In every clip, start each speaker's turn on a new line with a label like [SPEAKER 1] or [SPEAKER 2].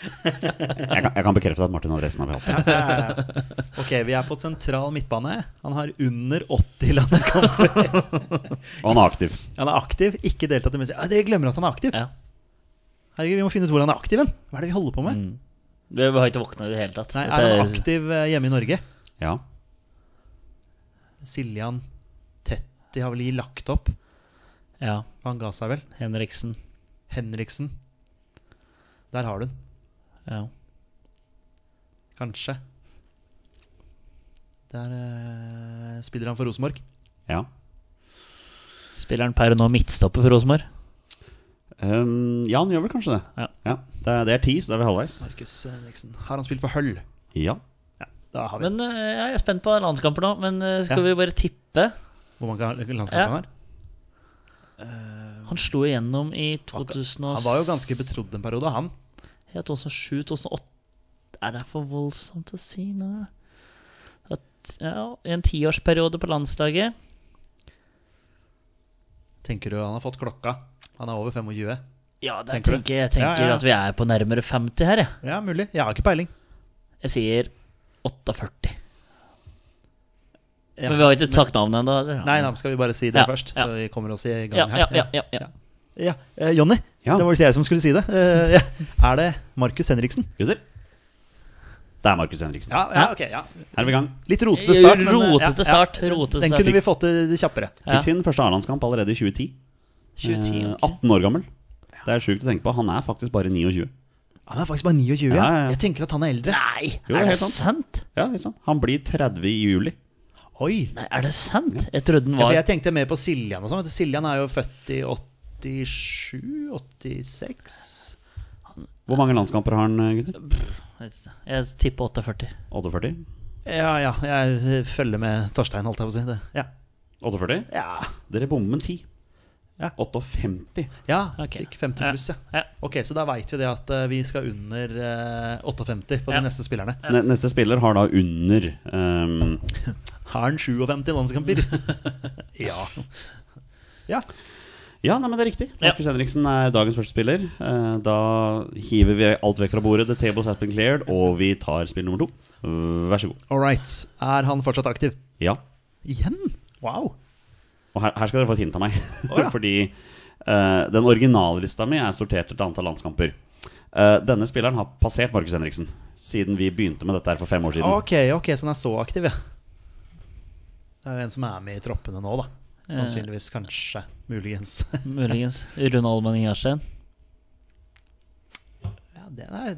[SPEAKER 1] Jeg kan, jeg kan bekrefte at Martin Andresen har vi hatt. det.
[SPEAKER 2] Ok, vi er på sentral midtbane. Han har under 80 landskamper.
[SPEAKER 1] Og han er aktiv.
[SPEAKER 2] Han er aktiv, ikke deltatt i mest. Ja, dere glemmer at han er aktiv.
[SPEAKER 3] Ja.
[SPEAKER 2] Herregud, Vi må finne ut hvor han er aktiv. hen. Hva er det vi holder på med?
[SPEAKER 3] Mm. Vi har ikke våkna i det hele tatt.
[SPEAKER 2] Nei,
[SPEAKER 3] Dette
[SPEAKER 2] Mm. Er han
[SPEAKER 3] er-
[SPEAKER 2] aktiv eh, hjemme i Norge?
[SPEAKER 1] Ja.
[SPEAKER 2] Siljan Tetti har vel i lagt opp.
[SPEAKER 3] Ja.
[SPEAKER 2] Han ga seg vel.
[SPEAKER 3] Henriksen.
[SPEAKER 2] Henriksen. Der har du den,
[SPEAKER 3] Ja.
[SPEAKER 2] kanskje. Der eh, spiller han for Rosenborg.
[SPEAKER 1] Ja.
[SPEAKER 3] Spilleren per nå midtstopper for Rosenborg.
[SPEAKER 1] Um, ja, han gjør vel kanskje det.
[SPEAKER 3] Ja.
[SPEAKER 1] Det, er, det er ti, så da er vi halvveis.
[SPEAKER 2] Markus Henriksen. Har han spilt for Høll?
[SPEAKER 1] Ja.
[SPEAKER 2] Da har vi
[SPEAKER 3] Men eh, jeg er spent på landskamper nå, men eh, skal
[SPEAKER 2] Ja.
[SPEAKER 3] vi bare tippe?
[SPEAKER 2] Hvor mange landskamper
[SPEAKER 3] Ja.
[SPEAKER 2] han har?
[SPEAKER 3] Han slo igjennom i 2000 og-
[SPEAKER 2] Han var jo ganske betrodd en periode, han.
[SPEAKER 3] Ja, 2007-2008. Er det for voldsomt å si nå? At, ja, I en tiårsperiode på landslaget.
[SPEAKER 2] Tenker du han har fått klokka? Han er over 25.
[SPEAKER 3] Ja, der
[SPEAKER 2] Tenker du?
[SPEAKER 3] tenker, jeg tenker
[SPEAKER 2] Ja, ja.
[SPEAKER 3] at vi er på nærmere 50 her, jeg.
[SPEAKER 2] Ja, mulig. Jeg har ikke peiling.
[SPEAKER 3] Jeg sier 48.
[SPEAKER 2] Ja.
[SPEAKER 3] Men vi har ikke sagt navnet ennå. eller?
[SPEAKER 2] Nei, da skal vi bare si det
[SPEAKER 3] Ja,
[SPEAKER 2] først,
[SPEAKER 3] ja.
[SPEAKER 2] så vi kommer oss i gang
[SPEAKER 3] Ja,
[SPEAKER 2] her.
[SPEAKER 3] ja, ja, ja, ja.
[SPEAKER 2] Ja, eh, Jonny,
[SPEAKER 1] Ja.
[SPEAKER 2] det var visst jeg som skulle si det. Eh, ja. Er det Markus Henriksen?
[SPEAKER 1] Gutter. Det er Markus Henriksen.
[SPEAKER 2] ja, ok, ja.
[SPEAKER 1] Her er vi i gang.
[SPEAKER 2] Litt rotete start. men, eh,
[SPEAKER 3] Rotete start,
[SPEAKER 2] den-
[SPEAKER 3] rotete
[SPEAKER 2] Den
[SPEAKER 3] start.
[SPEAKER 2] kunne vi fått til kjappere.
[SPEAKER 1] Fikk
[SPEAKER 3] Ja.
[SPEAKER 1] sin første A-landskamp allerede i 2010.
[SPEAKER 3] 2010,
[SPEAKER 1] Eh,
[SPEAKER 3] ok.
[SPEAKER 1] 18 år gammel. Det er sjukt å tenke på. Han er faktisk bare 29.
[SPEAKER 2] Han er faktisk bare 29.
[SPEAKER 1] Ja, ja, ja.
[SPEAKER 2] Jeg tenker at han er eldre.
[SPEAKER 3] Nei,
[SPEAKER 1] Jo,
[SPEAKER 3] er det
[SPEAKER 1] helt sant.
[SPEAKER 3] sant?
[SPEAKER 1] Ja, ikke sant? Han blir 30 i juli.
[SPEAKER 2] Oi.
[SPEAKER 3] Nei, er det sant? Jeg trodde den
[SPEAKER 2] Ja, for
[SPEAKER 3] var
[SPEAKER 2] jeg tenkte mer på Siljan og sånn. vet du. Siljan er jo født i 87? 86?
[SPEAKER 1] Hvor mange landskamper har han, eh, gutter?
[SPEAKER 3] Jeg tipper 48.
[SPEAKER 1] 48?
[SPEAKER 2] Ja, ja. Jeg følger med Torstein, holdt jeg på å si. Det. Ja.
[SPEAKER 1] 48?
[SPEAKER 2] Ja.
[SPEAKER 1] Dere bommer med 10.
[SPEAKER 2] Ja.
[SPEAKER 1] 58.
[SPEAKER 2] ja
[SPEAKER 3] Ok.
[SPEAKER 2] Fikk 50 pluss, ja.
[SPEAKER 3] Ja.
[SPEAKER 2] Ok, så da veit vi det at eh, vi skal under eh, 58 på de
[SPEAKER 3] Ja.
[SPEAKER 2] neste spillerne.
[SPEAKER 1] Ne- Neste spiller har da under ehm,
[SPEAKER 2] Har han 57 landskamper? ja. Ja.
[SPEAKER 1] Ja, nei, men det er riktig.
[SPEAKER 3] Ja.
[SPEAKER 1] Markus Henriksen er dagens første spiller. Eh, Da hiver vi alt vekk fra bordet. The tables has been cleared, og vi tar spill nummer to. Vær så god.
[SPEAKER 2] All right. Er han fortsatt aktiv?
[SPEAKER 1] Ja.
[SPEAKER 2] Igjen? Wow!
[SPEAKER 1] Og her, her skal dere få et hint av meg.
[SPEAKER 2] Å, ja.
[SPEAKER 1] Fordi eh, den originallista mi er sortert etter antall landskamper. Eh, denne spilleren har passert Markus Henriksen siden vi begynte med dette her for fem år siden.
[SPEAKER 2] Ok, ok, så den er så aktiv, ja. Det er jo en som er med i troppene nå, da. Sannsynligvis, kanskje, muligens.
[SPEAKER 3] Muligens. Rune Almenning Jarstein.
[SPEAKER 2] Ja, det er,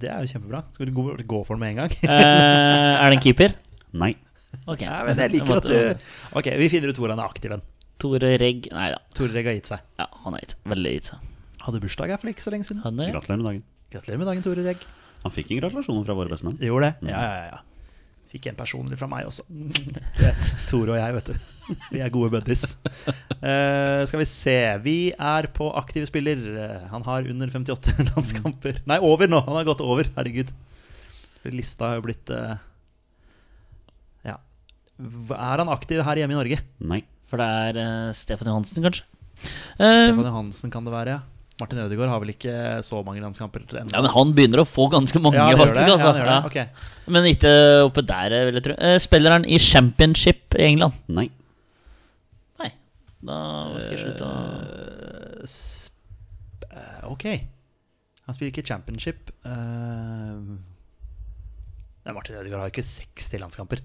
[SPEAKER 2] det er jo kjempebra. Skal du gå, gå for den med en gang?
[SPEAKER 3] Eh, er det en keeper?
[SPEAKER 1] Nei.
[SPEAKER 3] Ok.
[SPEAKER 2] Nei, men jeg liker at eh, du Ok, vi finner ut hvor han er aktiv hen.
[SPEAKER 3] Tore Regg Nei da.
[SPEAKER 2] Torreg har gitt seg.
[SPEAKER 3] Ja, han er gitt. Veldig gitt seg.
[SPEAKER 2] Hadde bursdag her for ikke så lenge siden.
[SPEAKER 3] Han er
[SPEAKER 1] Gratulerer med dagen.
[SPEAKER 2] Gratulerer med dagen, Tore Regg.
[SPEAKER 1] Han fikk en gratulasjon fra våre bestemenn.
[SPEAKER 2] Det gjorde det. Ja, ja, ja. Fikk en personlig fra meg også. Du vet, Tore og jeg, vet du. Vi er gode buddies. Eh, skal vi se. Vi er på aktiv spiller. Eh, Han har under 58 landskamper. Nei, over nå! Han har gått over. Herregud. Lista har jo blitt eh, Ja. Hva- Er han aktiv her hjemme i Norge?
[SPEAKER 1] Nei.
[SPEAKER 3] For det er eh, Stefan Johansen, kanskje? Eh,
[SPEAKER 2] Stefan Johansen kan det være, ja. Martin Ødegaard har vel ikke så mange landskamper ennå?
[SPEAKER 3] ja, men han begynner å få ganske mange,
[SPEAKER 2] Ja, han gjør det.
[SPEAKER 3] faktisk.
[SPEAKER 2] Ja,
[SPEAKER 3] Altså.
[SPEAKER 2] han gjør det.
[SPEAKER 3] Ja.
[SPEAKER 2] Ok.
[SPEAKER 3] Men ikke oppe der, vil jeg tro. Eh, Spiller han i championship i England?
[SPEAKER 1] Nei.
[SPEAKER 3] Nei. Da skal jeg slutte
[SPEAKER 2] Eh.
[SPEAKER 3] å
[SPEAKER 2] Sp eh, ok. Han spiller ikke championship. eh, men Martin Ødegaard har jo ikke 60 landskamper.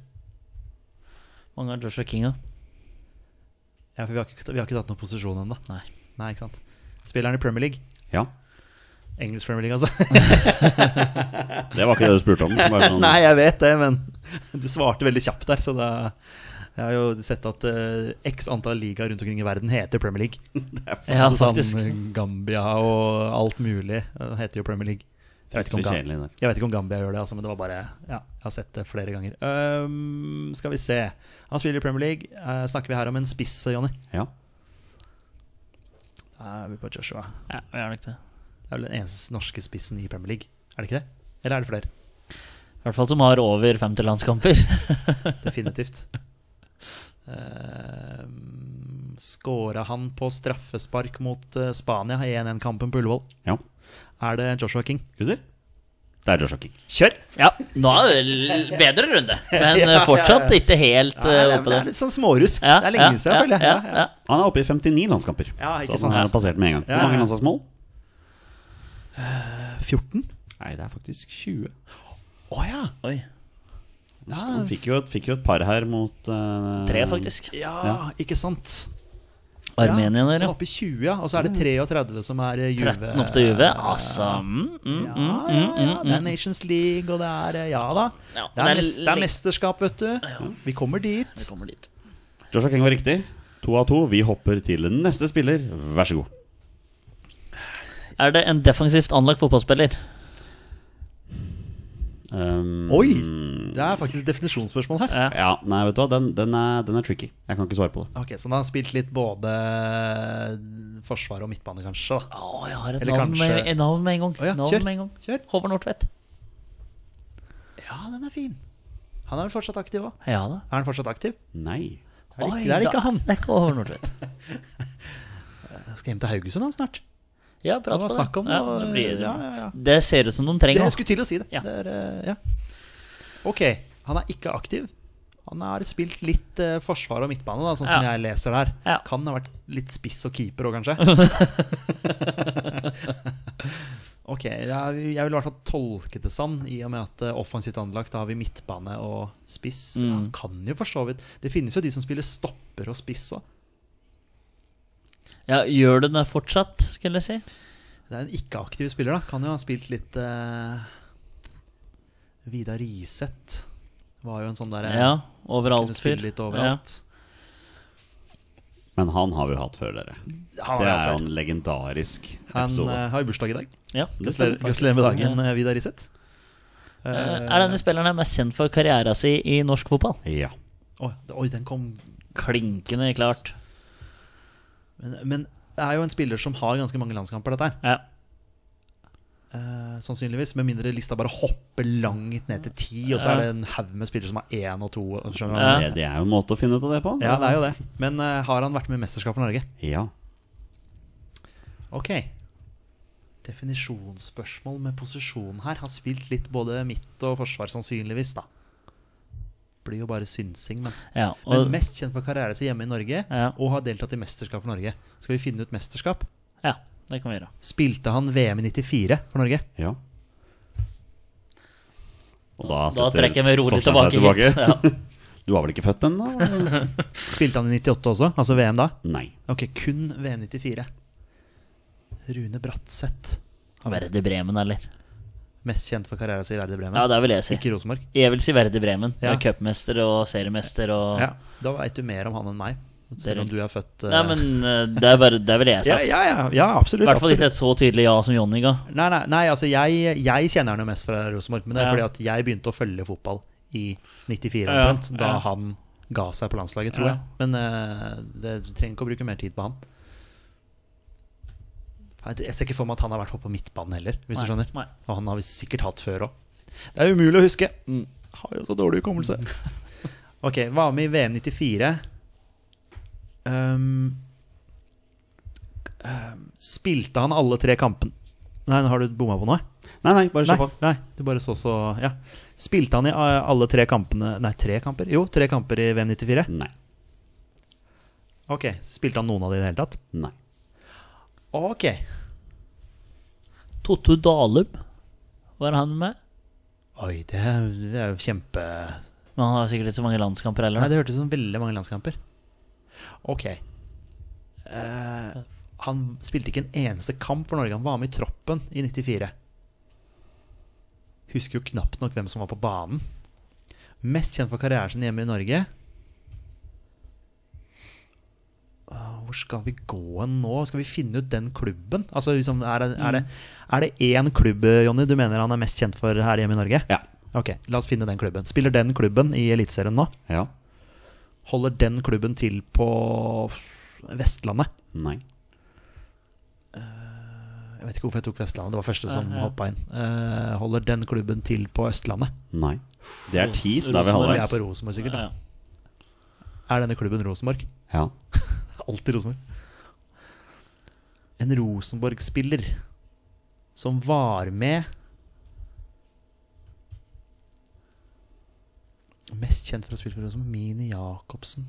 [SPEAKER 3] Mange av Joshua King, da.
[SPEAKER 2] Ja, for vi har ikke, vi har ikke tatt noen posisjon ennå.
[SPEAKER 3] Nei.
[SPEAKER 2] Nei, ikke sant. Spiller han i Premier League?
[SPEAKER 1] Ja.
[SPEAKER 2] Engelsk Premier League, altså.
[SPEAKER 1] Det var ikke det du spurte om. Bare sånn,
[SPEAKER 2] Nei, jeg vet det, men du svarte veldig kjapt der, så da Jeg har jo sett at eh, x antall ligaer rundt omkring i verden heter Premier League.
[SPEAKER 3] Ja,
[SPEAKER 2] altså,
[SPEAKER 3] faktisk.
[SPEAKER 2] Sånn Gambia og alt mulig eh, heter jo Premier League. Jeg vet, ikke om
[SPEAKER 1] Fryktelig
[SPEAKER 2] Gam-
[SPEAKER 1] kjedelig der.
[SPEAKER 2] jeg vet ikke om Gambia gjør det, altså, men det var bare Ja, jeg har sett det flere ganger. Ehm, skal vi se. Han spiller i Premier League. Eh, snakker vi her om en spiss, Jonny?
[SPEAKER 1] Ja.
[SPEAKER 2] Da er vi på Joshua.
[SPEAKER 3] Ja, jeg er nok det.
[SPEAKER 2] Det er vel den eneste norske spissen i Premier League, er det ikke det? Eller er det flere?
[SPEAKER 3] I hvert fall som har over 50 landskamper.
[SPEAKER 2] Definitivt. Uh, Skåra han på straffespark mot eh, Spania i 1-1-kampen på Ullevål?
[SPEAKER 1] ja.
[SPEAKER 2] Er det Joshua King?
[SPEAKER 1] Gutter? Det er Joshua King.
[SPEAKER 2] Kjør!
[SPEAKER 3] Ja, nå er det l- bedre runde, men eh, fortsatt ikke helt
[SPEAKER 2] det,
[SPEAKER 3] eh,
[SPEAKER 2] er,
[SPEAKER 3] oppe der.
[SPEAKER 2] litt sånn smårusk.
[SPEAKER 3] Ja,
[SPEAKER 2] det er lenge
[SPEAKER 3] ja,
[SPEAKER 2] siden, jeg føler jeg.
[SPEAKER 3] ja,
[SPEAKER 2] Ja, ja.
[SPEAKER 3] ja.
[SPEAKER 1] Han er oppe i 59 landskamper.
[SPEAKER 2] Ja, ikke
[SPEAKER 1] så
[SPEAKER 2] sant.
[SPEAKER 1] han er passert med en gang.
[SPEAKER 2] Ja,
[SPEAKER 1] Hvor mange
[SPEAKER 2] ja.
[SPEAKER 1] landslagsmål?
[SPEAKER 2] 14?
[SPEAKER 1] Nei, det er faktisk 20.
[SPEAKER 2] Å ja.
[SPEAKER 3] Oi.
[SPEAKER 1] Han fikk jo, et, fikk jo et par her mot eh,
[SPEAKER 3] Tre, faktisk.
[SPEAKER 2] ja! Ikke sant.
[SPEAKER 3] Armenia
[SPEAKER 2] ja.
[SPEAKER 3] der,
[SPEAKER 2] Så
[SPEAKER 3] ja.
[SPEAKER 2] oppi 20, ja. Og så er det 33 som er eh, Juve.
[SPEAKER 3] 13 opp til Juve. Altså mm, mm,
[SPEAKER 2] Ja,
[SPEAKER 3] mm,
[SPEAKER 2] ja,
[SPEAKER 3] mm,
[SPEAKER 2] ja.
[SPEAKER 3] mm,
[SPEAKER 2] Det er Nations League, og det er eh, Ja da. det,
[SPEAKER 3] Ja,
[SPEAKER 2] er
[SPEAKER 3] det er
[SPEAKER 2] mest, det
[SPEAKER 3] litt-
[SPEAKER 2] er mesterskap, vet du. Vi kommer dit.
[SPEAKER 3] Vi kommer dit.
[SPEAKER 1] Joshua King var riktig. To av to. Vi hopper til neste spiller. Vær så god.
[SPEAKER 3] Er det en defensivt anlagt fotballspiller?
[SPEAKER 1] Um,
[SPEAKER 2] Oi! Det er faktisk definisjonsspørsmål her.
[SPEAKER 3] Ja.
[SPEAKER 1] Ja, nei, vet du hva. Den, den, er, den er tricky. Jeg kan ikke svare på det.
[SPEAKER 2] Ok, Så han har spilt litt både eh, forsvar og midtbane, kanskje? da.
[SPEAKER 3] Å, jeg har et
[SPEAKER 2] Eller
[SPEAKER 3] navn,
[SPEAKER 2] kanskje-
[SPEAKER 3] med, et navn med en gang.
[SPEAKER 2] Å ja,
[SPEAKER 3] navn
[SPEAKER 2] kjør,
[SPEAKER 3] med en gang.
[SPEAKER 2] kjør.
[SPEAKER 3] Håvard Nordtvedt.
[SPEAKER 2] Ja, den er fin. Han er vel fortsatt aktiv òg?
[SPEAKER 3] Ja da.
[SPEAKER 2] Er han fortsatt aktiv?
[SPEAKER 1] Nei.
[SPEAKER 2] Er det, ikke, det er
[SPEAKER 3] da-
[SPEAKER 2] det ikke han.
[SPEAKER 3] Det er ikke Håvard Nordtvedt.
[SPEAKER 2] Jeg skal hjem til Haugesund han snart.
[SPEAKER 3] Ja, bra
[SPEAKER 2] Det var snakk om
[SPEAKER 3] Ja,
[SPEAKER 2] noe-
[SPEAKER 3] det, blir,
[SPEAKER 2] ja, ja, ja.
[SPEAKER 3] det ser ut som de
[SPEAKER 2] Det
[SPEAKER 3] trenger
[SPEAKER 2] jeg
[SPEAKER 3] det.
[SPEAKER 2] skulle til å si det.
[SPEAKER 3] Ja.
[SPEAKER 2] det er, eh, ja. Ok, han er ikke aktiv. Han har spilt litt eh, forsvar og midtbane, da, sånn som
[SPEAKER 3] Ja.
[SPEAKER 2] jeg leser der.
[SPEAKER 3] Ja.
[SPEAKER 2] Kan ha vært litt spiss og keeper òg, kanskje. ok, jeg, jeg vil i hvert fall tolke det sånn, i og med at eh, offensivt anlagt da har vi midtbane og spiss.
[SPEAKER 3] Mm.
[SPEAKER 2] Han kan jo for så vidt Det finnes jo de som spiller stopper og spiss òg.
[SPEAKER 3] Ja, gjør du det fortsatt, skulle jeg si?
[SPEAKER 2] Det er en ikke-aktiv spiller, da. Kan jo ha spilt litt eh, Vidar Riseth var jo en sånn der eh,
[SPEAKER 3] Ja, overalt
[SPEAKER 2] kunne
[SPEAKER 3] fyr.
[SPEAKER 2] spille litt overalt.
[SPEAKER 1] Men han har vi jo hatt før, dere.
[SPEAKER 2] Han,
[SPEAKER 1] Det
[SPEAKER 2] har
[SPEAKER 1] er jo
[SPEAKER 2] ansvar.
[SPEAKER 1] en legendarisk
[SPEAKER 2] han
[SPEAKER 1] episode.
[SPEAKER 2] eh, har jo bursdag i dag.
[SPEAKER 3] Ja. Ja.
[SPEAKER 2] Gratulerer gratulerer med dagen, eh, Vidar Riseth. Eh,
[SPEAKER 3] Eh, Er denne spilleren her mest kjent for karriera si i norsk fotball?
[SPEAKER 1] Ja.
[SPEAKER 2] oi, oi, den kom
[SPEAKER 3] Klinkende klart.
[SPEAKER 2] men, men det er jo en spiller som har ganske mange landskamper, dette her.
[SPEAKER 3] Ja.
[SPEAKER 2] Eh, sannsynligvis. Med mindre lista bare hopper langt ned til ti, og så
[SPEAKER 3] Ja.
[SPEAKER 2] er det en haug med spillere som har én og to. og skjønner du hva jeg
[SPEAKER 3] Ja.
[SPEAKER 1] Det, det er jo en måte å finne ut av det på.
[SPEAKER 2] mener? Ja, det er jo det. Men eh, har han vært med i mesterskap for Norge?
[SPEAKER 1] Ja.
[SPEAKER 2] Ok. Definisjonsspørsmål med posisjon her. Har spilt litt både midt og forsvar, sannsynligvis, da. blir jo bare synsing, men.
[SPEAKER 3] Ja,
[SPEAKER 2] Men
[SPEAKER 3] og,
[SPEAKER 2] mest kjent for karriere sin hjemme i Norge,
[SPEAKER 3] Ja.
[SPEAKER 2] og har deltatt i mesterskap for Norge. Skal vi finne ut mesterskap?
[SPEAKER 3] ja, det kan vi gjøre.
[SPEAKER 2] Spilte han VM i 94 for Norge?
[SPEAKER 1] Ja. Og da,
[SPEAKER 3] Da
[SPEAKER 1] setter
[SPEAKER 3] trekker vi rolig
[SPEAKER 1] Torstein
[SPEAKER 3] tilbake,
[SPEAKER 1] seg
[SPEAKER 3] hit. Ja.
[SPEAKER 1] Du var vel ikke født ennå?
[SPEAKER 2] Spilte han i 98 også? Altså VM da?
[SPEAKER 1] Nei.
[SPEAKER 2] Ok, kun VM 94. Rune Bratseth.
[SPEAKER 3] Verde Bremen, eller?
[SPEAKER 2] Mest kjent for karrieren sin i Verde Bremen.
[SPEAKER 3] Ja, det vil jeg si.
[SPEAKER 2] Ikke Rosenborg.
[SPEAKER 3] Jeg vil si Verde Bremen.
[SPEAKER 2] Ja.
[SPEAKER 3] Ja. Cupmester og seriemester og
[SPEAKER 2] Ja. Da veit du mer om han enn meg. Selv om du er født eh,
[SPEAKER 3] Nei, men eh, det er, bare, det er vel det jeg
[SPEAKER 2] ja,
[SPEAKER 3] sa.
[SPEAKER 2] ja, ja, ja,
[SPEAKER 3] I
[SPEAKER 2] absolutt.
[SPEAKER 3] hvert fall
[SPEAKER 2] absolutt.
[SPEAKER 3] ikke et så tydelig ja som Jonny ga.
[SPEAKER 2] Nei, nei, nei altså jeg, jeg kjenner han jo mest fra Rosenborg. Men det er
[SPEAKER 3] Ja.
[SPEAKER 2] fordi at jeg begynte å følge fotball i 94
[SPEAKER 3] Ja,
[SPEAKER 2] omtrent. Da
[SPEAKER 3] ja.
[SPEAKER 2] han ga seg på landslaget, tror
[SPEAKER 3] Ja.
[SPEAKER 2] jeg. Men eh, det, du trenger ikke å bruke mer tid på han. Jeg jeg ser ikke for meg at han har vært på midtbanen heller, hvis
[SPEAKER 3] Nei,
[SPEAKER 2] du skjønner.
[SPEAKER 3] nei.
[SPEAKER 2] Og han har vi sikkert hatt før òg. Det er umulig å huske. Mm. Har jo så dårlig hukommelse. ok, var med i VM 94. Um, um, spilte han alle tre kampen Nei, nå har du bomma på noe?
[SPEAKER 1] Nei, nei, bare
[SPEAKER 2] Nei,
[SPEAKER 1] slapp av.
[SPEAKER 2] nei, du bare så så Ja. Spilte han i eh, alle tre kampene Nei, tre kamper? Jo, tre kamper i VM 94.
[SPEAKER 1] Nei.
[SPEAKER 2] Ok, Spilte han noen av de i det hele tatt?
[SPEAKER 1] Nei.
[SPEAKER 2] Ok.
[SPEAKER 3] Totto Dalum var han med.
[SPEAKER 2] Oi, det er, det er jo kjempe
[SPEAKER 3] Men han har sikkert ikke så mange landskamper
[SPEAKER 2] Nei,
[SPEAKER 3] heller.
[SPEAKER 2] det hørtes ut som veldig mange landskamper. Ok. Eh, han spilte ikke en eneste kamp for Norge. Han var med i troppen i 94. Husker jo knapt nok hvem som var på banen. Mest kjent for karrieren sin hjemme i Norge. Åh, Ah, Hvor skal vi gå hen nå? Skal vi finne ut den klubben? Altså, liksom, er, det, er, det, er det én klubb, Jonny, du mener han er mest kjent for her hjemme i Norge?
[SPEAKER 1] Ja.
[SPEAKER 2] Ok, la oss finne den klubben. Spiller den klubben i Eliteserien nå?
[SPEAKER 1] Ja.
[SPEAKER 2] Holder den klubben til på Vestlandet?
[SPEAKER 1] Nei.
[SPEAKER 2] Jeg vet ikke hvorfor jeg tok Vestlandet, det var første som
[SPEAKER 3] Ja,
[SPEAKER 2] hoppet hoppa
[SPEAKER 3] ja.
[SPEAKER 2] inn. Eh, holder den klubben til på Østlandet?
[SPEAKER 1] Nei. Det er ti, så da er vi
[SPEAKER 3] Rosenborg
[SPEAKER 2] Vi er på
[SPEAKER 1] halvveis.
[SPEAKER 2] Rosenborg, sikkert.
[SPEAKER 3] Ja,
[SPEAKER 2] Da.
[SPEAKER 3] ja.
[SPEAKER 2] Er denne klubben Rosenborg?
[SPEAKER 1] Ja.
[SPEAKER 2] Alltid Rosenborg. En Rosenborg-spiller som var med Mest kjent for å spille for Rosenborg, Mini Jacobsen.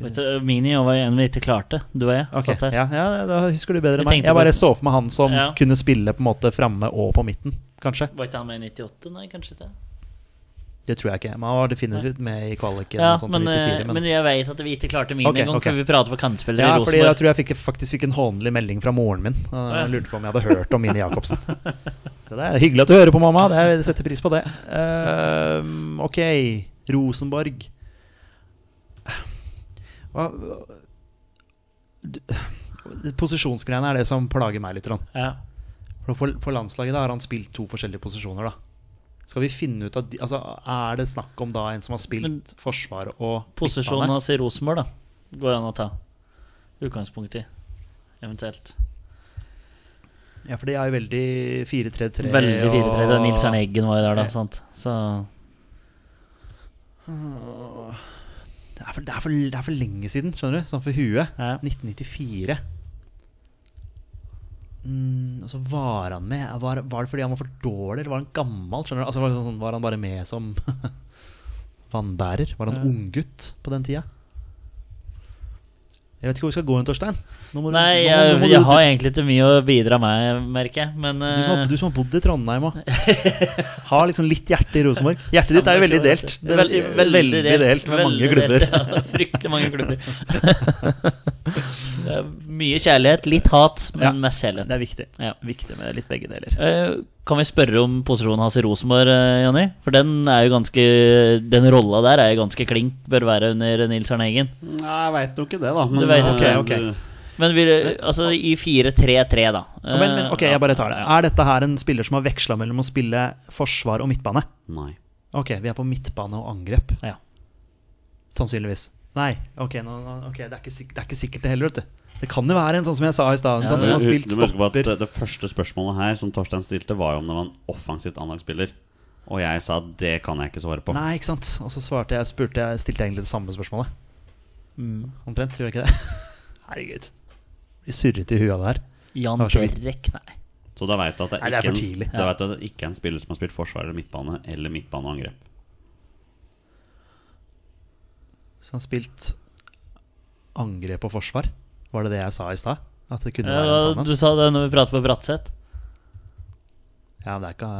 [SPEAKER 3] Vet du, Mini var en vi ikke klarte, du og jeg.
[SPEAKER 2] Ok,
[SPEAKER 3] Satt her.
[SPEAKER 2] ja, ja, da husker du bedre
[SPEAKER 3] Jeg
[SPEAKER 2] enn meg.
[SPEAKER 3] tenkte
[SPEAKER 2] Jeg
[SPEAKER 3] på-
[SPEAKER 2] bare så for meg han som
[SPEAKER 3] Ja.
[SPEAKER 2] kunne spille på en måte framme og på midten, kanskje.
[SPEAKER 3] Var ikke han med i 98? Nei, kanskje ikke.
[SPEAKER 2] Det tror jeg ikke. Men han var definitivt med i kvaliken.
[SPEAKER 3] Ja,
[SPEAKER 2] og sånt,
[SPEAKER 3] men,
[SPEAKER 2] i 94,
[SPEAKER 3] eh,
[SPEAKER 2] men,
[SPEAKER 3] men jeg vet at vi ikke klarte Mini
[SPEAKER 2] Ok,
[SPEAKER 3] engang,
[SPEAKER 2] ok.
[SPEAKER 3] for vi prater på kantspillere
[SPEAKER 2] ja,
[SPEAKER 3] i
[SPEAKER 2] fordi da
[SPEAKER 3] Rosenborg.
[SPEAKER 2] tror jeg fikk, faktisk fikk en hånlig melding fra moren min.
[SPEAKER 3] ja.
[SPEAKER 2] Han lurte på om jeg hadde hørt om Mini Jacobsen. Så Det er hyggelig at du hører på, mamma. Det er, jeg setter pris på det. Ehm, ok, Rosenborg. Hva du- Posisjonsgreiene er det som plager meg litt. Trond.
[SPEAKER 3] Ja.
[SPEAKER 2] For på, på landslaget da har han spilt to forskjellige posisjoner. da Skal vi finne ut av de, altså, Er det snakk om da en som har spilt
[SPEAKER 3] Men-
[SPEAKER 2] forsvar og
[SPEAKER 3] Posisjonen
[SPEAKER 2] midtbane?
[SPEAKER 3] hans i Rosenborg, da, går an å ta. Utgangspunkt i, eventuelt.
[SPEAKER 2] Ja, for de er jo veldig 4-3-3.
[SPEAKER 3] Veldig 4-3. Det er
[SPEAKER 2] og-
[SPEAKER 3] Nils Arne Eggen var jo der, da. Sant? Så
[SPEAKER 2] Det er, for, det, er for, det er for lenge siden, skjønner du. Sånn for huet.
[SPEAKER 3] Ja.
[SPEAKER 2] 1994. Mm, og så var han med var, var det fordi han var for dårlig, eller var han gammel? Skjønner du? Altså, var, det sånn, var han bare med som vannbærer? Var han
[SPEAKER 3] Ja.
[SPEAKER 2] unggutt på den tida? Jeg vet ikke hvor vi skal gå hen, Torstein. Nå må du- nå må-
[SPEAKER 3] Nei, jeg,
[SPEAKER 2] nå må
[SPEAKER 3] jeg
[SPEAKER 2] du,
[SPEAKER 3] har egentlig ikke mye å bidra med, merker jeg. Men
[SPEAKER 2] du, som
[SPEAKER 3] eh,
[SPEAKER 2] har, du som har bodd i Trondheim òg. Har liksom litt hjerte i Rosenborg. Hjertet ditt er jo veldig delt. Det er
[SPEAKER 3] Veldig, veldig, delt,
[SPEAKER 2] med mange
[SPEAKER 3] veldig
[SPEAKER 2] klubber.
[SPEAKER 3] delt, ja, det er fryktelig mange klubber. det er mye kjærlighet, litt hat, men
[SPEAKER 2] Ja,
[SPEAKER 3] mest kjærlighet.
[SPEAKER 2] Det er viktig.
[SPEAKER 3] Ja.
[SPEAKER 2] Viktig med litt begge deler.
[SPEAKER 3] Eh, Kan vi spørre om posisjonen hans i Rosenborg, eh, Jonny? For den er jo ganske Den rolla der er jo ganske klink, bør være under Nils Arne Eggen.
[SPEAKER 1] Nei, jeg veit jo ikke det, da.
[SPEAKER 3] Du vet
[SPEAKER 2] ikke,
[SPEAKER 1] eh,
[SPEAKER 2] ok.
[SPEAKER 1] du-
[SPEAKER 3] Men vi, altså i 4-3-3, da.
[SPEAKER 2] Ja, Men, men ok,
[SPEAKER 3] Eh,
[SPEAKER 2] jeg bare tar det.
[SPEAKER 3] ja.
[SPEAKER 2] Er dette her en spiller som har veksla mellom å spille forsvar og midtbane?
[SPEAKER 1] Nei.
[SPEAKER 2] Ok, vi er på midtbane og angrep,
[SPEAKER 3] Ja.
[SPEAKER 2] sannsynligvis. Nei, ok, nå, nå- ok, det, er ikke, sik- det er ikke sikkert det heller, vet du. Det kan jo være en sånn som jeg sa i stad, en sånn
[SPEAKER 1] Du,
[SPEAKER 2] som har
[SPEAKER 1] du
[SPEAKER 2] spilt
[SPEAKER 1] må huske på at
[SPEAKER 2] stopper.
[SPEAKER 1] det, det første spørsmålet her som Torstein stilte, var jo om det var en offensivt anlagt spiller. Og jeg sa det kan jeg ikke svare på.
[SPEAKER 2] Nei, ikke sant. Og så svarte jeg, spurte jeg, stilte jeg egentlig det samme spørsmålet. Mm, Omtrent, gjorde jeg ikke det? Herregud. Blir surrete i huet av det her.
[SPEAKER 3] Jan
[SPEAKER 2] Det var så vidt.
[SPEAKER 3] Derek, nei.
[SPEAKER 1] Så da veit du at det,
[SPEAKER 2] Nei, det er
[SPEAKER 1] ikke
[SPEAKER 2] for
[SPEAKER 1] en-
[SPEAKER 2] tidlig.
[SPEAKER 1] da vet du at det ikke er en spiller som har spilt forsvar eller midtbane eller midtbane og angrep.
[SPEAKER 2] Så han spilt angrep og forsvar? Var det det jeg sa i stad? At det kunne være sånn
[SPEAKER 3] Ja,
[SPEAKER 2] den
[SPEAKER 3] da-
[SPEAKER 2] samme?
[SPEAKER 3] Eh, du sa det når vi pratet på Bratseth.
[SPEAKER 2] Ja, men det er ikke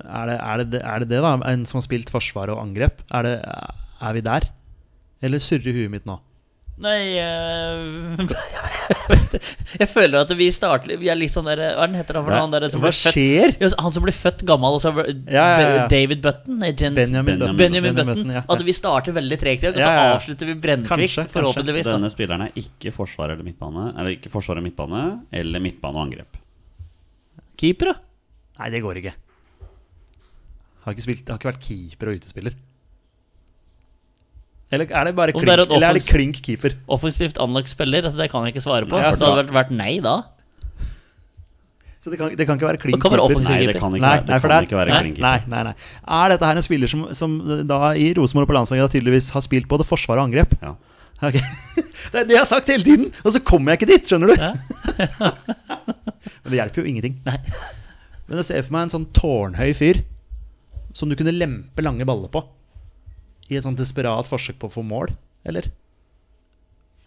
[SPEAKER 2] eh, er det, er, det, det- er det det, da? En som har spilt forsvar og angrep? Er, det, er vi der? Eller surrer huet mitt nå?
[SPEAKER 3] Nei eh, Jeg føler at vi starter Vi er litt sånn der Hva er den heter han for noe? Han, der som
[SPEAKER 2] Hva
[SPEAKER 3] ble født,
[SPEAKER 2] skjer?
[SPEAKER 3] Ja, han som ble født gammel, og så
[SPEAKER 2] Ja, ja, ja.
[SPEAKER 3] David Button? nei, Jens-
[SPEAKER 2] Benjamin
[SPEAKER 1] Button.
[SPEAKER 2] Button.
[SPEAKER 3] Benjamin Button.
[SPEAKER 2] ja.
[SPEAKER 3] At vi starter veldig tregt i dag, og så
[SPEAKER 2] Ja, ja, ja.
[SPEAKER 3] avslutter vi brennkvikt,
[SPEAKER 2] Kanskje, kanskje.
[SPEAKER 3] forhåpentligvis. da.
[SPEAKER 1] Denne spilleren er ikke forsvar eller midtbane Eller ikke forsvar og midtbane eller midtbane og angrep.
[SPEAKER 3] Keeper, da?
[SPEAKER 2] Nei, det går ikke. Har ikke, spilt, har ikke vært keeper og utespiller. Eller er det bare
[SPEAKER 3] Om
[SPEAKER 2] klink,
[SPEAKER 3] det er et
[SPEAKER 2] eller er det
[SPEAKER 3] offens-
[SPEAKER 2] klink keeper?
[SPEAKER 3] Offensivt anlagt spiller? Altså, det kan jeg ikke svare på.
[SPEAKER 2] Nei,
[SPEAKER 3] så hadde det vært- vært nei da.
[SPEAKER 2] Så det kan, det kan ikke være klink
[SPEAKER 3] Det kan være
[SPEAKER 2] keeper.
[SPEAKER 3] offensiv
[SPEAKER 1] Nei, det
[SPEAKER 3] keeper.
[SPEAKER 1] kan ikke,
[SPEAKER 2] Nei,
[SPEAKER 1] være-
[SPEAKER 2] nei,
[SPEAKER 1] det
[SPEAKER 2] for
[SPEAKER 1] kan
[SPEAKER 2] det
[SPEAKER 1] ikke være
[SPEAKER 3] nei,
[SPEAKER 1] klin
[SPEAKER 2] Nei,
[SPEAKER 1] keeper.
[SPEAKER 2] nei, nei. Er dette her en spiller som, som da i Rosenborg og på landslaget da tydeligvis har spilt både forsvar og angrep?
[SPEAKER 1] Ja.
[SPEAKER 2] Ok. Det er det jeg har sagt hele tiden, og så kommer jeg ikke dit, skjønner du?
[SPEAKER 3] Ja.
[SPEAKER 2] Men det hjelper jo ingenting.
[SPEAKER 3] Nei.
[SPEAKER 2] Men jeg ser for meg en sånn tårnhøy fyr som du kunne lempe lange baller på. I et sånn desperat forsøk på å få mål, eller?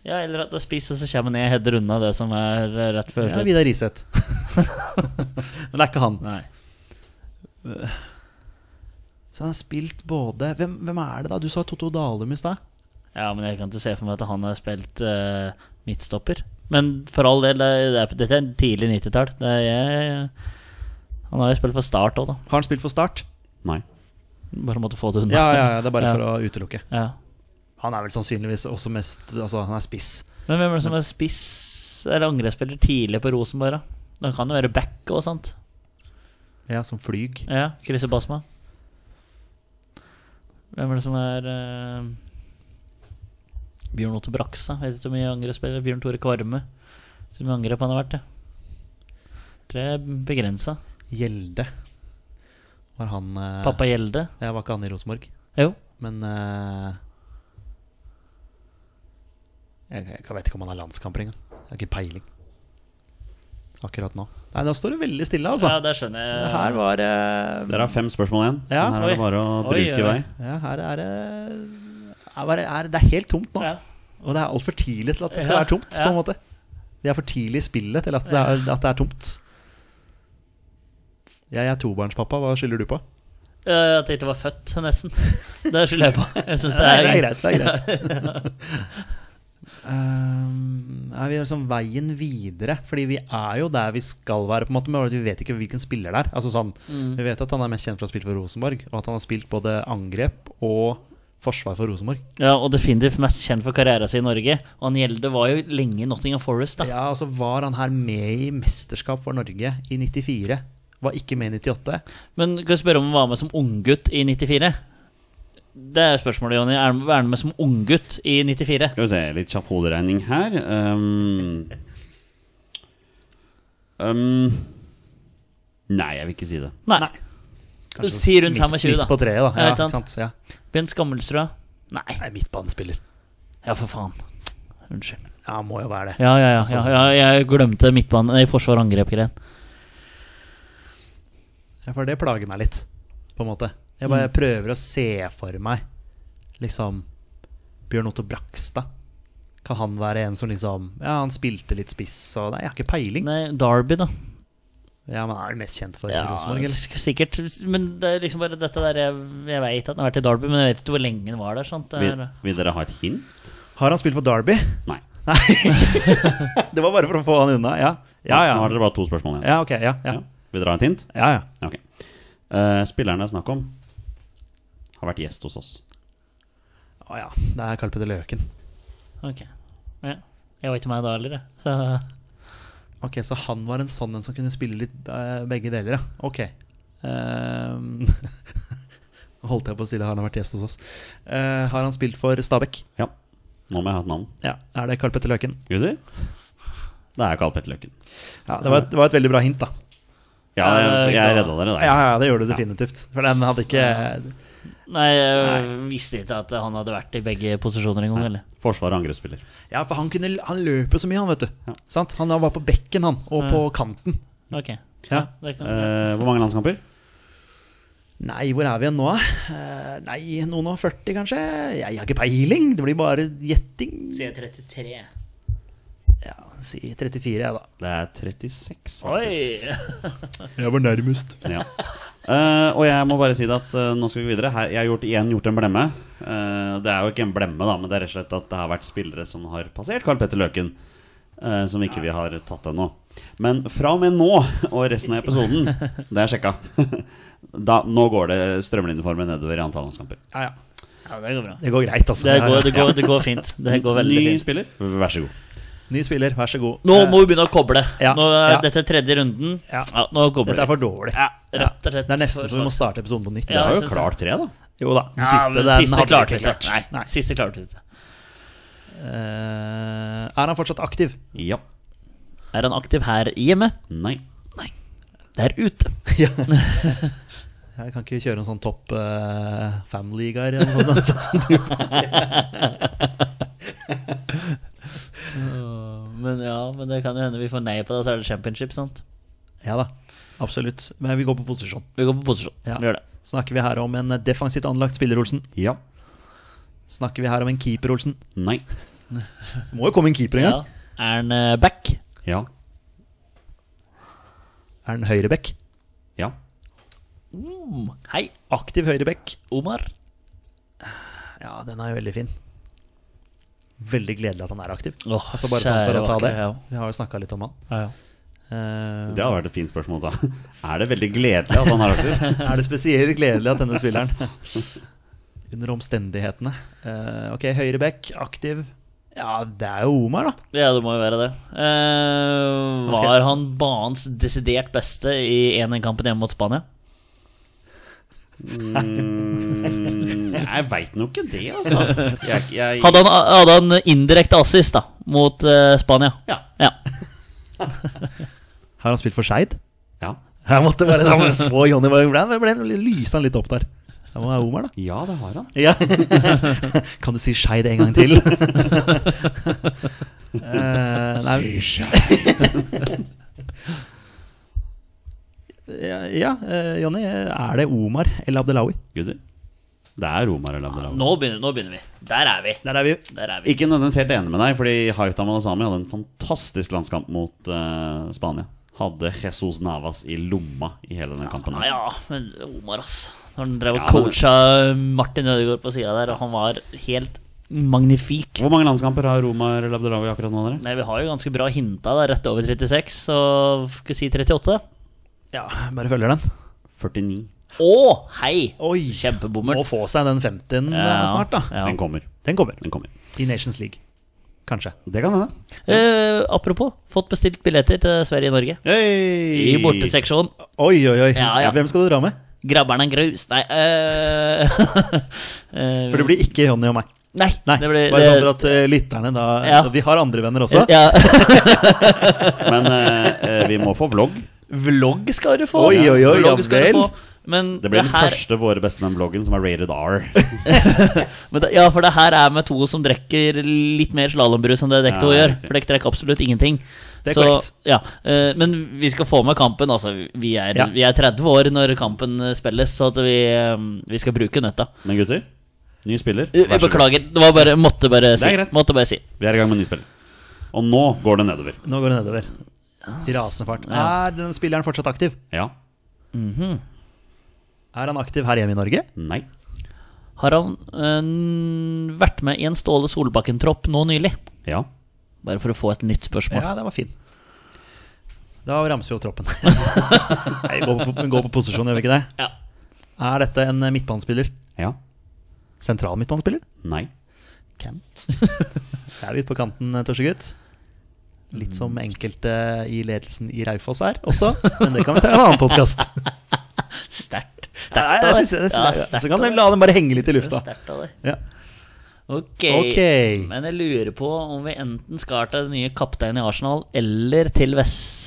[SPEAKER 3] Ja, eller at det spiser, så kommer ned, header unna det som er eh, rett før
[SPEAKER 2] Ja,
[SPEAKER 3] slutt.
[SPEAKER 2] Vidar Riseth. Men det er ikke han.
[SPEAKER 3] Nei.
[SPEAKER 2] Så han har spilt både Hvem, hvem er det, da? Du sa Totto Dalum i stad.
[SPEAKER 3] Ja, men jeg kan ikke se for meg at han har spilt eh, midtstopper. Men for all del, det er, det er, dette er tidlig 90-tall. Det er jeg- Han har jo spilt for Start òg, da.
[SPEAKER 2] Har han spilt for Start?
[SPEAKER 1] Nei.
[SPEAKER 3] Bare måtte få det unna.
[SPEAKER 2] Ja, ja, ja, det er bare
[SPEAKER 3] Ja.
[SPEAKER 2] for å utelukke.
[SPEAKER 3] Ja.
[SPEAKER 2] Han er vel sannsynligvis også mest Altså, han er spiss.
[SPEAKER 3] Men hvem er det som er spiss eller angrepsspiller tidlig på Rosenborg? da? Han kan jo være back og sånt.
[SPEAKER 2] Ja, som flyg.
[SPEAKER 3] Ja, Christer Basma. Hvem er det som er eh, Bjørn Otto Brakstad. Vet ikke hvor mye angrepsspiller. Bjørn Tore Kvarme. Så mye angrep han har vært, det. Tror jeg er begrensa.
[SPEAKER 2] Gjelde. Var han eh,
[SPEAKER 3] Pappa Gjelde.
[SPEAKER 2] Jeg var ikke han i Rosenborg,
[SPEAKER 3] Jo.
[SPEAKER 2] men eh, jeg, jeg, jeg vet ikke om han har landskamper engang. Jeg har ikke peiling. Akkurat nå. Nei, da står det veldig stille, altså.
[SPEAKER 3] Ja, der skjønner jeg.
[SPEAKER 2] Det her var eh,
[SPEAKER 1] Dere har fem spørsmål igjen, så
[SPEAKER 2] Ja,
[SPEAKER 1] her er det
[SPEAKER 3] oi.
[SPEAKER 1] bare å
[SPEAKER 3] Oi,
[SPEAKER 1] bruke
[SPEAKER 3] oi.
[SPEAKER 1] vei.
[SPEAKER 2] Ja, her er det her var det- her- Det er helt tomt nå.
[SPEAKER 3] Ja.
[SPEAKER 2] Og det er altfor tidlig til at det skal
[SPEAKER 3] Ja,
[SPEAKER 2] være tomt, på
[SPEAKER 3] ja.
[SPEAKER 2] en måte. Vi er for tidlig i spillet til at det er, at det er tomt. Jeg er tobarnspappa, hva skylder du på?
[SPEAKER 3] Eh, At jeg ikke var født, nesten. Det skylder jeg på. Jeg synes det
[SPEAKER 2] Nei,
[SPEAKER 3] er,
[SPEAKER 2] det er greit. Det er greit. um, er vi liksom veien videre? Fordi vi er jo der vi skal være, på en måte, men vi vet ikke hvilken spiller det er. Altså sånn,
[SPEAKER 3] Mm.
[SPEAKER 2] Vi vet at han er mest kjent for å ha spilt for Rosenborg, og at han har spilt både angrep og forsvar for Rosenborg.
[SPEAKER 3] Ja, og definitivt mest kjent for karrieren sin i Norge. Og han Gjelde var jo lenge i Nottingham Forest, da.
[SPEAKER 2] Ja, altså Var han her med i mesterskap for Norge i 94? Var ikke med i 98.
[SPEAKER 3] Men kan jeg spørre om han var med som unggutt i 94? Det er spørsmålet, Jonny. Er han er han med som unggutt i 94?
[SPEAKER 1] Skal vi se, litt kjapp hoderegning her. Um, um, nei, jeg vil ikke si det.
[SPEAKER 3] Nei. Du sier rundt 25,
[SPEAKER 2] midt,
[SPEAKER 3] da.
[SPEAKER 2] Midt på treet, da.
[SPEAKER 3] Ja,
[SPEAKER 2] Ja,
[SPEAKER 3] ikke
[SPEAKER 2] ikke
[SPEAKER 3] sant?
[SPEAKER 2] sant? Ja.
[SPEAKER 3] Bent Skammelsrud? Nei.
[SPEAKER 2] Nei, midtbanespiller.
[SPEAKER 3] Ja, for faen. Unnskyld.
[SPEAKER 2] Ja, må jo være det.
[SPEAKER 3] Ja, ja, ja. ja, ja jeg glemte midtbane Nei, forsvar og angrep-greien.
[SPEAKER 2] Ja, for det plager meg litt, på en måte. Jeg bare prøver å se for meg liksom Bjørn Otto Brakstad. Kan han være en som liksom Ja, han spilte litt spiss og Nei, jeg har ikke peiling.
[SPEAKER 3] Nei, Derby, da.
[SPEAKER 2] Ja, men er han mest kjent for
[SPEAKER 3] Ja,
[SPEAKER 2] Rosenborg, eller?
[SPEAKER 3] s- sikkert. Men det er liksom bare dette der Jeg, jeg veit at han har vært i Derby, men jeg vet ikke hvor lenge han var der. Sant? Det
[SPEAKER 1] Vil,
[SPEAKER 3] er-
[SPEAKER 1] vil dere ha et hint?
[SPEAKER 2] Har han spilt for Derby?
[SPEAKER 1] Nei.
[SPEAKER 2] Det var bare for å få han unna, ja. Ja,
[SPEAKER 1] Nå har
[SPEAKER 2] ja.
[SPEAKER 1] dere bare to spørsmål igjen.
[SPEAKER 2] Ja, ok, ja, ja.
[SPEAKER 1] Ja. Vil dere ha et hint?
[SPEAKER 2] ja, ja.
[SPEAKER 1] Ok. Eh, spilleren det er snakk om, har vært gjest hos oss.
[SPEAKER 2] Å ja. Det er Karl Petter Løken.
[SPEAKER 3] Ok. Ja. Jeg var ikke meg da heller, jeg. Så
[SPEAKER 2] Ok, Så han var en sånn en som kunne spille litt eh, begge deler, ja. Ok. Ehm, holdt jeg på å si det, har han vært gjest hos oss. Eh, har han spilt for Stabæk?
[SPEAKER 1] Ja. Nå må jeg ha et navn.
[SPEAKER 2] Ja. Er det Karl Petter Løken?
[SPEAKER 1] Gutter? Det er Karl Petter Løkken.
[SPEAKER 2] Ja, det var, et, det var et veldig bra hint, da. Eh,
[SPEAKER 1] Ja, jeg, jeg redda dere der.
[SPEAKER 2] Ja, ja, det gjør du definitivt. For den hadde ikke
[SPEAKER 3] Nei, jeg visste ikke at han hadde vært i begge posisjoner engang, eller?
[SPEAKER 1] Forsvar og angrepsspiller.
[SPEAKER 2] Ja, for han, kunne, han løp jo så mye, han, vet du. Sant? Han var på bekken, han, og på kanten.
[SPEAKER 3] Ok.
[SPEAKER 2] Ja.
[SPEAKER 3] Det kan...
[SPEAKER 1] Eh, hvor mange landskamper?
[SPEAKER 2] Nei, hvor er vi igjen nå, da? Eh, Nei, noen og 40, kanskje? Jeg har ikke peiling. Det blir bare gjetting.
[SPEAKER 3] Sier 33.
[SPEAKER 2] Ja, si 34, jeg, da.
[SPEAKER 1] Det er 36,
[SPEAKER 3] Oi!
[SPEAKER 1] faktisk.
[SPEAKER 2] Jeg var nærmest.
[SPEAKER 1] Ja. Eh, og jeg må bare si det at eh, nå skal vi videre. Her, jeg har gjort, igjen gjort en blemme. Eh, det er jo ikke en blemme, da, men det er rett og slett at det har vært spillere som har passert Karl Petter Løken. eh, som ikke vi har tatt ennå. Men fra og med nå og resten av episoden, det er sjekka da, Nå går det strømlinjeformen nedover i antall landskamper.
[SPEAKER 2] Ja, ja.
[SPEAKER 3] Ja, det går bra.
[SPEAKER 2] Det går greit, altså.
[SPEAKER 3] Det
[SPEAKER 2] Ja,
[SPEAKER 3] går,
[SPEAKER 2] ja.
[SPEAKER 3] det går, det går fint. Det går veldig
[SPEAKER 1] Ny
[SPEAKER 3] fint.
[SPEAKER 1] spiller, vær så god.
[SPEAKER 2] Ny spiller, vær så god.
[SPEAKER 3] Nå
[SPEAKER 2] Eh,
[SPEAKER 3] må vi begynne å koble.
[SPEAKER 2] Ja,
[SPEAKER 3] Nå er
[SPEAKER 2] ja.
[SPEAKER 3] Dette er tredje runden.
[SPEAKER 2] Ja.
[SPEAKER 3] Ja, nå kobler
[SPEAKER 2] Dette er
[SPEAKER 3] vi.
[SPEAKER 2] for dårlig.
[SPEAKER 3] Ja, rett og slett.
[SPEAKER 2] Det er nesten
[SPEAKER 3] for-
[SPEAKER 2] så vi må starte episoden på nytt.
[SPEAKER 1] Det
[SPEAKER 3] Ja,
[SPEAKER 1] har
[SPEAKER 3] jeg
[SPEAKER 1] jo
[SPEAKER 3] synes
[SPEAKER 1] klart tre, da.
[SPEAKER 2] Jo da, den
[SPEAKER 3] Ja,
[SPEAKER 2] siste,
[SPEAKER 3] men
[SPEAKER 2] den
[SPEAKER 3] siste
[SPEAKER 2] hadde
[SPEAKER 3] klarte
[SPEAKER 2] klarte
[SPEAKER 3] vi
[SPEAKER 2] ikke
[SPEAKER 3] ikke. Nei,
[SPEAKER 2] klart. Nei.
[SPEAKER 3] siste klarte vi ikke.
[SPEAKER 2] Eh, er han fortsatt aktiv?
[SPEAKER 1] Ja.
[SPEAKER 3] Er han aktiv her hjemme?
[SPEAKER 1] Nei.
[SPEAKER 3] Der ute.
[SPEAKER 2] Ja. Jeg kan ikke kjøre en sånn topp uh, family-ligaer eller noe sånt. som du-
[SPEAKER 3] Men ja, men det kan jo hende vi får nei på det, så er det championship, sant?
[SPEAKER 2] ja da, absolutt. Men vi går på posisjon.
[SPEAKER 3] Vi går på posisjon.
[SPEAKER 2] Ja.
[SPEAKER 3] Vi gjør det.
[SPEAKER 2] Snakker vi her om en defensivt anlagt spiller, Olsen?
[SPEAKER 1] Ja.
[SPEAKER 2] Snakker vi her om en keeper, Olsen?
[SPEAKER 1] Nei.
[SPEAKER 2] Det må jo komme en keeper en
[SPEAKER 3] Ja.
[SPEAKER 2] gang.
[SPEAKER 3] Er han eh, back?
[SPEAKER 1] Ja.
[SPEAKER 2] Er han høyreback?
[SPEAKER 1] Ja.
[SPEAKER 3] Mm. Hei,
[SPEAKER 2] Aktiv høyreback.
[SPEAKER 3] Omar.
[SPEAKER 2] Ja, den er jo veldig fin. Veldig gledelig at han er aktiv.
[SPEAKER 3] Åh,
[SPEAKER 2] Altså bare sånn for å ta
[SPEAKER 3] kjære
[SPEAKER 2] det.
[SPEAKER 3] vakre,
[SPEAKER 2] Vi har jo snakka litt om han.
[SPEAKER 3] Ja, ja.
[SPEAKER 2] Eh,
[SPEAKER 1] Det hadde vært et fint spørsmål å ta. Er det veldig gledelig at han er aktiv?
[SPEAKER 2] Er det spesielt gledelig at denne spilleren Under omstendighetene. Eh, ok, høyre back, aktiv. Ja, det er jo Omar, da.
[SPEAKER 3] Ja, det må jo være det. Eh,
[SPEAKER 2] skal-
[SPEAKER 3] var han banens desidert beste i 1-1-kampen hjemme mot Spania?
[SPEAKER 1] Mm, jeg veit nå ikke det, altså. Jeg, jeg,
[SPEAKER 3] Hadde han, hadde han indirekte assist da, mot eh, Spania?
[SPEAKER 1] Ja.
[SPEAKER 3] ja.
[SPEAKER 2] Har han spilt for Skeid?
[SPEAKER 1] ja.
[SPEAKER 2] Jeg måtte bare da jeg så Johnny var ble, ble, ble, lyste han litt opp der. Det må være Omar, da.
[SPEAKER 1] ja, det har han.
[SPEAKER 2] Ja. Kan du si Skeid en gang til? Eh, nei, ja, ja eh, Johnny. Er det Omar eller Abdelawi?
[SPEAKER 1] Gutter. Det er Romar eller Abdelhaug.
[SPEAKER 3] Nå begynner, nå begynner vi. Der er vi.
[SPEAKER 2] Der er vi.
[SPEAKER 3] Der er vi.
[SPEAKER 1] Ikke nødvendigvis helt enig med deg, fordi Haitham Alasami hadde en fantastisk landskamp mot eh, Spania. Hadde Jesus Navas i lomma i hele den kampen.
[SPEAKER 3] Ja,
[SPEAKER 1] her.
[SPEAKER 3] ja, men Omar, ass. Når han drev og
[SPEAKER 1] Ja, men-
[SPEAKER 3] coacha Martin Ødegaard på sida der, og han var helt magnifik.
[SPEAKER 1] Hvor mange landskamper har Romar eller Abdelhaug akkurat nå? Dere?
[SPEAKER 3] Nei, Vi har jo ganske bra hinta da, rett over 36, så skulle si 38.
[SPEAKER 2] Ja, bare følger den.
[SPEAKER 1] 49.
[SPEAKER 3] Å, hei!
[SPEAKER 2] Oi, Må
[SPEAKER 3] Kjempebommert.
[SPEAKER 2] få seg den 50-en eh, snart, da.
[SPEAKER 3] Ja.
[SPEAKER 1] Den kommer.
[SPEAKER 2] Den kommer.
[SPEAKER 1] Den kommer.
[SPEAKER 2] I Nations League. Kanskje.
[SPEAKER 1] Det kan hende.
[SPEAKER 3] Eh, apropos, fått bestilt billetter til Sverige og Norge. I
[SPEAKER 1] Hey!
[SPEAKER 3] borteseksjonen.
[SPEAKER 2] Oi, oi, oi.
[SPEAKER 3] Ja, ja.
[SPEAKER 2] Hvem skal du dra med?
[SPEAKER 3] Grabberen er grus. Nei eh, eh,
[SPEAKER 2] For det blir ikke Jonny og meg.
[SPEAKER 3] Nei,
[SPEAKER 2] Nei,
[SPEAKER 3] det blir
[SPEAKER 2] Bare sånn for
[SPEAKER 3] det-
[SPEAKER 2] at eh, lytterne da
[SPEAKER 3] Ja.
[SPEAKER 2] Vi har andre venner også.
[SPEAKER 3] ja.
[SPEAKER 1] Men eh, eh, vi må få vlogg.
[SPEAKER 3] Vlogg skal du få.
[SPEAKER 2] Oi, oi, oi,
[SPEAKER 3] Vlogg
[SPEAKER 2] ja
[SPEAKER 3] skal du
[SPEAKER 2] vel.
[SPEAKER 3] få. Men
[SPEAKER 1] Det blir den
[SPEAKER 3] her,
[SPEAKER 1] første Våre beste menn-vloggen som er rated R.
[SPEAKER 3] Men det, ja, for det her er med to som drikker litt mer slalåmbrus enn det dere to
[SPEAKER 1] Ja,
[SPEAKER 3] gjør.
[SPEAKER 1] riktig.
[SPEAKER 3] For dere drikker absolutt ingenting.
[SPEAKER 2] Det er korrekt.
[SPEAKER 3] ja, eh, men vi skal få med kampen. Altså, vi er,
[SPEAKER 2] Ja.
[SPEAKER 3] vi er 30 år når kampen eh, spilles, så at vi, eh, vi skal bruke nøtta.
[SPEAKER 1] Men gutter, ny spiller.
[SPEAKER 3] Eh,
[SPEAKER 1] Vær så god.
[SPEAKER 3] Beklager. Det var bare Måtte bare si.
[SPEAKER 1] greit.
[SPEAKER 3] Måtte bare si.
[SPEAKER 1] Vi er i gang med ny spiller. Og nå går det nedover.
[SPEAKER 2] Nå går det nedover. I rasende fart.
[SPEAKER 3] Ja.
[SPEAKER 2] Er den spilleren fortsatt aktiv?
[SPEAKER 1] Ja.
[SPEAKER 2] Er han aktiv her hjemme i Norge?
[SPEAKER 1] Nei.
[SPEAKER 3] Har han eh, vært med i en Ståle Solbakken-tropp nå nylig?
[SPEAKER 1] Ja.
[SPEAKER 3] Bare for å få et nytt spørsmål.
[SPEAKER 2] Ja, den var fin. Da ramser vi opp troppen. Nei, gå på, gå på posisjon, gjør vi ikke det?
[SPEAKER 3] Ja.
[SPEAKER 2] Er dette en eh, midtbanespiller?
[SPEAKER 1] Ja.
[SPEAKER 2] Sentral midtbanespiller?
[SPEAKER 1] Nei.
[SPEAKER 3] Kent.
[SPEAKER 2] Det er litt på kanten, eh, Torsegutt. Litt som enkelte i ledelsen i Raufoss er også, men det kan vi ta i en annen podkast.
[SPEAKER 3] Sterkt. Sterkt
[SPEAKER 2] Ja,
[SPEAKER 3] av
[SPEAKER 2] jeg
[SPEAKER 3] deg.
[SPEAKER 2] synes- jeg
[SPEAKER 3] Ja,
[SPEAKER 2] synes-
[SPEAKER 3] sterkt
[SPEAKER 2] Så kan
[SPEAKER 3] av
[SPEAKER 2] vi
[SPEAKER 3] deg.
[SPEAKER 2] la den bare henge litt i lufta.
[SPEAKER 3] Sterkt av deg.
[SPEAKER 2] Ja.
[SPEAKER 3] Ok.
[SPEAKER 2] Ok.
[SPEAKER 3] Men jeg lurer på om vi enten skal til den nye kapteinen i Arsenal eller til Vest...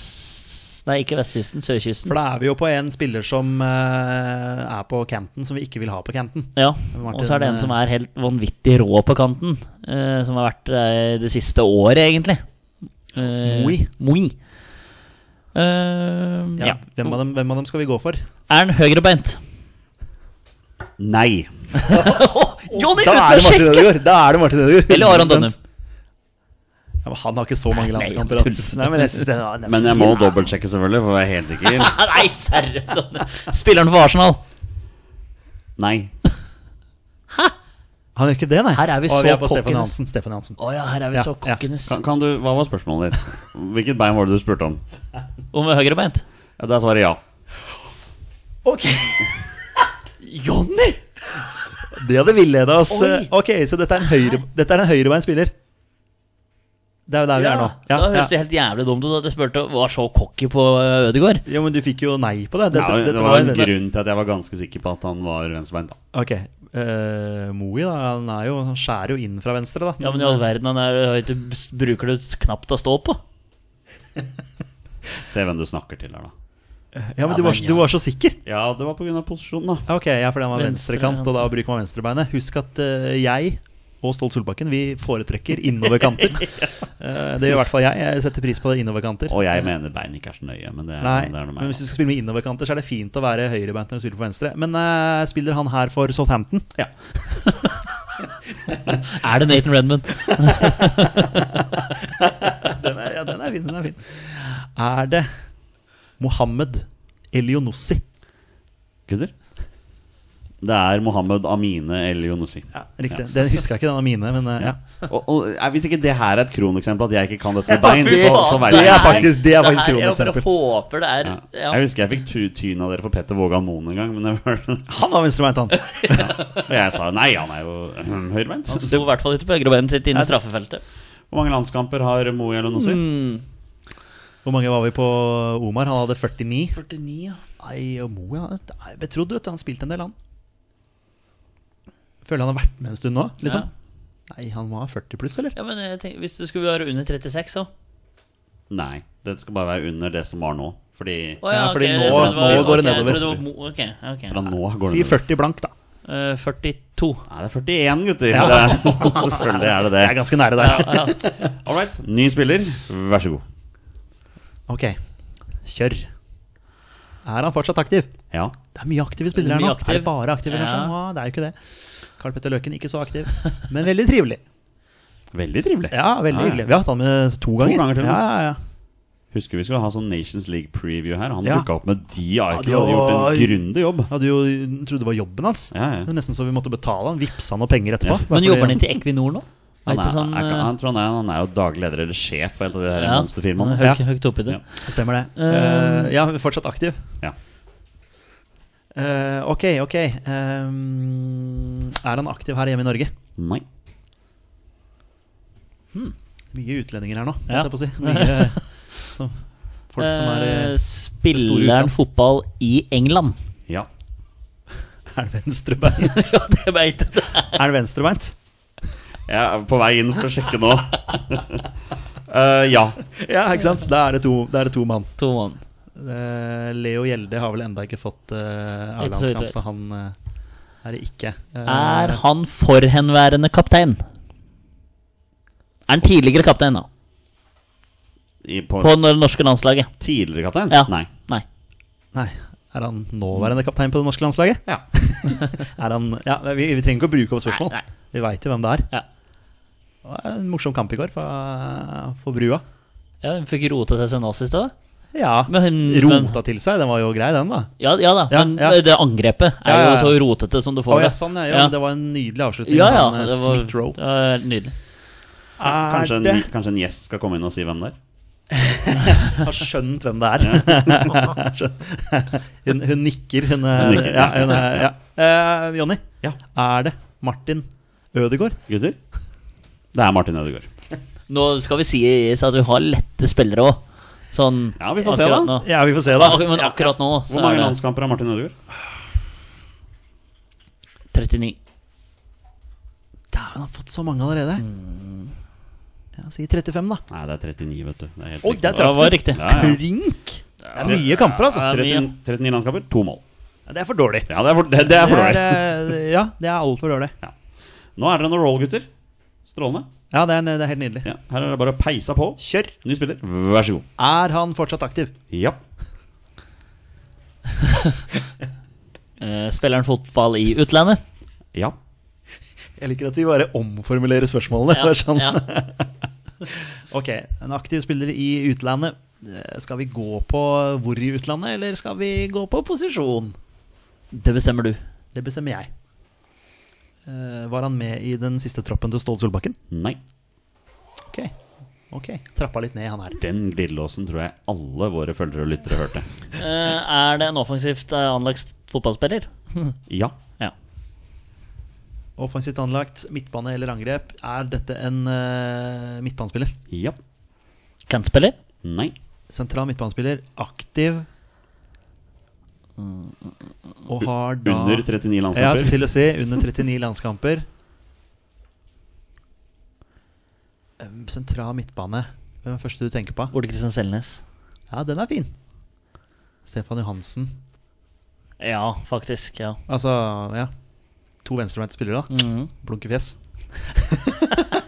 [SPEAKER 3] Nei, ikke vestkysten, sørkysten.
[SPEAKER 2] For da er vi jo på en spiller som eh, er på canten, som vi ikke vil ha på canten.
[SPEAKER 3] Ja,
[SPEAKER 2] Martin,
[SPEAKER 3] og så er det en
[SPEAKER 2] eh,
[SPEAKER 3] som er helt vanvittig rå på kanten. eh, som har vært det det siste året, egentlig. Eh,
[SPEAKER 2] Moi.
[SPEAKER 3] Moi. Eh,
[SPEAKER 2] Ja,
[SPEAKER 3] ja.
[SPEAKER 2] Hvem, av dem, hvem av dem skal vi gå for?
[SPEAKER 3] Er han høyrebeint?
[SPEAKER 1] Nei.
[SPEAKER 3] Johnny,
[SPEAKER 2] Da er det Martin Ødegaard! Da er det Martin Ødegaard.
[SPEAKER 3] Eller Aron Dønnum.
[SPEAKER 2] Ja, men han har ikke så mange
[SPEAKER 3] Nei,
[SPEAKER 2] landskamper.
[SPEAKER 3] tull. eh,
[SPEAKER 2] at- Nei, men jeg synes det var-
[SPEAKER 1] Men jeg må dobbeltsjekke, selvfølgelig, for å være helt sikker.
[SPEAKER 3] Nei, seriøst! Spilleren for Arsenal.
[SPEAKER 1] Nei.
[SPEAKER 2] Han gjør ikke det, nei.
[SPEAKER 3] Her er vi
[SPEAKER 2] Og
[SPEAKER 3] så
[SPEAKER 2] vi er på
[SPEAKER 3] kokkenes.
[SPEAKER 2] Stefan Johansen. Stefan Johansen.
[SPEAKER 3] Å ja, her er vi
[SPEAKER 2] Ja,
[SPEAKER 3] så
[SPEAKER 2] ja.
[SPEAKER 3] kokkenes.
[SPEAKER 1] Kan, kan du, hva var spørsmålet ditt? Hvilket bein var det du spurte om?
[SPEAKER 3] Om høyrebeint?
[SPEAKER 1] Ja, Der svarer jeg ja.
[SPEAKER 2] Ok Johnny! Det hadde villeda oss.
[SPEAKER 3] Oi.
[SPEAKER 2] Ok, så dette er en høyre- dette er en høyrebeint spiller. Det er jo der vi er nå.
[SPEAKER 3] da høres det helt jævlig dumt ut at jeg spurte var så cocky på eh, Ødegaard.
[SPEAKER 2] Jo, men du fikk jo nei på det. Dette,
[SPEAKER 1] Nei,
[SPEAKER 2] dette
[SPEAKER 1] det var en
[SPEAKER 2] dette-
[SPEAKER 1] grunn til at jeg var ganske sikker på at han var venstrebeint. da.
[SPEAKER 2] Ok, eh, Moi da, han, er jo, han skjærer jo inn fra venstre da
[SPEAKER 3] Ja, men i all verden, han er høyt, bruker det knapt å stå på.
[SPEAKER 1] Se hvem du snakker til her, da.
[SPEAKER 2] Ja, men du var,
[SPEAKER 3] men ja.
[SPEAKER 2] du var så sikker
[SPEAKER 1] Ja, det var pga. posisjonen, da.
[SPEAKER 2] Ja, Ah, Ok, ja, fordi han var
[SPEAKER 3] Venstre,
[SPEAKER 2] venstrekant Og da
[SPEAKER 3] altså.
[SPEAKER 2] bruker man venstrebeinet Husk at eh, jeg og Stolt Solbakken Vi foretrekker innoverkanter Eh, Det gjør i hvert fall jeg Jeg setter pris på det innoverkanter
[SPEAKER 1] Og jeg mener bein ikke er så nøye, men det er,
[SPEAKER 2] Nei,
[SPEAKER 1] det er noe
[SPEAKER 2] men
[SPEAKER 1] mer.
[SPEAKER 2] hvis du skal spille med innoverkanter Så er det fint å være høyrebeint Når du spiller på venstre Men eh, spiller han her for Southampton?
[SPEAKER 1] Ja.
[SPEAKER 3] Er det Nathan Redmond?
[SPEAKER 2] Den er, ja, den er fin, den er fin Er det Mohammed Elionossi?
[SPEAKER 1] Gutter? Det er Mohammed Amine El Yonossi.
[SPEAKER 2] Ja, riktig Den husker jeg ikke, den av mine Men eh, ja
[SPEAKER 1] Og, og eh, Hvis ikke det her er et kroneksempel, at jeg ikke kan dette
[SPEAKER 3] Ja,
[SPEAKER 1] med bein,
[SPEAKER 3] fy
[SPEAKER 1] så,
[SPEAKER 3] faen,
[SPEAKER 1] så vet
[SPEAKER 2] Det
[SPEAKER 1] jeg
[SPEAKER 2] sånn er
[SPEAKER 1] ingenting.
[SPEAKER 2] faktisk, det er faktisk
[SPEAKER 3] Det her- Jeg
[SPEAKER 2] kroneksempel.
[SPEAKER 3] bare håper det er
[SPEAKER 1] Ja.
[SPEAKER 3] ja.
[SPEAKER 1] Jeg husker jeg fikk tu- tyn av dere for Petter Vågan Moen en gang. Men det var,
[SPEAKER 2] Han var venstrebeint, han.
[SPEAKER 1] og jeg sa nei, han er jo eh, høyrebeint.
[SPEAKER 3] Han sto i hvert fall ikke på høyrebeinet sitt innen straffefeltet.
[SPEAKER 1] Hvor mange landskamper har Moe Elionossi?
[SPEAKER 2] Mm. Hvor mange var vi på Omar? Han hadde 49.
[SPEAKER 3] 49, ja.
[SPEAKER 2] Nei, og Mo, ja. det er Betrodd, vet du. Han spilte en del, han. Føler han har vært med en stund nå, liksom. Nei, han må ha 40 pluss, eller?
[SPEAKER 3] Ja, men jeg tenker, Hvis det skulle være under 36, så.
[SPEAKER 1] Nei, det skal bare være under det som var nå. Fordi
[SPEAKER 3] Å,
[SPEAKER 2] Ja, fordi
[SPEAKER 3] jeg
[SPEAKER 2] nå-
[SPEAKER 3] trodde var-
[SPEAKER 2] nå går det
[SPEAKER 3] ok, jeg
[SPEAKER 2] nedover.
[SPEAKER 3] trodde det var mo- Ok, ok.
[SPEAKER 1] fra nå går
[SPEAKER 2] Si
[SPEAKER 1] det
[SPEAKER 2] 40 blank, da.
[SPEAKER 3] Eh, 42.
[SPEAKER 1] Nei, det er 41, gutter. Det er, selvfølgelig er det
[SPEAKER 2] Jeg er
[SPEAKER 1] det.
[SPEAKER 2] ganske nære
[SPEAKER 3] Ja,
[SPEAKER 2] der.
[SPEAKER 3] ja.
[SPEAKER 1] All right, ny spiller. Vær så god.
[SPEAKER 2] Ok, kjør. Er han fortsatt aktiv?
[SPEAKER 1] Ja.
[SPEAKER 2] Det er mye aktive spillere her nå.
[SPEAKER 3] Mye aktiv.
[SPEAKER 2] Er det bare aktive,
[SPEAKER 3] Ja.
[SPEAKER 2] kanskje? Ja, det er jo ikke det. Karl Petter Løken, ikke så aktiv, men veldig trivelig.
[SPEAKER 1] Veldig trivelig.
[SPEAKER 2] Ja, veldig
[SPEAKER 1] Ja, ja.
[SPEAKER 2] hyggelig. Vi har hatt han med to ganger.
[SPEAKER 1] ganger til og med.
[SPEAKER 2] ja, ja, ja.
[SPEAKER 1] Husker vi skulle ha sånn Nations League-preview her. Han
[SPEAKER 2] Ja.
[SPEAKER 1] dukka opp med de Eichel
[SPEAKER 2] det
[SPEAKER 1] og hadde gjort
[SPEAKER 2] var-
[SPEAKER 1] en grundig jobb.
[SPEAKER 2] Hadde jo trodde det var jobben hans.
[SPEAKER 1] Ja, ja.
[SPEAKER 2] Det var nesten så vi måtte betale han. Vipsa han noe penger etterpå.
[SPEAKER 1] Ja.
[SPEAKER 2] Bare
[SPEAKER 3] Men
[SPEAKER 2] fordi-
[SPEAKER 3] jobber han ikke i Equinor nå? Er
[SPEAKER 1] Han
[SPEAKER 3] ikke
[SPEAKER 1] er,
[SPEAKER 3] sånn
[SPEAKER 1] er, ikke-
[SPEAKER 3] eh,
[SPEAKER 1] han, tror han, er, han er jo daglig leder eller sjef for et av de her
[SPEAKER 3] ja,
[SPEAKER 1] monsterfirmaene.
[SPEAKER 3] høyt- Høyt oppi det.
[SPEAKER 1] Ja.
[SPEAKER 2] Stemmer det.
[SPEAKER 3] Eh,
[SPEAKER 2] Eh, ja, vi er fortsatt aktiv.
[SPEAKER 1] Ja.
[SPEAKER 2] Eh, ok, ok. Ehm, er han aktiv her hjemme i Norge?
[SPEAKER 1] Nei.
[SPEAKER 2] Mye utlendinger her nå, holdt
[SPEAKER 3] Ja.
[SPEAKER 2] jeg på å si. Mye som, folk som er
[SPEAKER 3] Eh,
[SPEAKER 2] eh,
[SPEAKER 3] Spiller han
[SPEAKER 2] utland.
[SPEAKER 3] fotball i England?
[SPEAKER 1] Ja.
[SPEAKER 2] Er det venstrebeint?
[SPEAKER 3] ja, det veit jeg.
[SPEAKER 2] Er det venstrebeint?
[SPEAKER 1] Jeg er på vei inn for å sjekke nå. Eh, ja.
[SPEAKER 2] Ja, ikke sant? Da er det to, da er det to mann.
[SPEAKER 3] To mann.
[SPEAKER 2] Eh, Leo Gjelde har vel enda ikke fått uh,
[SPEAKER 3] Ikke så vidt
[SPEAKER 2] A-landskamp,
[SPEAKER 3] jeg
[SPEAKER 2] så han eh, er det ikke. Eh,
[SPEAKER 3] Er han forhenværende kaptein? Er han tidligere kaptein, da?
[SPEAKER 1] I, på,
[SPEAKER 3] På det norske landslaget?
[SPEAKER 1] tidligere kaptein?
[SPEAKER 3] Ja.
[SPEAKER 1] Nei.
[SPEAKER 3] Nei.
[SPEAKER 2] Nei. Er han nåværende kaptein på det norske landslaget?
[SPEAKER 1] Ja.
[SPEAKER 2] Er han, ja, vi, vi trenger ikke å bruke opp spørsmål.
[SPEAKER 3] Nei, nei.
[SPEAKER 2] Vi veit jo hvem det er.
[SPEAKER 3] Ja.
[SPEAKER 2] Det var en morsom kamp i går på, på brua.
[SPEAKER 3] Ja, Hun fikk rota til seg nå sist òg.
[SPEAKER 2] Ja,
[SPEAKER 3] Men hun-
[SPEAKER 2] Rota til seg. Den var jo grei, den, da.
[SPEAKER 3] Ja, ja da,
[SPEAKER 2] Ja,
[SPEAKER 3] men
[SPEAKER 2] ja.
[SPEAKER 3] det angrepet er
[SPEAKER 2] Ja, ja, ja.
[SPEAKER 3] jo så rotete som du
[SPEAKER 2] Å,
[SPEAKER 3] får
[SPEAKER 2] ja,
[SPEAKER 3] det.
[SPEAKER 2] sånn, ja, ja,
[SPEAKER 3] Ja.
[SPEAKER 2] men Det var en nydelig avslutning.
[SPEAKER 3] Ja,
[SPEAKER 2] av
[SPEAKER 3] ja,
[SPEAKER 2] han, eh,
[SPEAKER 3] det var
[SPEAKER 2] Smith Rowe.
[SPEAKER 3] ja, nydelig.
[SPEAKER 1] Kanskje,
[SPEAKER 2] Er
[SPEAKER 1] en,
[SPEAKER 2] det
[SPEAKER 1] kanskje en gjest skal komme inn og si hvem det er?
[SPEAKER 2] Har skjønt hvem det er. Skjønt. hun, hun nikker. Hun, er-
[SPEAKER 1] Hun nikker.
[SPEAKER 2] Ja, hun er, ja. Eh, Jonny,
[SPEAKER 1] Ja.
[SPEAKER 2] er det Martin Ødegaard?
[SPEAKER 1] Gutter? Det er Martin Ødegaard.
[SPEAKER 3] Nå skal vi si at vi har lette spillere òg. Sånn
[SPEAKER 1] Ja, vi får se,
[SPEAKER 3] akkurat
[SPEAKER 1] da.
[SPEAKER 3] Nå.
[SPEAKER 2] Ja, vi får se,
[SPEAKER 3] Ja, ak- men akkurat nå så
[SPEAKER 1] Hvor mange
[SPEAKER 3] er det
[SPEAKER 1] landskamper har Martin Ødegaard?
[SPEAKER 3] 39.
[SPEAKER 2] Dæven, han har fått så mange allerede. Jeg sier 35, da.
[SPEAKER 1] Nei, det er 39, vet du. Det er helt
[SPEAKER 2] Oi,
[SPEAKER 1] riktig.
[SPEAKER 2] der
[SPEAKER 3] Det
[SPEAKER 2] traff
[SPEAKER 3] var
[SPEAKER 2] du.
[SPEAKER 3] riktig.
[SPEAKER 1] Ja, ja.
[SPEAKER 2] Klink! Det er mye kamper, altså.
[SPEAKER 3] Ja, det er mye.
[SPEAKER 1] 39 39 landskamper, to mål.
[SPEAKER 2] Ja, Det er for dårlig.
[SPEAKER 1] Ja, det er for, det, det er for dårlig.
[SPEAKER 2] eh, ja, det er altfor dårlig.
[SPEAKER 1] Nå er dere noen roll, gutter. Strålende.
[SPEAKER 2] Ja, det er, det er helt nydelig.
[SPEAKER 1] Ja, her er det bare å peise på.
[SPEAKER 2] Kjør!
[SPEAKER 1] Ny spiller, vær så god.
[SPEAKER 2] Er han fortsatt aktiv?
[SPEAKER 1] Ja.
[SPEAKER 3] Eh, spiller han fotball i utlandet?
[SPEAKER 1] Ja.
[SPEAKER 2] Jeg liker at vi bare omformulerer spørsmålene. bare sånn.
[SPEAKER 3] ja.
[SPEAKER 2] Ok, En aktiv spiller i utlandet. Eh, Skal vi gå på hvor i utlandet, eller skal vi gå på posisjon?
[SPEAKER 3] Det bestemmer du.
[SPEAKER 2] Det bestemmer jeg. Eh, var han med i den siste troppen til Ståle Solbakken?
[SPEAKER 1] Nei.
[SPEAKER 2] Ok. ok, Trappa litt ned, han her.
[SPEAKER 1] Den glidelåsen tror jeg alle våre følgere og lyttere hørte.
[SPEAKER 3] Eh, er det en offensivt eh, anlagt fotballspiller?
[SPEAKER 1] Ja.
[SPEAKER 3] Ja.
[SPEAKER 2] Offensivt anlagt, midtbane eller angrep. Er dette en eh, midtbanespiller?
[SPEAKER 1] Ja.
[SPEAKER 3] Kantspiller?
[SPEAKER 1] Nei.
[SPEAKER 2] Sentral midtbanespiller, aktiv Og har da
[SPEAKER 1] Under 39
[SPEAKER 2] Ja, skulle
[SPEAKER 1] landskamper.
[SPEAKER 2] til å si. Under 39 landskamper. Um, Sentral midtbane. Hvem er den første du tenker på?
[SPEAKER 3] Ole Kristian Selnes?
[SPEAKER 2] Ja, den er fin. Stefan Johansen.
[SPEAKER 3] Ja, faktisk. Ja.
[SPEAKER 2] Altså, ja. To venstrebeinte spillere, da.
[SPEAKER 3] Mhm.
[SPEAKER 2] Blunkefjes.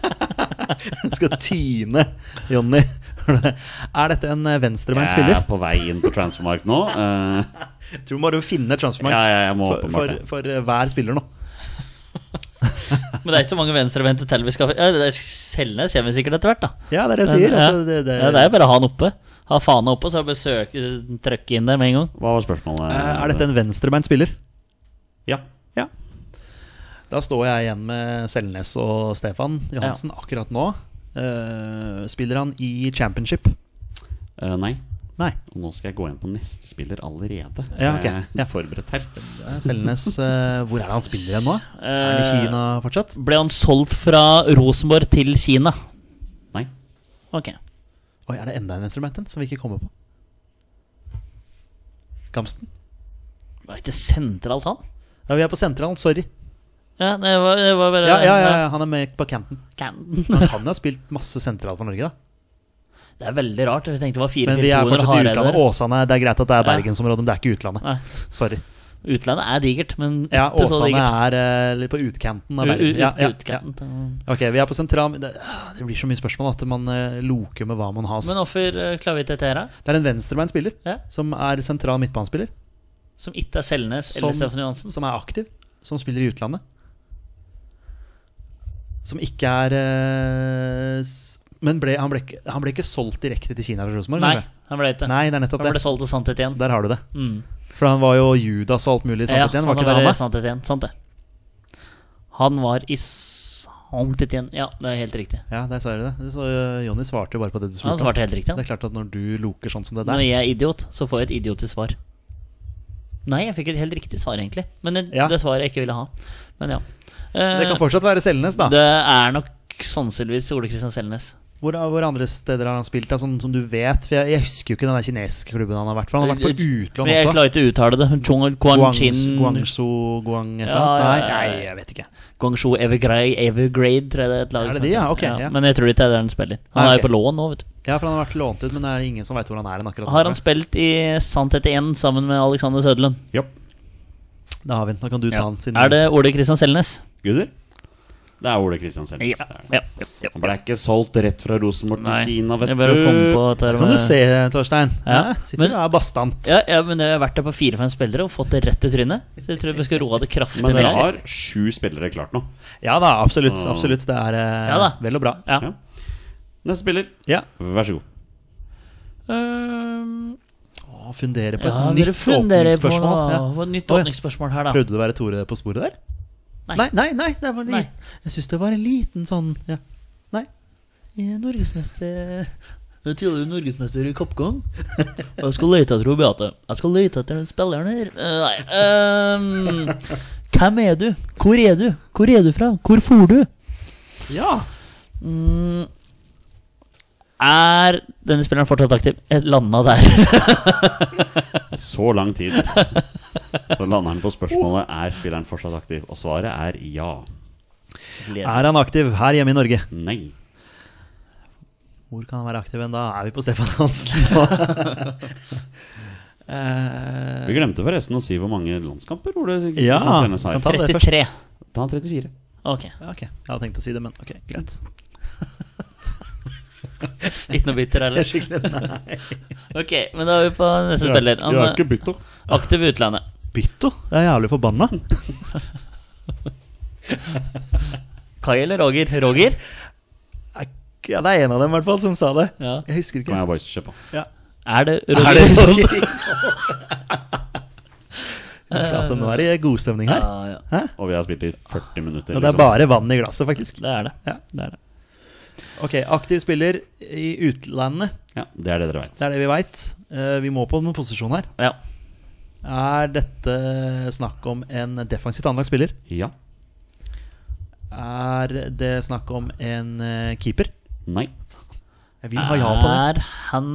[SPEAKER 2] Du skal tyne Jonny. Er dette en eh, venstrebeint
[SPEAKER 1] Jeg
[SPEAKER 2] spiller?
[SPEAKER 1] er på vei inn på transfermarkt nå. Eh,
[SPEAKER 2] Tror man bare finne et transfermarkt
[SPEAKER 1] Ja, ja, jeg må
[SPEAKER 2] for,
[SPEAKER 1] åpenbart
[SPEAKER 2] for,
[SPEAKER 1] det.
[SPEAKER 2] for eh, hver spiller nå.
[SPEAKER 3] Men det er ikke så mange venstrevendte til vi skal ja, det er Selnes kommer sikkert etter hvert, da.
[SPEAKER 2] Ja, det er det jeg sier.
[SPEAKER 3] Men, ja.
[SPEAKER 2] Altså, det, det,
[SPEAKER 3] Ja, det er bare å ha han oppe. Ha fana oppe, så er det bare søke, trykke inn der med en gang.
[SPEAKER 1] hva var spørsmålet?
[SPEAKER 2] Eh, er dette en venstrebeint spiller?
[SPEAKER 1] Ja.
[SPEAKER 2] Ja. Da står jeg igjen med Selnes og Stefan Johansen akkurat nå. Eh, spiller han i championship?
[SPEAKER 1] Eh, nei.
[SPEAKER 2] Nei.
[SPEAKER 1] Og nå skal jeg gå inn på neste spiller allerede. Så
[SPEAKER 2] Ja, ok.
[SPEAKER 1] jeg
[SPEAKER 2] Ja.
[SPEAKER 1] er forberedt her.
[SPEAKER 2] Eh, Selnes eh, Hvor er det han spiller igjen nå? er han i
[SPEAKER 3] Eh,
[SPEAKER 2] Kina fortsatt?
[SPEAKER 3] Ble han solgt fra Rosenborg til Kina?
[SPEAKER 1] Nei.
[SPEAKER 3] Ok.
[SPEAKER 2] Oi, er det enda en venstrebeint en som vi ikke kommer på? Gamsten?
[SPEAKER 3] Var ikke sentralt, han?
[SPEAKER 2] Ja, vi er på sentralen. Sorry.
[SPEAKER 3] Ja, det var, det var bare
[SPEAKER 2] Ja, ja, ja, ja, han er med på Canton.
[SPEAKER 3] Kan-
[SPEAKER 2] Han kan jo ha spilt masse sentral for Norge, da.
[SPEAKER 3] Det er veldig rart. Vi tenkte det var
[SPEAKER 2] Men vi er
[SPEAKER 3] 4-4-200
[SPEAKER 2] fortsatt i utlandet.
[SPEAKER 3] Hareide.
[SPEAKER 2] Åsane, det er greit at det er
[SPEAKER 3] Ja.
[SPEAKER 2] bergensområdet, men det er ikke utlandet.
[SPEAKER 3] Nei,
[SPEAKER 2] Sorry.
[SPEAKER 3] Utlandet er digert, men
[SPEAKER 2] Ja,
[SPEAKER 3] ikke så
[SPEAKER 2] Åsane
[SPEAKER 3] digert.
[SPEAKER 2] er eh, litt på utkanten av
[SPEAKER 3] U-
[SPEAKER 2] Bergen.
[SPEAKER 3] u-
[SPEAKER 2] Ja, ja, ja.
[SPEAKER 3] utkanten.
[SPEAKER 2] Ok, vi er på sentral det, ah, det blir så mye spørsmål at man eh, loker med hva man har.
[SPEAKER 3] Men hvorfor eh, klarer vi ikke dette her, da?
[SPEAKER 2] det er en venstrebeint spiller
[SPEAKER 3] Ja.
[SPEAKER 2] som er sentral midtbanespiller,
[SPEAKER 3] Som ikke er Selnes
[SPEAKER 2] Som-
[SPEAKER 3] eller Stefan Johansen?
[SPEAKER 2] som er aktiv, som spiller i utlandet. Som ikke er eh, s- Men ble, han, ble, ikke- han ble ikke solgt direkte til Kina? fra Rosenborg,
[SPEAKER 3] Nei,
[SPEAKER 2] eller?
[SPEAKER 3] han ble ikke.
[SPEAKER 2] Nei, det er nettopp
[SPEAKER 3] Han ble
[SPEAKER 2] det.
[SPEAKER 3] solgt til Santet igjen.
[SPEAKER 2] Der har du det.
[SPEAKER 3] Mm.
[SPEAKER 2] For han var jo Judas og alt mulig. Sant,
[SPEAKER 3] Ja,
[SPEAKER 2] igjen,
[SPEAKER 3] så
[SPEAKER 2] var
[SPEAKER 3] han
[SPEAKER 2] ikke
[SPEAKER 3] var
[SPEAKER 2] det han
[SPEAKER 3] i
[SPEAKER 2] var?
[SPEAKER 3] Sant Etienne, sant det. Han var i Sant Etienne. Ja, det er helt riktig.
[SPEAKER 2] Ja, der sa du det. Så eh, Jonny svarte jo bare på det du
[SPEAKER 3] Han
[SPEAKER 2] spurte om.
[SPEAKER 3] svarte helt riktig.
[SPEAKER 2] Det
[SPEAKER 3] Han.
[SPEAKER 2] er klart at når du loker sånn som det der
[SPEAKER 3] Når jeg er idiot, så får jeg et idiotisk svar. Nei, jeg fikk et helt riktig svar, egentlig. Men det,
[SPEAKER 2] Ja.
[SPEAKER 3] det svaret jeg ikke ville ha. Men ja.
[SPEAKER 2] Det kan
[SPEAKER 3] Eh,
[SPEAKER 2] fortsatt være Selnes, da.
[SPEAKER 3] det er nok sannsynligvis Ole Kristian Selnes.
[SPEAKER 2] Hvor, eh, hvor andre steder har han spilt, da, som, som du vet? For jeg, jeg husker jo ikke den der kinesiske klubben han har vært for. Han har vært på
[SPEAKER 3] Men
[SPEAKER 2] utlån
[SPEAKER 3] jeg
[SPEAKER 2] også.
[SPEAKER 3] klarer ikke å uttale det. Chung Guangshin
[SPEAKER 2] Guangzhou Guang et eller
[SPEAKER 3] Ja,
[SPEAKER 2] annet?
[SPEAKER 3] ja,
[SPEAKER 2] Nei,
[SPEAKER 3] ja,
[SPEAKER 2] nei,
[SPEAKER 3] ja.
[SPEAKER 2] jeg vet ikke.
[SPEAKER 3] Guangzhou Evergrade, Evergrade, tror jeg det er et lag.
[SPEAKER 2] Er det
[SPEAKER 3] som
[SPEAKER 2] de,
[SPEAKER 3] heter.
[SPEAKER 2] ja? Ok, ja.
[SPEAKER 3] Men jeg tror ikke det er der han spiller.
[SPEAKER 2] Nei,
[SPEAKER 3] Han er
[SPEAKER 2] ok.
[SPEAKER 3] jo på lån nå, vet du.
[SPEAKER 2] Ja, for han har vært lånt ut, men det er ingen som veit hvor han er hen akkurat nå,
[SPEAKER 3] Har han
[SPEAKER 2] tror
[SPEAKER 3] spilt i Sant etter én sammen med Alexander Søderlund?
[SPEAKER 1] Ja.
[SPEAKER 2] jeg. Da har vi den. Da kan du ta
[SPEAKER 3] Ja.
[SPEAKER 2] han siden
[SPEAKER 3] Er det Ole Kristian Selnes?
[SPEAKER 1] Gutter? Det er Ole Kristian Selnes. Det er det.
[SPEAKER 3] ja, ja.
[SPEAKER 1] Han ble ikke solgt rett fra Rosenborg til
[SPEAKER 3] Nei,
[SPEAKER 1] Kina, vet
[SPEAKER 3] jeg bare kom
[SPEAKER 1] du.
[SPEAKER 3] på at det
[SPEAKER 2] Da kan du se, Torstein. Ja.
[SPEAKER 3] Ja,
[SPEAKER 2] Sitter
[SPEAKER 3] men-
[SPEAKER 2] du og er bastant.
[SPEAKER 3] ja, ja, men jeg har vært der på fire-fem spillere og fått det rett i trynet. Så jeg tror vi skal roe det kraftig
[SPEAKER 1] Men
[SPEAKER 3] ned.
[SPEAKER 1] dere
[SPEAKER 3] her.
[SPEAKER 1] har sju spillere klart nå.
[SPEAKER 2] Ja da, absolutt. absolutt Det er eh,
[SPEAKER 3] Mm. Ja da.
[SPEAKER 2] vel og bra.
[SPEAKER 3] Ja.
[SPEAKER 1] Ja. Neste spiller,
[SPEAKER 2] Ja.
[SPEAKER 1] vær så god.
[SPEAKER 3] Ehm,
[SPEAKER 2] Å, fundere på et
[SPEAKER 3] ja, dere
[SPEAKER 2] nytt
[SPEAKER 3] funderer på
[SPEAKER 2] åpningsspørsmål.
[SPEAKER 3] noe.
[SPEAKER 2] Ja.
[SPEAKER 3] Hva er Nytt
[SPEAKER 2] Å, ja.
[SPEAKER 3] åpningsspørsmål her, da.
[SPEAKER 2] Prøvde du å være Tore på sporet der?
[SPEAKER 3] Nei.
[SPEAKER 2] nei, nei, nei, det var en
[SPEAKER 3] Nei.
[SPEAKER 2] liten- Jeg syns det var en liten sånn ja. Nei.
[SPEAKER 3] Jeg er Norgesmester Jeg er tidligere norgesmester i kappgang. Og jeg skal lete etter hun Beate. Jeg skal lete etter den spilleren her. Eh, nei ehm, Hvem er du? Hvor er du? Hvor er du fra? Hvor for du?
[SPEAKER 2] Ja.
[SPEAKER 3] Mm. Er denne spilleren fortsatt aktiv? Jeg landa der.
[SPEAKER 1] Så lang tid. Så lander han på spørsmålet Er spilleren fortsatt aktiv. Og svaret er ja.
[SPEAKER 2] Er han aktiv her hjemme i Norge?
[SPEAKER 1] Nei.
[SPEAKER 2] Hvor kan han være aktiv enn da? Er vi på Stefan Hansen nå? Eh,
[SPEAKER 1] Vi glemte forresten å si hvor mange landskamper Ole
[SPEAKER 2] Ja,
[SPEAKER 1] Kristian Selnes
[SPEAKER 2] kan
[SPEAKER 1] har.
[SPEAKER 2] ta det først.
[SPEAKER 3] 33.
[SPEAKER 1] Da har han 34.
[SPEAKER 3] Ok.
[SPEAKER 2] Ja, ok, jeg hadde tenkt å si det, men ok, greit.
[SPEAKER 3] Ikke noe
[SPEAKER 2] Det
[SPEAKER 3] bitter
[SPEAKER 2] er
[SPEAKER 3] ellers.
[SPEAKER 2] skikkelig nei.
[SPEAKER 3] Ok, men da er vi på neste spiller. Han
[SPEAKER 1] jeg er
[SPEAKER 3] er
[SPEAKER 1] ikke bytter.
[SPEAKER 3] aktiv i utlandet.
[SPEAKER 2] Bytto? Jeg er jævlig forbanna.
[SPEAKER 3] Kai eller Roger? Roger?
[SPEAKER 2] Ja, det er en av dem i hvert fall som sa det.
[SPEAKER 3] Ja.
[SPEAKER 2] Jeg husker
[SPEAKER 1] Kan
[SPEAKER 2] ikke.
[SPEAKER 1] jeg bare kjøpe.
[SPEAKER 3] Er det Roger?
[SPEAKER 2] Er det sant? At nå er det god stemning her.
[SPEAKER 3] Ja, ja.
[SPEAKER 2] Hæ?
[SPEAKER 1] Og vi har spilt i 40 minutter.
[SPEAKER 2] Og det er
[SPEAKER 1] liksom.
[SPEAKER 2] bare vann i glasset, faktisk.
[SPEAKER 3] Det er det.
[SPEAKER 2] Ja.
[SPEAKER 3] det, er det.
[SPEAKER 2] Ok, aktiv spiller i utlandet.
[SPEAKER 1] Ja, det er det dere veit.
[SPEAKER 2] Det er det vi veit. Vi må på noen posisjon her.
[SPEAKER 3] Ja.
[SPEAKER 2] Er dette snakk om en defensivt anlagt spiller?
[SPEAKER 1] Ja.
[SPEAKER 2] Er det snakk om en eh, keeper?
[SPEAKER 1] Nei.
[SPEAKER 2] Jeg vil ha ja på det.
[SPEAKER 3] Er han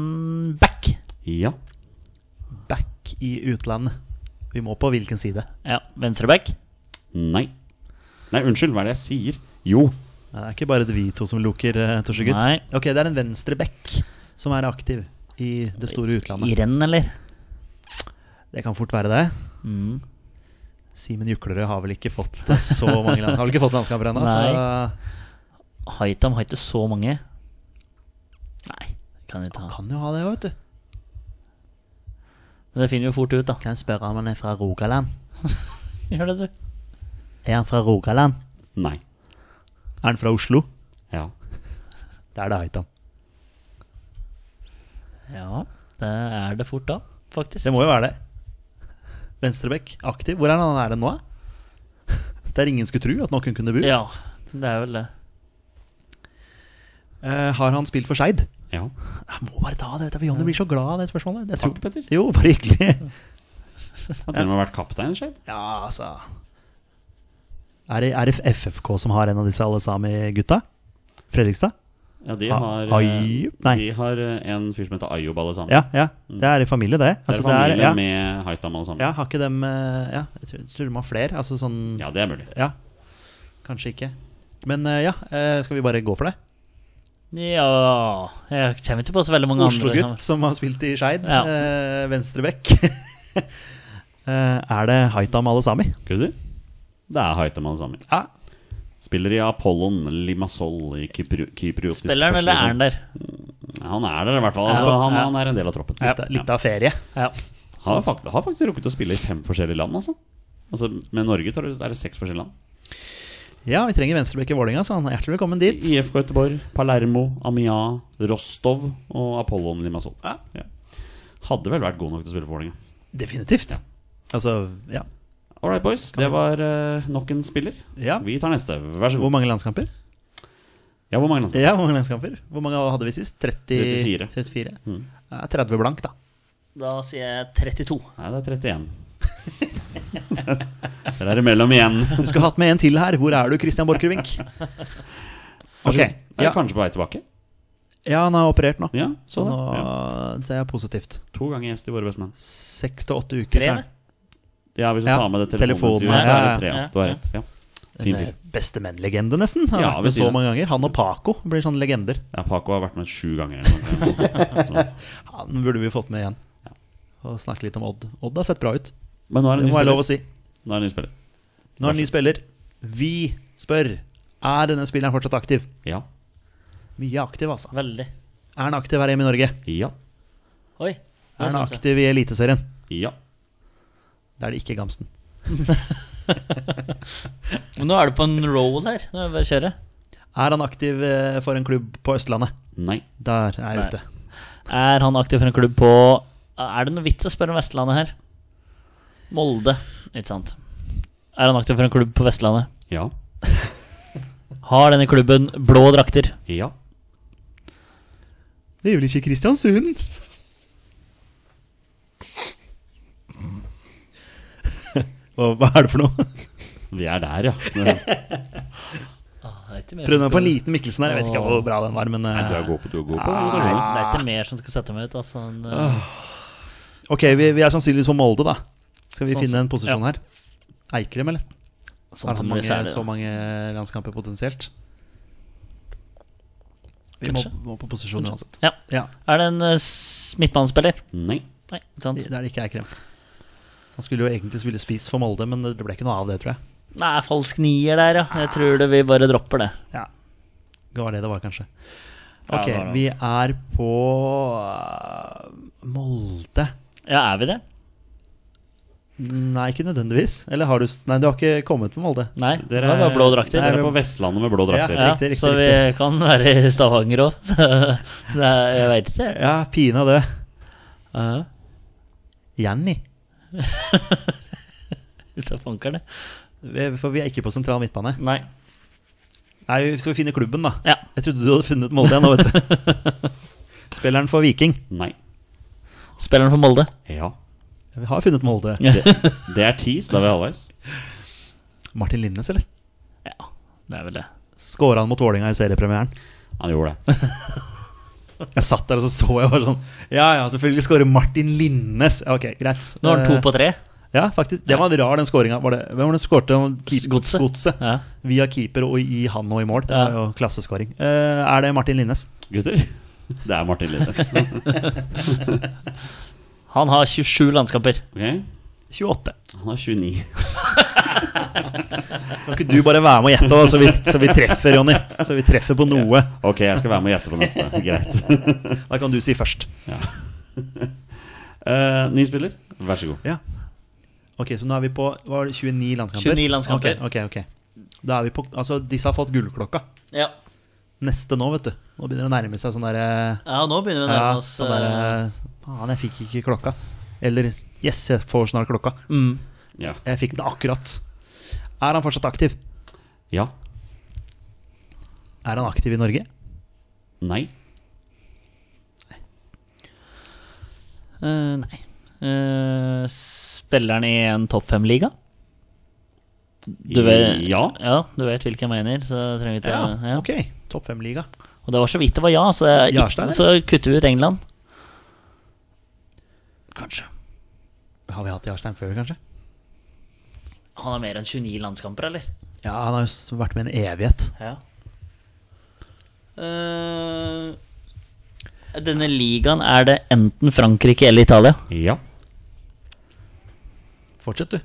[SPEAKER 3] back?
[SPEAKER 1] Ja.
[SPEAKER 2] Back i utlandet. Vi må på hvilken side?
[SPEAKER 3] Ja. Venstreback?
[SPEAKER 1] Nei. Nei, unnskyld, hva er det jeg sier? Jo.
[SPEAKER 2] Nei, Det er ikke bare det vi to som lukker, eh, Torsegutt.
[SPEAKER 3] Nei.
[SPEAKER 2] Ok, det er en venstreback som er aktiv i det store
[SPEAKER 3] I
[SPEAKER 2] utlandet.
[SPEAKER 3] renn, eller?
[SPEAKER 2] Det kan fort være det.
[SPEAKER 3] Mm.
[SPEAKER 2] Simen Juklerød har vel ikke fått så mange land. Har vel ikke fått landskamper ennå, så
[SPEAKER 3] Haitam har ikke så mange. Nei, kan ikke ha.
[SPEAKER 2] kan jo ha det òg, vet du.
[SPEAKER 3] Men det finner vi fort ut, da.
[SPEAKER 2] Kan jeg spørre om han er fra Rogaland?
[SPEAKER 3] Gjør det, du.
[SPEAKER 2] Er han fra Rogaland?
[SPEAKER 1] Nei.
[SPEAKER 2] Er han fra Oslo?
[SPEAKER 1] Ja.
[SPEAKER 2] Det er det Haitam.
[SPEAKER 3] Ja, det er det fort da, faktisk.
[SPEAKER 2] Det må jo være det. Venstrebekk, aktiv. Hvor er han han er nå? da? Der ingen skulle tro at noen kunne bo.
[SPEAKER 3] Ja, det er vel det.
[SPEAKER 2] Eh, har han spilt for Skeid?
[SPEAKER 1] Ja.
[SPEAKER 2] Jeg må bare ta det, vet du, for Jonny blir så glad av det spørsmålet. Jeg tror...
[SPEAKER 1] Takk, Petter.
[SPEAKER 2] Jo, bare hyggelig.
[SPEAKER 1] Har til og med vært kaptein, Skeid.
[SPEAKER 2] Ja, altså Er det, er det FFK som har en av disse alle sami-gutta? Fredrikstad?
[SPEAKER 1] Ja, de
[SPEAKER 2] A-
[SPEAKER 1] har eh,
[SPEAKER 2] Ayub? Ah, Nei.
[SPEAKER 1] De har eh, en fyr som heter Ayub, alle sammen.
[SPEAKER 2] Ja, ja. Det er i familie, det.
[SPEAKER 1] Det er
[SPEAKER 2] Altså, det
[SPEAKER 1] familie
[SPEAKER 2] er, ja.
[SPEAKER 1] med Haitam, alle sammen.
[SPEAKER 2] ja, har ikke dem eh, Ja, jeg tror- jeg tror de har flere. Altså sånn
[SPEAKER 1] Ja, det er mulig.
[SPEAKER 2] Ja. Kanskje ikke. Men eh, ja, eh, skal vi bare gå for det?
[SPEAKER 3] Ja Jeg kommer ikke på så veldig mange andre.
[SPEAKER 2] Oslo-gutt som har spilt i Skeid.
[SPEAKER 3] Ja.
[SPEAKER 2] eh, Venstrebekk. Eh, er det Haitam alle sami?
[SPEAKER 1] Kødder? Det er Haitam, alle sammen.
[SPEAKER 2] Ja.
[SPEAKER 1] Spiller i Apollon Limassol i Kypro- kypriotisk
[SPEAKER 3] Spiller han,
[SPEAKER 1] første
[SPEAKER 3] eller er han
[SPEAKER 1] divisjon.
[SPEAKER 3] der?
[SPEAKER 1] Han er der, i hvert fall. Altså,
[SPEAKER 3] Ja.
[SPEAKER 1] han,
[SPEAKER 3] Ja.
[SPEAKER 1] han er en del av troppen.
[SPEAKER 2] Litt, litt av ferie.
[SPEAKER 3] Ja.
[SPEAKER 1] Har, faktisk, har faktisk rukket å spille i fem forskjellige land, altså. altså med Norge tar du- er det seks forskjellige land.
[SPEAKER 2] Ja, vi trenger venstrebekk i Vålinga så han er hjertelig velkommen dit.
[SPEAKER 1] IFK Göteborg, Palermo, Amia, Rostov og Apollon Limassol.
[SPEAKER 2] Ja.
[SPEAKER 1] Hadde vel vært god nok til å spille for Vålerenga.
[SPEAKER 2] Definitivt. Altså, ja.
[SPEAKER 1] All right, boys. Det var eh, nok en spiller.
[SPEAKER 2] ja.
[SPEAKER 1] Vi tar neste. Vær så
[SPEAKER 2] Hvor
[SPEAKER 1] god.
[SPEAKER 2] mange landskamper?
[SPEAKER 1] Ja, hvor mange landskamper?
[SPEAKER 2] Ja, hvor mange landskamper? Hvor mange hadde vi sist? 30,
[SPEAKER 1] 34.
[SPEAKER 2] 34.
[SPEAKER 1] Mm.
[SPEAKER 2] Ja, 30 blank, da.
[SPEAKER 3] Da sier jeg 32.
[SPEAKER 1] Nei, det er 31. Der er det mellom igjen.
[SPEAKER 2] Du skulle hatt med en til her. Hvor er du, Christian Borchgrevink? Ok.
[SPEAKER 1] Er
[SPEAKER 2] Ja.
[SPEAKER 1] Kanskje på vei tilbake.
[SPEAKER 2] ja, han har operert nå.
[SPEAKER 1] Ja, så
[SPEAKER 2] Nå
[SPEAKER 1] da. Ja.
[SPEAKER 2] ser jeg positivt.
[SPEAKER 1] To ganger gjest i Våre beste menn.
[SPEAKER 2] Seks til åtte uker.
[SPEAKER 3] Tre,
[SPEAKER 2] Tre?
[SPEAKER 1] Ja, hvis du
[SPEAKER 2] Ja,
[SPEAKER 1] tar med det
[SPEAKER 2] telefonen,
[SPEAKER 1] telefonintervjuet, så er
[SPEAKER 2] ja,
[SPEAKER 1] det tre.
[SPEAKER 3] ja,
[SPEAKER 1] Ja.
[SPEAKER 3] ja.
[SPEAKER 1] Du har rett. Ja. Fin fyr.
[SPEAKER 2] Beste menn-legende, nesten. Han har
[SPEAKER 1] Ja,
[SPEAKER 2] vært
[SPEAKER 1] ved
[SPEAKER 2] med så
[SPEAKER 1] siden.
[SPEAKER 2] mange ganger. Han og Paco blir sånne legender.
[SPEAKER 1] Ja, Paco har vært med sju ganger. eller noe.
[SPEAKER 2] Han burde vi fått med igjen. Og snakke litt om Odd. Odd har sett bra ut.
[SPEAKER 1] Men nå er
[SPEAKER 2] Det
[SPEAKER 1] det en ny
[SPEAKER 2] må jeg lov
[SPEAKER 1] spiller.
[SPEAKER 2] å si.
[SPEAKER 1] Nå er det en ny spiller.
[SPEAKER 2] Nå er det en ny spiller. Vi spør Er denne spilleren fortsatt aktiv.
[SPEAKER 1] Ja.
[SPEAKER 2] Mye aktiv, altså.
[SPEAKER 3] Veldig.
[SPEAKER 2] Er han aktiv her hjemme i Norge?
[SPEAKER 1] Ja.
[SPEAKER 3] Oi.
[SPEAKER 2] Er han
[SPEAKER 3] det synes jeg.
[SPEAKER 2] aktiv i Eliteserien?
[SPEAKER 1] Ja.
[SPEAKER 2] Da er det ikke Gamsten.
[SPEAKER 3] Men nå er du på en roll her. Nå er det bare å kjøre.
[SPEAKER 2] Er han aktiv eh, for en klubb på Østlandet?
[SPEAKER 1] Nei.
[SPEAKER 2] Der er jeg
[SPEAKER 3] Nei.
[SPEAKER 2] ute.
[SPEAKER 3] Er han aktiv for en klubb på Er det noe vits å spørre om Vestlandet her? Molde, ikke sant? Er han aktiv for en klubb på Vestlandet?
[SPEAKER 1] Ja.
[SPEAKER 3] Har denne klubben blå drakter?
[SPEAKER 1] Ja.
[SPEAKER 2] Det er vel ikke Kristiansund? Og hva er det for noe?
[SPEAKER 1] Vi er der, ja. Nei,
[SPEAKER 2] Prøvde meg på en liten Mikkelsen her. Jeg vet ikke
[SPEAKER 3] Åh.
[SPEAKER 2] hvor bra den var, men eh,
[SPEAKER 1] du er god på, du er god på.
[SPEAKER 3] Nei,
[SPEAKER 1] invitasjoner.
[SPEAKER 3] det er ikke mer som skal sette meg ut. Altså, en,
[SPEAKER 2] Ah, Ok, vi, vi er sannsynligvis på Molde, da. Skal vi
[SPEAKER 3] Sånn
[SPEAKER 2] finne en
[SPEAKER 3] som-
[SPEAKER 2] posisjon her? Eikrem, eller?
[SPEAKER 3] sånn
[SPEAKER 2] er
[SPEAKER 3] som
[SPEAKER 2] han
[SPEAKER 3] mange,
[SPEAKER 2] mange, eh,
[SPEAKER 3] det,
[SPEAKER 2] så
[SPEAKER 3] så
[SPEAKER 2] mange landskamper potensielt? Vi må,
[SPEAKER 3] Kanskje.
[SPEAKER 2] må på posisjon uansett.
[SPEAKER 3] Ja.
[SPEAKER 2] Ja,
[SPEAKER 3] Er det en eh, s- midtbanespiller?
[SPEAKER 1] Nei.
[SPEAKER 3] Nei, ikke sant?
[SPEAKER 2] Der det ikke er krem. Så Han skulle jo egentlig spille spiss for Molde, men det ble ikke noe av det, tror jeg.
[SPEAKER 3] Nei, falsk nier der, ja. Jeg tror det vi bare dropper det.
[SPEAKER 2] Ja. Det var det det var, kanskje.
[SPEAKER 3] Ja,
[SPEAKER 2] Ok,
[SPEAKER 3] det var det.
[SPEAKER 2] vi er på eh, Molde.
[SPEAKER 3] Ja, er vi det?
[SPEAKER 2] Nei, ikke nødvendigvis. Eller har du s- Nei, du har ikke kommet på Molde.
[SPEAKER 3] Nei, det
[SPEAKER 1] Dere
[SPEAKER 3] var bare blå drakter.
[SPEAKER 1] Dere
[SPEAKER 2] Nei,
[SPEAKER 1] er
[SPEAKER 2] vi-
[SPEAKER 1] på Vestlandet med blå drakter.
[SPEAKER 2] Ja,
[SPEAKER 3] ja,
[SPEAKER 2] riktig, riktig,
[SPEAKER 3] så vi kan være i Stavanger òg. Jeg veit ikke. jeg.
[SPEAKER 2] Ja, pina det. Eh,
[SPEAKER 3] Ja,
[SPEAKER 2] Jenny.
[SPEAKER 3] Ut av fankerne.
[SPEAKER 2] Vi- For vi er ikke på sentral midtbane.
[SPEAKER 3] Nei.
[SPEAKER 2] Nei, Så vi finner klubben, da.
[SPEAKER 3] Ja.
[SPEAKER 2] Jeg trodde du hadde funnet Molde igjen nå, vet du. Spilleren for Viking.
[SPEAKER 1] Nei.
[SPEAKER 3] Spilleren for Molde.
[SPEAKER 1] Ja.
[SPEAKER 2] Vi har funnet Molde.
[SPEAKER 1] Det er ti, så da er vi halvveis.
[SPEAKER 2] Martin Linnes, eller?
[SPEAKER 3] Ja, det er vel det.
[SPEAKER 2] Skåra han mot Vålinga i seriepremieren?
[SPEAKER 1] Han gjorde det.
[SPEAKER 2] Jeg satt der og så så jeg bare sånn Ja ja, selvfølgelig skårer Martin Linnes. Ja, Ok, greit.
[SPEAKER 3] Nå har han
[SPEAKER 2] Eh.
[SPEAKER 3] to på tre.
[SPEAKER 2] Ja, faktisk. Det var en rar, den skåringa. Hvem var det som skårte? Keep-
[SPEAKER 3] Godset.
[SPEAKER 2] Godset.
[SPEAKER 3] Ja.
[SPEAKER 2] Via keeper og i han og i mål. Det var
[SPEAKER 3] Ja.
[SPEAKER 2] jo klasseskåring. Eh, er det Martin Linnes?
[SPEAKER 1] Gutter, det er Martin Linnes.
[SPEAKER 3] Han har 27 landskamper.
[SPEAKER 1] Ok?
[SPEAKER 2] 28.
[SPEAKER 1] Han er 29.
[SPEAKER 2] Kan ikke du bare være med og gjette, da, så, vi- så vi treffer, Jonny? Så vi treffer på noe.
[SPEAKER 1] Ok, jeg skal være med og gjette på neste. Greit.
[SPEAKER 2] Da kan du si først.
[SPEAKER 1] Eh, ny spiller, vær så god.
[SPEAKER 2] Ja. Ok, så nå er vi på hva var det, 29 landskamper?
[SPEAKER 3] 29 landskamper.
[SPEAKER 2] Ok, ok, ok. Da er vi på, altså Disse har fått gullklokka.
[SPEAKER 3] Ja.
[SPEAKER 2] Neste nå, vet du. Nå begynner det å nærme seg sånn derre
[SPEAKER 3] ja, nå begynner vi å
[SPEAKER 2] ja,
[SPEAKER 3] nærme oss. eh,
[SPEAKER 2] sånn der, Faen, jeg fikk ikke klokka. Eller Yes, jeg får snart klokka.
[SPEAKER 3] eh, mm.
[SPEAKER 1] Ja.
[SPEAKER 2] Jeg fikk den akkurat. Er han fortsatt aktiv?
[SPEAKER 1] ja.
[SPEAKER 2] Er han aktiv i Norge?
[SPEAKER 1] Nei.
[SPEAKER 3] Eh, nei. Eh, spiller han i en topp fem-liga? Du vet,
[SPEAKER 1] Ja.
[SPEAKER 3] ja, du vet hvilke jeg mener, så trenger vi ikke ja.
[SPEAKER 2] Ok. Topp fem-liga.
[SPEAKER 3] Og det var så vidt det var ja, så, jeg,
[SPEAKER 2] Jarstein,
[SPEAKER 3] så kutter vi ut England. Kanskje.
[SPEAKER 2] Har vi hatt Jarstein før, kanskje?
[SPEAKER 3] Han har mer enn 29 landskamper, eller?
[SPEAKER 2] Ja, han har jo s- vært med en evighet.
[SPEAKER 3] Ja. Eh, denne ligaen er det enten Frankrike eller Italia.
[SPEAKER 1] Ja.
[SPEAKER 2] Fortsett, du.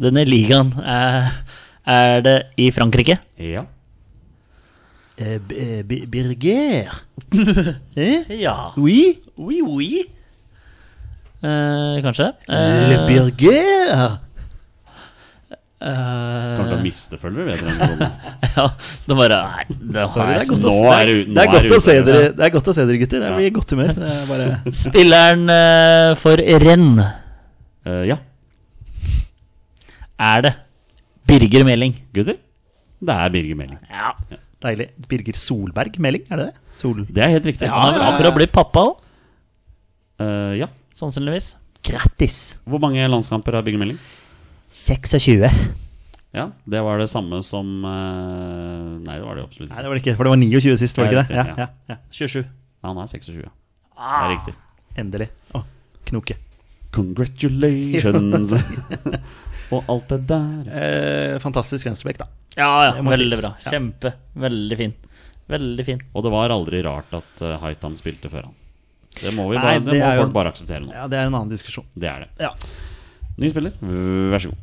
[SPEAKER 3] Denne ligaen er, er det i Frankrike.
[SPEAKER 1] Ja.
[SPEAKER 2] Eh, B- eh, B- Birger. eh?
[SPEAKER 3] Ja.
[SPEAKER 2] Oui?
[SPEAKER 3] Oui, oui. Eh, kanskje. Eh.
[SPEAKER 2] Le Birger.
[SPEAKER 1] Kommer
[SPEAKER 3] Eh.
[SPEAKER 1] til å miste følgere, vet dere.
[SPEAKER 3] ja, så det bare Nei, det har
[SPEAKER 2] Sorry, det
[SPEAKER 3] jeg
[SPEAKER 2] er godt å,
[SPEAKER 1] Nå
[SPEAKER 2] det
[SPEAKER 1] er
[SPEAKER 2] er,
[SPEAKER 1] det- nå
[SPEAKER 2] det er
[SPEAKER 1] er
[SPEAKER 2] godt
[SPEAKER 1] det altså.
[SPEAKER 2] å se
[SPEAKER 1] ute.
[SPEAKER 2] dere, det er godt å se dere gutter. Jeg blir i godt humør. Det er bare
[SPEAKER 3] Spilleren eh, for renn
[SPEAKER 1] Eh, ja.
[SPEAKER 3] er det Birger Meling.
[SPEAKER 1] Gutter, det er Birger Meling.
[SPEAKER 3] Ja.
[SPEAKER 2] deilig. Birger Solberg Meling, er det det? Sol.
[SPEAKER 1] Det er helt riktig.
[SPEAKER 3] Han har vel akkurat blitt pappa òg,
[SPEAKER 1] Eh, ja.
[SPEAKER 3] sannsynligvis.
[SPEAKER 2] Grattis.
[SPEAKER 1] Hvor mange landskamper har Birger Meling?
[SPEAKER 2] 26. Nei,
[SPEAKER 1] Ja, det var det samme som eh, Nei, det var det absolutt
[SPEAKER 2] det
[SPEAKER 1] ikke.
[SPEAKER 2] var det ikke, for det var 29 sist, var det ikke det?
[SPEAKER 1] Ja,
[SPEAKER 2] Ja, ja, ja.
[SPEAKER 3] 27.
[SPEAKER 1] Nei, han er 26. ja. Det
[SPEAKER 2] Ah.
[SPEAKER 1] er riktig.
[SPEAKER 2] Endelig. Å, knoke.
[SPEAKER 1] Congratulations og alt det der.
[SPEAKER 2] Eh, fantastisk venstrebekk, da.
[SPEAKER 3] Ja, ja,
[SPEAKER 2] Det må
[SPEAKER 3] veldig
[SPEAKER 2] sies.
[SPEAKER 3] bra.
[SPEAKER 2] Ja.
[SPEAKER 3] Kjempe. Veldig fin. Veldig fin.
[SPEAKER 1] Og det var aldri rart at eh, Haitham spilte før han. Det må, vi
[SPEAKER 2] Nei,
[SPEAKER 1] bare, det
[SPEAKER 2] det
[SPEAKER 1] må
[SPEAKER 2] er jo-
[SPEAKER 1] folk bare akseptere nå.
[SPEAKER 2] Ja, Det er en annen diskusjon.
[SPEAKER 1] Det er det.
[SPEAKER 2] Ja.
[SPEAKER 1] Ny spiller, vær så god.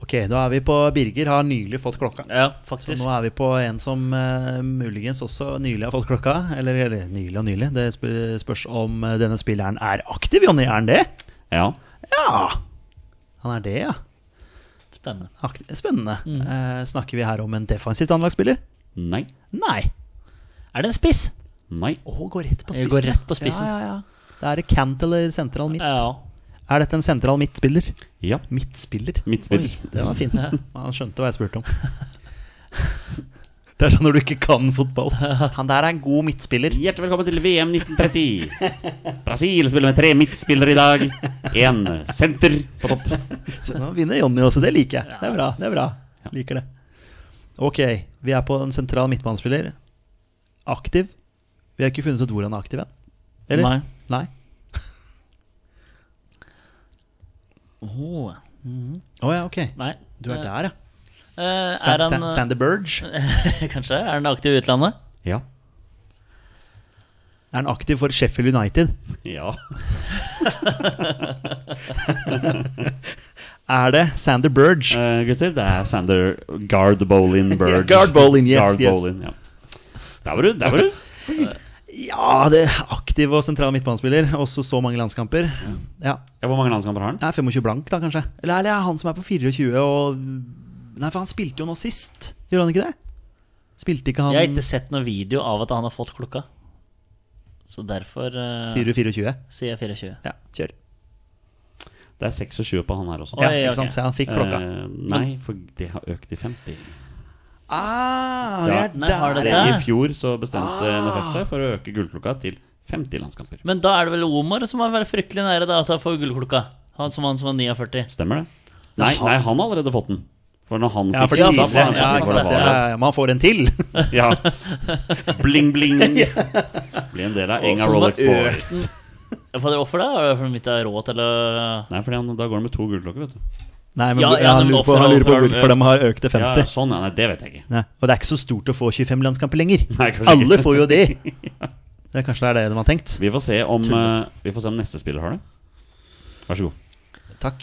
[SPEAKER 2] Ok, da er vi på Birger har nylig fått klokka.
[SPEAKER 3] Ja,
[SPEAKER 2] Så
[SPEAKER 3] faktisk.
[SPEAKER 2] nå er vi på en som eh, muligens også nylig har fått klokka. Eller, eller nylig og nylig. Det sp- spørs om eh, denne spilleren er aktiv, Jonny. Er han det?
[SPEAKER 1] Ja.
[SPEAKER 2] Ja! Han er det, ja.
[SPEAKER 3] Spennende.
[SPEAKER 2] Akt spennende. Eh, snakker vi her om en defensivt anlagt spiller?
[SPEAKER 1] Nei.
[SPEAKER 2] Nei.
[SPEAKER 3] Er det en spiss?
[SPEAKER 1] Nei.
[SPEAKER 2] Å, går rett på
[SPEAKER 3] Jeg
[SPEAKER 2] spissen.
[SPEAKER 3] går rett på spissen.
[SPEAKER 2] Ja, ja, ja. Da er det cant eller sentral midt.
[SPEAKER 3] Ja.
[SPEAKER 2] Er dette en sentral midtspiller?
[SPEAKER 1] Ja.
[SPEAKER 2] Midtspiller?
[SPEAKER 1] Midtspiller.
[SPEAKER 2] Oi, det var fin. Han skjønte hva jeg spurte om. Det er sånn når du ikke kan fotball. Han der er en god midtspiller.
[SPEAKER 1] Hjertelig velkommen til VM 1930. Brasil spiller med tre midtspillere i dag. Én senter på topp.
[SPEAKER 2] Så nå vinner Jonny også, det liker jeg. Det er bra. det er bra Liker det. Ok, vi er på en sentral midtbanespiller. Aktiv. Vi har ikke funnet ut hvor han er aktiv igjen. Eller?
[SPEAKER 3] Nei.
[SPEAKER 2] Nei.
[SPEAKER 3] Åh.
[SPEAKER 2] Å ja, ok.
[SPEAKER 3] Nei.
[SPEAKER 2] Du er der, ja.
[SPEAKER 3] Eh,
[SPEAKER 2] Sa-
[SPEAKER 3] er
[SPEAKER 2] Sa-
[SPEAKER 3] han eh,
[SPEAKER 2] Sander Burge.
[SPEAKER 3] Kanskje? Er han aktiv i utlandet?
[SPEAKER 1] Ja.
[SPEAKER 2] Er han aktiv for Sheffield United?
[SPEAKER 1] Ja.
[SPEAKER 2] Er det Sander Burge?
[SPEAKER 1] Eh, gutter, det er Sander Gardbolin Bird.
[SPEAKER 2] Gard Bolin, yes, yes.
[SPEAKER 1] ja. Der var du, der var du.
[SPEAKER 2] Ja, det er aktiv og sentral midtbanespiller. Også så mange landskamper. Ja,
[SPEAKER 1] Ja, Hvor mange landskamper har han?
[SPEAKER 2] Nei, 25 blank, da, kanskje. Eller eller er det han som er på 24 og Nei, for han spilte jo nå sist, gjorde han ikke det? Spilte ikke han
[SPEAKER 3] Jeg har ikke sett noen video av at han har fått klokka. Så derfor eh,
[SPEAKER 2] Sier du 24?
[SPEAKER 3] sier jeg 24.
[SPEAKER 2] Ja, kjør.
[SPEAKER 1] Det er 26 på han her også.
[SPEAKER 3] Oi,
[SPEAKER 2] Ja,
[SPEAKER 3] ok.
[SPEAKER 2] ikke sant? Så han fikk klokka.
[SPEAKER 1] Eh, nei, for det har økt til 50.
[SPEAKER 2] ah,
[SPEAKER 1] ja.
[SPEAKER 2] det er
[SPEAKER 3] Nei, har
[SPEAKER 2] der.
[SPEAKER 3] det
[SPEAKER 1] Det, I
[SPEAKER 3] det?
[SPEAKER 1] fjor så bestemte NFF seg for å øke gullklokka til 50 landskamper.
[SPEAKER 3] Men da er det vel Omar som har vært fryktelig nære da, at han får gullklokka. Han som, han som var 49.
[SPEAKER 1] Stemmer det? Nei, nei, han har allerede fått den. For når han
[SPEAKER 2] Ja, for
[SPEAKER 1] fikk den, da
[SPEAKER 2] tidligere.
[SPEAKER 1] får han-
[SPEAKER 3] ja,
[SPEAKER 1] da får
[SPEAKER 3] sant
[SPEAKER 1] han
[SPEAKER 3] det.
[SPEAKER 1] valget.
[SPEAKER 2] ja, man får en til.
[SPEAKER 1] Ja. Bling, bling. Bli en del av Enga
[SPEAKER 3] Og så
[SPEAKER 1] Rolex
[SPEAKER 3] bare økt
[SPEAKER 1] Boys.
[SPEAKER 3] Fader, Hvorfor det? Er det fordi de ikke har råd til å
[SPEAKER 1] Nei, for da går han med to gullklokker, vet du.
[SPEAKER 2] Nei, men
[SPEAKER 3] Ja, ja,
[SPEAKER 2] han
[SPEAKER 3] men
[SPEAKER 2] lurer på,
[SPEAKER 3] hvorfor-
[SPEAKER 2] han lurer på
[SPEAKER 3] hvorfor har
[SPEAKER 2] hvorfor de har økt til
[SPEAKER 1] Ja, ja,
[SPEAKER 2] 50.
[SPEAKER 1] sånn, ja. Nei, det vet jeg ikke.
[SPEAKER 2] Nei, og det er ikke så stort å få 25 landskamper lenger.
[SPEAKER 1] Nei, kanskje
[SPEAKER 2] Alle
[SPEAKER 1] ikke.
[SPEAKER 2] får jo det. Det er kanskje det er det de har tenkt.
[SPEAKER 1] Vi får se om,
[SPEAKER 2] Tullet.
[SPEAKER 1] eh, vi får se om neste spiller har det. Vær så god.
[SPEAKER 2] Takk.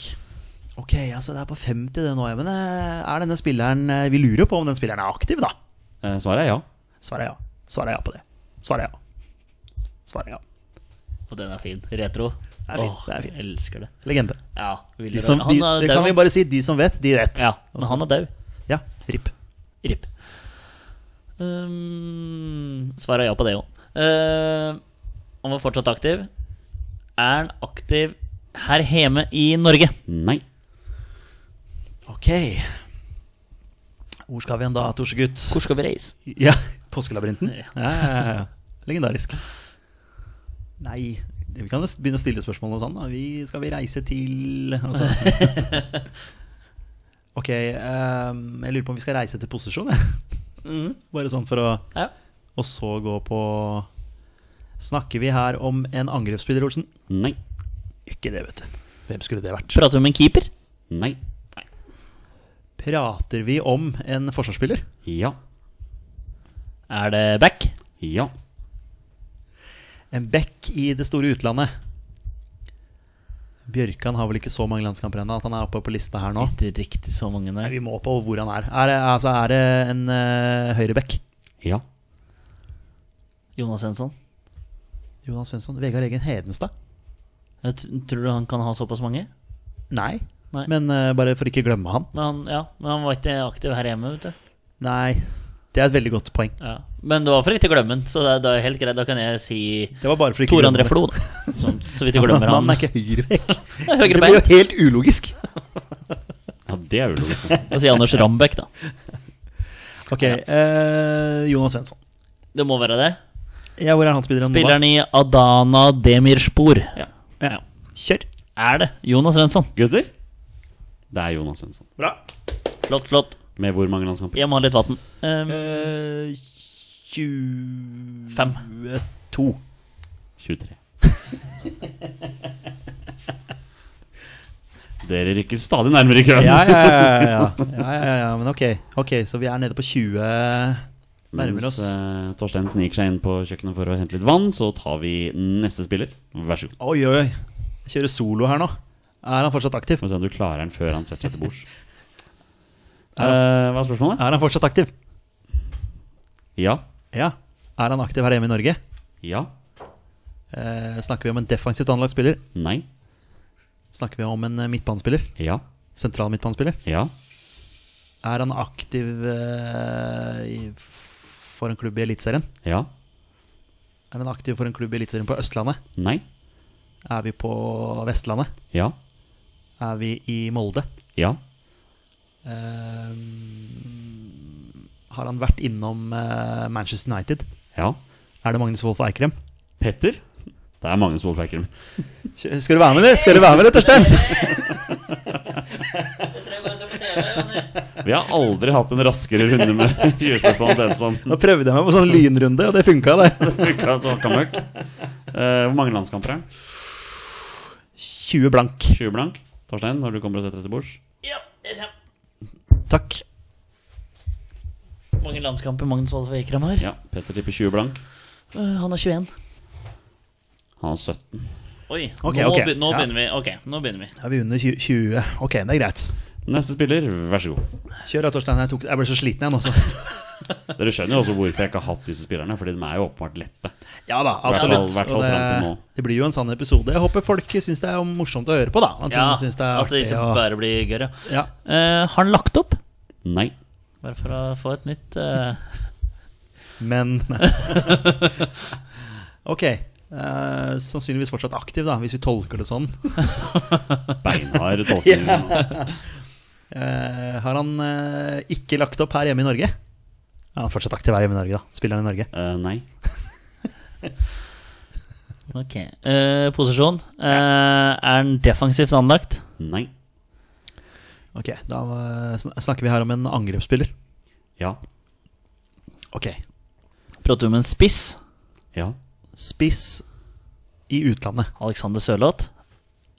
[SPEAKER 2] Ok, altså det er på 50 det nå, ja, men eh, er denne spilleren eh, Vi lurer jo på om den spilleren er aktiv, da.
[SPEAKER 1] Eh, Svaret er ja.
[SPEAKER 2] Svaret er ja. Svaret er ja på det. Svaret er ja. Svaret er ja.
[SPEAKER 3] Og den er fin. Retro. Det
[SPEAKER 2] er fint, det er fint.
[SPEAKER 3] Jeg elsker det.
[SPEAKER 2] Legende.
[SPEAKER 3] Ja, vil
[SPEAKER 2] De
[SPEAKER 3] dere-
[SPEAKER 2] som, de,
[SPEAKER 3] han er
[SPEAKER 2] det
[SPEAKER 3] dau.
[SPEAKER 2] kan vi bare si. De som vet, de vet.
[SPEAKER 3] Ja, men han er dau.
[SPEAKER 2] Ja, RIP.
[SPEAKER 3] Ripp. Um, svaret er ja på det òg. Uh, han var fortsatt aktiv. Er han aktiv her hjemme i Norge?
[SPEAKER 1] Nei.
[SPEAKER 2] Ok. Hvor skal vi hen da, Torsegutt?
[SPEAKER 3] Hvor skal vi reise?
[SPEAKER 2] Ja, Påskelabyrinten?
[SPEAKER 3] Ja.
[SPEAKER 2] Ja, ja, ja. Legendarisk. Nei Vi kan jo begynne å stille spørsmål og sånn. da vi, Skal vi reise til altså. Ok, ehm, jeg lurer på om vi skal reise til posisjon. jeg. Bare sånn for å
[SPEAKER 3] Ja.
[SPEAKER 2] Og så gå på Snakker vi her om en angrepsspiller, Olsen?
[SPEAKER 1] Nei.
[SPEAKER 2] Ikke det, vet du. Hvem skulle det vært?
[SPEAKER 3] Prater vi om en keeper?
[SPEAKER 1] Nei.
[SPEAKER 2] Prater vi om en forsvarsspiller?
[SPEAKER 1] Ja.
[SPEAKER 3] Er det back?
[SPEAKER 1] Ja.
[SPEAKER 2] En back i det store utlandet. Bjørkan har vel ikke så mange landskamper ennå at han er oppe på lista her nå.
[SPEAKER 3] Ikke riktig så mange,
[SPEAKER 2] Nei,
[SPEAKER 3] nei.
[SPEAKER 2] vi må på hvor han er. Er det, altså, er det en uh, høyreback?
[SPEAKER 1] Ja.
[SPEAKER 3] Jonas Jensson.
[SPEAKER 2] Jonas Svensson. Vegard Egen Hedenstad?
[SPEAKER 3] Jeg t tror du han kan ha såpass mange?
[SPEAKER 2] Nei.
[SPEAKER 3] Nei.
[SPEAKER 2] Men eh, bare for ikke å glemme han.
[SPEAKER 3] Men han, ja, men han var ikke aktiv her hjemme, vet du.
[SPEAKER 2] Nei. Det er et veldig godt poeng.
[SPEAKER 3] Ja. Men det var for ikke å glemme han, så det er, det er helt greit. Da kan jeg si
[SPEAKER 2] Det var bare for ikke
[SPEAKER 3] Tor
[SPEAKER 2] å glemme
[SPEAKER 3] André
[SPEAKER 2] det.
[SPEAKER 3] Flo, da. Sånn, så vidt jeg glemmer
[SPEAKER 2] Men
[SPEAKER 3] han.
[SPEAKER 2] er ikke høyreback.
[SPEAKER 3] Det er
[SPEAKER 2] Det
[SPEAKER 3] Høyre
[SPEAKER 2] blir jo
[SPEAKER 3] bein.
[SPEAKER 2] helt ulogisk.
[SPEAKER 1] Ja, det er ulogisk. da.
[SPEAKER 3] Da sier jeg Anders Rambekk, da.
[SPEAKER 2] Ok, eh, Jonas Svensson.
[SPEAKER 3] Det må være det.
[SPEAKER 2] Ja, hvor er han spilleren nå? da?
[SPEAKER 3] Spilleren i Adana Demirspor.
[SPEAKER 1] Ja.
[SPEAKER 2] Ja. Kjør.
[SPEAKER 3] Er det Jonas Svensson?
[SPEAKER 1] Gutter? Det er Jonas Svensson.
[SPEAKER 3] Flott, flott.
[SPEAKER 1] Med hvor mange landskamper?
[SPEAKER 3] Jeg må ha litt vann. Um,
[SPEAKER 2] Eh, 22
[SPEAKER 3] fem.
[SPEAKER 2] To.
[SPEAKER 1] 23. Dere rykker stadig nærmere i køen.
[SPEAKER 2] Ja, ja, ja, ja, ja. ja, ja, ja men ok. ok, så vi er nede på 20 Nærmer
[SPEAKER 1] Mens
[SPEAKER 2] oss.
[SPEAKER 1] eh, Torstein sniker seg inn på kjøkkenet for å hente litt vann, så tar vi neste spiller. Vær så god.
[SPEAKER 2] Oi, oi, oi. Jeg kjører solo her nå. Er han fortsatt aktiv?
[SPEAKER 1] Må se om du klarer den før han setter seg til bords. Eh, hva er spørsmålet?
[SPEAKER 2] Er han fortsatt aktiv?
[SPEAKER 1] Ja.
[SPEAKER 2] Ja. Er han aktiv her hjemme i Norge?
[SPEAKER 1] Ja.
[SPEAKER 2] Eh, snakker vi om en defensivt anlagt spiller?
[SPEAKER 1] Nei.
[SPEAKER 2] Snakker vi om en eh, midtbanespiller?
[SPEAKER 1] Ja.
[SPEAKER 2] Sentral midtbanespiller?
[SPEAKER 1] Ja.
[SPEAKER 2] Er han aktiv eh, i, for en klubb i Eliteserien?
[SPEAKER 1] Ja.
[SPEAKER 2] Er han aktiv for en klubb i Eliteserien på Østlandet?
[SPEAKER 1] Nei.
[SPEAKER 2] Er vi på Vestlandet?
[SPEAKER 1] Ja.
[SPEAKER 2] Er vi i Molde?
[SPEAKER 1] Ja.
[SPEAKER 2] Eh, har han vært innom eh, Manchester United?
[SPEAKER 1] Ja.
[SPEAKER 2] Er det Magnus Wolff Eikrem?
[SPEAKER 1] Petter? Det er Magnus Wolff Eikrem.
[SPEAKER 2] Skal du være med, eller? Skal du være med, eller, Torstein?
[SPEAKER 1] Vi har aldri hatt en raskere runde med 20 spørsmål enn den som
[SPEAKER 2] Nå prøvde jeg meg på sånn lynrunde, og det funka, det.
[SPEAKER 1] funka så hakka møkk. Eh, hvor mange landskamper er det?
[SPEAKER 2] 20 blank.
[SPEAKER 1] 20 blank? Torstein, når du kommer og setter deg til bords?
[SPEAKER 3] Ja, jeg kommer.
[SPEAKER 2] Takk.
[SPEAKER 3] Mange landskamper Magnus Wolff Eikrem har.
[SPEAKER 1] Ja. Petter tipper 20 blank.
[SPEAKER 3] Eh, han er 21.
[SPEAKER 1] Han er 17.
[SPEAKER 3] Oi,
[SPEAKER 2] Ok,
[SPEAKER 3] nå,
[SPEAKER 2] ok.
[SPEAKER 3] be- nå
[SPEAKER 2] Ja.
[SPEAKER 3] begynner vi. Ok, nå begynner vi.
[SPEAKER 2] Da er vi under 20. 20. Ok, det er greit.
[SPEAKER 1] Neste spiller, vær så god.
[SPEAKER 2] Kjør da, Torstein. Jeg, tok, jeg ble så sliten igjen altså. også.
[SPEAKER 1] Dere skjønner jo også hvorfor jeg ikke har hatt disse spillerne, fordi de er jo åpenbart lette.
[SPEAKER 2] Ja da,
[SPEAKER 1] Hvertfall-
[SPEAKER 2] absolutt.
[SPEAKER 1] hvertfall
[SPEAKER 2] Og
[SPEAKER 1] frem til nå.
[SPEAKER 2] det, det blir jo en sann episode. Jeg håper folk syns det er jo morsomt å høre på, da. At
[SPEAKER 3] Ja,
[SPEAKER 2] de synes det er
[SPEAKER 3] at det
[SPEAKER 2] artig
[SPEAKER 3] ikke
[SPEAKER 2] å-
[SPEAKER 3] bare blir gørr, ja.
[SPEAKER 2] ja.
[SPEAKER 3] Eh, har han lagt opp?
[SPEAKER 1] Nei.
[SPEAKER 3] Bare for å få et nytt eh,
[SPEAKER 2] Men Ok. eh, sannsynligvis fortsatt aktiv, da, hvis vi tolker det sånn.
[SPEAKER 1] Beinhard tolkning.
[SPEAKER 2] Eh, har han eh, ikke lagt opp her hjemme i Norge? Ja, han er fortsatt aktiv her hjemme i Norge, da. Spiller han i Norge.
[SPEAKER 1] Eh, nei.
[SPEAKER 3] Ok. Eh, posisjon. Eh, er han defensivt anlagt?
[SPEAKER 1] Nei.
[SPEAKER 2] Ok, Da eh, sn- snakker vi her om en angrepsspiller.
[SPEAKER 1] Ja.
[SPEAKER 2] Ok,
[SPEAKER 3] Prater vi om en spiss?
[SPEAKER 1] Ja.
[SPEAKER 2] Spiss i utlandet.
[SPEAKER 3] Alexander Sørloth?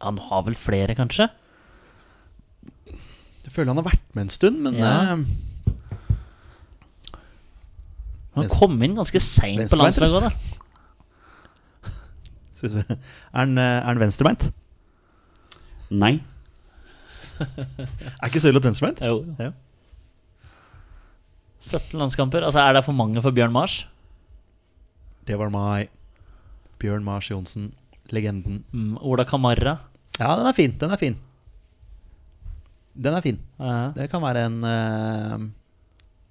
[SPEAKER 3] Han har vel flere, kanskje?
[SPEAKER 2] Jeg føler han har vært med en stund, men
[SPEAKER 3] Ja.
[SPEAKER 2] eh,
[SPEAKER 3] Han
[SPEAKER 2] Venstre-
[SPEAKER 3] kom inn ganske seint på
[SPEAKER 2] Venstrebeint,
[SPEAKER 3] landslaget òg, da.
[SPEAKER 2] skal vi se. er, han, eh, er han venstrebeint?
[SPEAKER 1] Nei.
[SPEAKER 2] Er ikke Sørloth venstrebeint?
[SPEAKER 3] Jo.
[SPEAKER 2] Ja.
[SPEAKER 3] 17 landskamper. Altså, er det for mange for Bjørn Mars?
[SPEAKER 2] Det var meg. Bjørn Mars Johnsen. Legenden.
[SPEAKER 3] Mm, Ola Kamara?
[SPEAKER 2] Ja, den er fin. Den er fin. Den er fin.
[SPEAKER 3] Ja.
[SPEAKER 2] Det kan være en eh,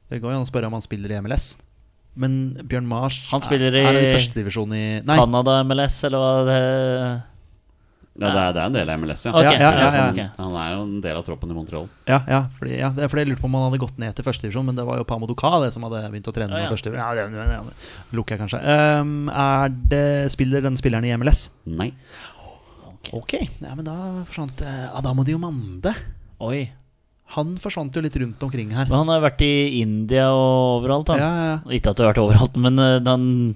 [SPEAKER 2] Det går jo an å spørre om han spiller i MLS. Men Bjørn Mars
[SPEAKER 3] Han spiller i-
[SPEAKER 2] Er det i førstedivisjon i Nei.
[SPEAKER 3] Canada MLS, eller hva det
[SPEAKER 1] Det, det, er, det er en del av MLS, ja.
[SPEAKER 3] Ok,
[SPEAKER 2] Ja, ja, ja, ja.
[SPEAKER 3] ok.
[SPEAKER 1] Han er jo en del av troppen i Montreal.
[SPEAKER 2] Ja, ja, fordi, ja, det er fordi jeg lurte på om han hadde gått ned til førstedivisjon, men det var jo Pamo Duka det som hadde begynt å trene
[SPEAKER 3] Ja,
[SPEAKER 2] med
[SPEAKER 3] ja.
[SPEAKER 2] førstedivisjon. Ja, det, det, det, det lukker jeg kanskje. Ehm, er det, spiller den spilleren i MLS?
[SPEAKER 1] Nei.
[SPEAKER 2] Ok. Ja, men da forsvant eh, Adamo Diomande.
[SPEAKER 3] Oi.
[SPEAKER 2] Han forsvant jo litt rundt omkring her.
[SPEAKER 3] Men han har vært i India og overalt,
[SPEAKER 2] Ja,
[SPEAKER 3] han.
[SPEAKER 2] ja, ja.
[SPEAKER 3] Ikke at du har vært overalt, men eh, han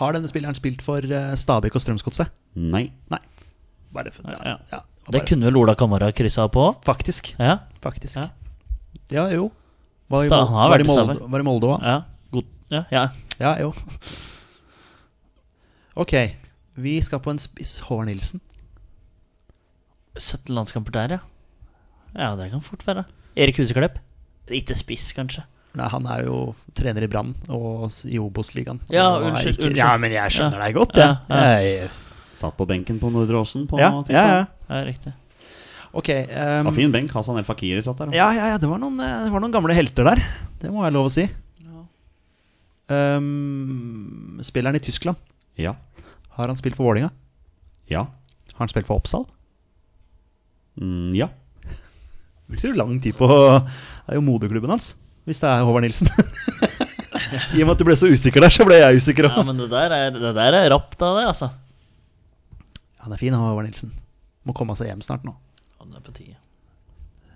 [SPEAKER 2] Har denne spilleren spilt for eh, Stabæk og Strømsgodset?
[SPEAKER 1] Nei.
[SPEAKER 2] Nei. Bare for,
[SPEAKER 3] Ja.
[SPEAKER 2] ja,
[SPEAKER 3] Det
[SPEAKER 2] bare-
[SPEAKER 3] kunne vel Ola Kamara kryssa på?
[SPEAKER 2] Faktisk.
[SPEAKER 3] Ja.
[SPEAKER 2] Faktisk.
[SPEAKER 3] Ja.
[SPEAKER 2] Ja, jo. Var i,
[SPEAKER 3] Sta-
[SPEAKER 2] Mol-
[SPEAKER 3] han har
[SPEAKER 2] var i
[SPEAKER 3] vært i
[SPEAKER 2] Molde,
[SPEAKER 3] Stabæk.
[SPEAKER 2] var i Molde også.
[SPEAKER 3] ja. God. Ja, ja.
[SPEAKER 2] Ja, jo. Ok. Vi skal på en spiss. Håvard Nilsen.
[SPEAKER 3] 17 landskamper der, ja. Ja, det kan fort være. Erik Huseklepp. Ikke spiss, kanskje.
[SPEAKER 2] Nei, han er jo trener i Brann og s- i Obos-ligaen.
[SPEAKER 3] Ja,
[SPEAKER 2] Og er
[SPEAKER 3] unnskyld, unnskyld.
[SPEAKER 2] Ja, men jeg skjønner deg godt,
[SPEAKER 3] Ja,
[SPEAKER 2] jeg.
[SPEAKER 3] ja.
[SPEAKER 2] Jeg-
[SPEAKER 1] Satt på benken på Nordre Åsen på
[SPEAKER 2] Ja,
[SPEAKER 1] tirsdag.
[SPEAKER 2] ja, ja.
[SPEAKER 3] Ja, riktig.
[SPEAKER 2] Ok. ehm,
[SPEAKER 1] Det var fin benk. Hasan El Fakiri satt der. da.
[SPEAKER 2] ja, ja, ja. Det var, noen, eh, det var noen gamle helter der. Det må være lov å si. Ehm, spilleren i Tyskland.
[SPEAKER 1] Ja.
[SPEAKER 2] Har han spilt for Vålinga?
[SPEAKER 1] Ja.
[SPEAKER 2] Har han spilt for Oppsal?
[SPEAKER 1] Mm, ja.
[SPEAKER 2] Brukte du lang tid på Det er jo moderklubben hans, hvis det er Håvard Nilsen. I og med at du ble så usikker der, så ble jeg usikker òg.
[SPEAKER 3] Ja, men det der er, det der er rapt av det, altså.
[SPEAKER 2] Han er fin, han Håvard Nilsen. Må komme seg hjem snart nå.
[SPEAKER 3] Ja, det er på tide.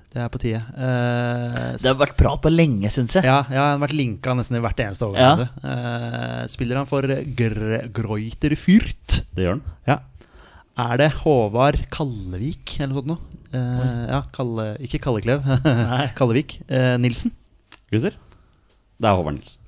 [SPEAKER 2] Det er på tide. Eh,
[SPEAKER 3] Det har vært prat på lenge, syns jeg.
[SPEAKER 2] Ja, ja, han har vært linka nesten i hvert eneste
[SPEAKER 3] Ja.
[SPEAKER 2] overgang. synes jeg. Eh, spiller han for Gr Greuter Fürth?
[SPEAKER 1] Det gjør han.
[SPEAKER 2] Ja. Er det Håvard Kallevik eller noe sånt noe? Eh, ja, Kalle, ikke Kalleklev. Kallevik. Eh, Nilsen.
[SPEAKER 1] Gutter? Det er Håvard Nilsen.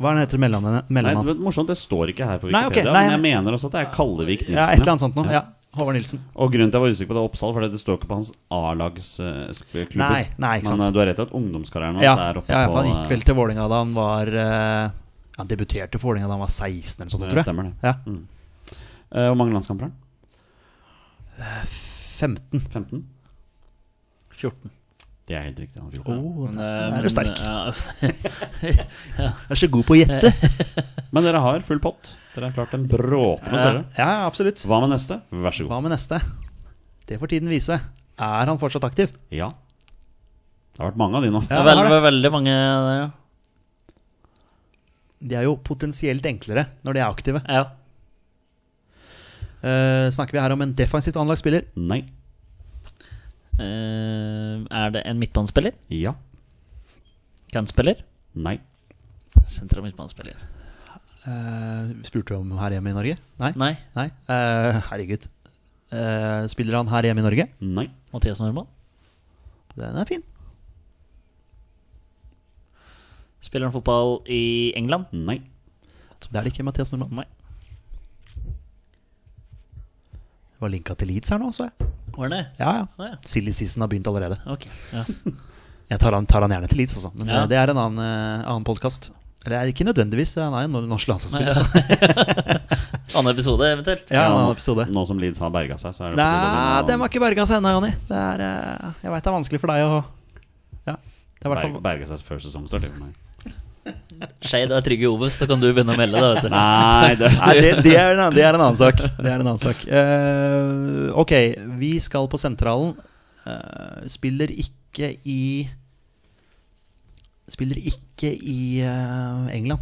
[SPEAKER 2] Hva er han heter mellomnavnet?
[SPEAKER 1] Nei, det
[SPEAKER 2] mellomnavn?
[SPEAKER 1] var morsomt, det står ikke her på
[SPEAKER 2] Nei,
[SPEAKER 1] Wikipedia,
[SPEAKER 2] ok, nei,
[SPEAKER 1] men jeg mener også at det er Kallevik Nilsen.
[SPEAKER 2] Ja, et eller annet sånt noe. Ja. Håvard Nilsen.
[SPEAKER 1] Og grunnen til at jeg var usikker på det Oppsal, for det det står ikke på hans A-lagsklubber.
[SPEAKER 2] Nei, nei, ikke sant.
[SPEAKER 1] Men eh, du har rett i at ungdomskarrieren hans
[SPEAKER 2] Ja,
[SPEAKER 1] er
[SPEAKER 2] ja,
[SPEAKER 1] oppe
[SPEAKER 2] for
[SPEAKER 1] på
[SPEAKER 2] han gikk vel
[SPEAKER 1] eh,
[SPEAKER 2] til Vålinga da han var eh, Han debuterte for Vålinga da han var 16 eller sånt,
[SPEAKER 1] det
[SPEAKER 2] tror jeg.
[SPEAKER 1] Stemmer det. Mm.
[SPEAKER 2] Ja.
[SPEAKER 1] Eh, Hvor mange landskamper har han?
[SPEAKER 2] 15.
[SPEAKER 1] 15?
[SPEAKER 3] 14.
[SPEAKER 1] Det er helt riktig. Han er 14.
[SPEAKER 2] Oh,
[SPEAKER 3] Men,
[SPEAKER 2] der
[SPEAKER 3] eh,
[SPEAKER 2] er du sterk.
[SPEAKER 3] Ja,
[SPEAKER 2] Jeg er så god på å gjette.
[SPEAKER 1] Men dere har full pott. Dere har klart en bråte med spillere.
[SPEAKER 2] Ja, ja, absolutt.
[SPEAKER 1] Hva med neste? Vær så god.
[SPEAKER 2] Hva med neste? Det får tiden vise. Er han fortsatt aktiv?
[SPEAKER 1] Ja. Det har vært mange av de nå.
[SPEAKER 3] det
[SPEAKER 2] Ja,
[SPEAKER 3] er
[SPEAKER 2] har
[SPEAKER 3] veldig,
[SPEAKER 2] det.
[SPEAKER 3] veldig mange ja.
[SPEAKER 2] De er jo potensielt enklere når de er aktive.
[SPEAKER 3] ja.
[SPEAKER 2] Eh, snakker vi her om en defensivt anlagt spiller?
[SPEAKER 1] Nei.
[SPEAKER 3] Eh, er det en midtbanespiller?
[SPEAKER 1] Ja.
[SPEAKER 3] Kantspiller?
[SPEAKER 1] Nei.
[SPEAKER 3] Sentral midtbanespiller.
[SPEAKER 2] Eh, spurte vi om her hjemme i Norge? Nei.
[SPEAKER 3] Nei.
[SPEAKER 2] Nei. Eh, herregud. Eh, spiller han her hjemme i Norge?
[SPEAKER 1] Nei.
[SPEAKER 3] Mathias Normann?
[SPEAKER 2] Den er fin.
[SPEAKER 3] Spiller han fotball i England?
[SPEAKER 1] Nei.
[SPEAKER 2] Det er det ikke Mathias Nordmann.
[SPEAKER 3] Nei.
[SPEAKER 2] Det var linka til Leeds her nå, så jeg.
[SPEAKER 3] Var det?
[SPEAKER 2] Ja, ja.
[SPEAKER 3] Å Ah, ja.
[SPEAKER 2] Silly season har begynt allerede.
[SPEAKER 3] Ok. Ja.
[SPEAKER 2] Jeg tar han, tar han gjerne til Leeds, altså. Men
[SPEAKER 3] Ja.
[SPEAKER 2] eh, det er en annen, eh, annen podkast. Eller eh, ikke nødvendigvis, han er jo en norsk landslagsspiller. så-
[SPEAKER 3] Annen episode, eventuelt.
[SPEAKER 2] Ja, en
[SPEAKER 1] nå-
[SPEAKER 2] annen episode.
[SPEAKER 1] Nå som Leeds har berga seg, så er det på
[SPEAKER 2] Nei,
[SPEAKER 1] tide
[SPEAKER 2] den
[SPEAKER 1] med
[SPEAKER 2] har
[SPEAKER 1] noen-
[SPEAKER 2] ikke berga seg ennå, Jonny. Det er, eh, jeg veit det er vanskelig for deg å Ja. Det er i hvert
[SPEAKER 1] Berg-
[SPEAKER 2] fall
[SPEAKER 1] berga seg før sesongstart. det er for meg.
[SPEAKER 3] Skeid er trygg i Obos, da kan du begynne å melde. Da, vet du.
[SPEAKER 1] Nei, det
[SPEAKER 2] Nei, det, det, er en, annen- det er en annen sak. Det er en annen sak. Eh, ok, vi skal på sentralen. Eh, spiller ikke i Spiller ikke i eh, England.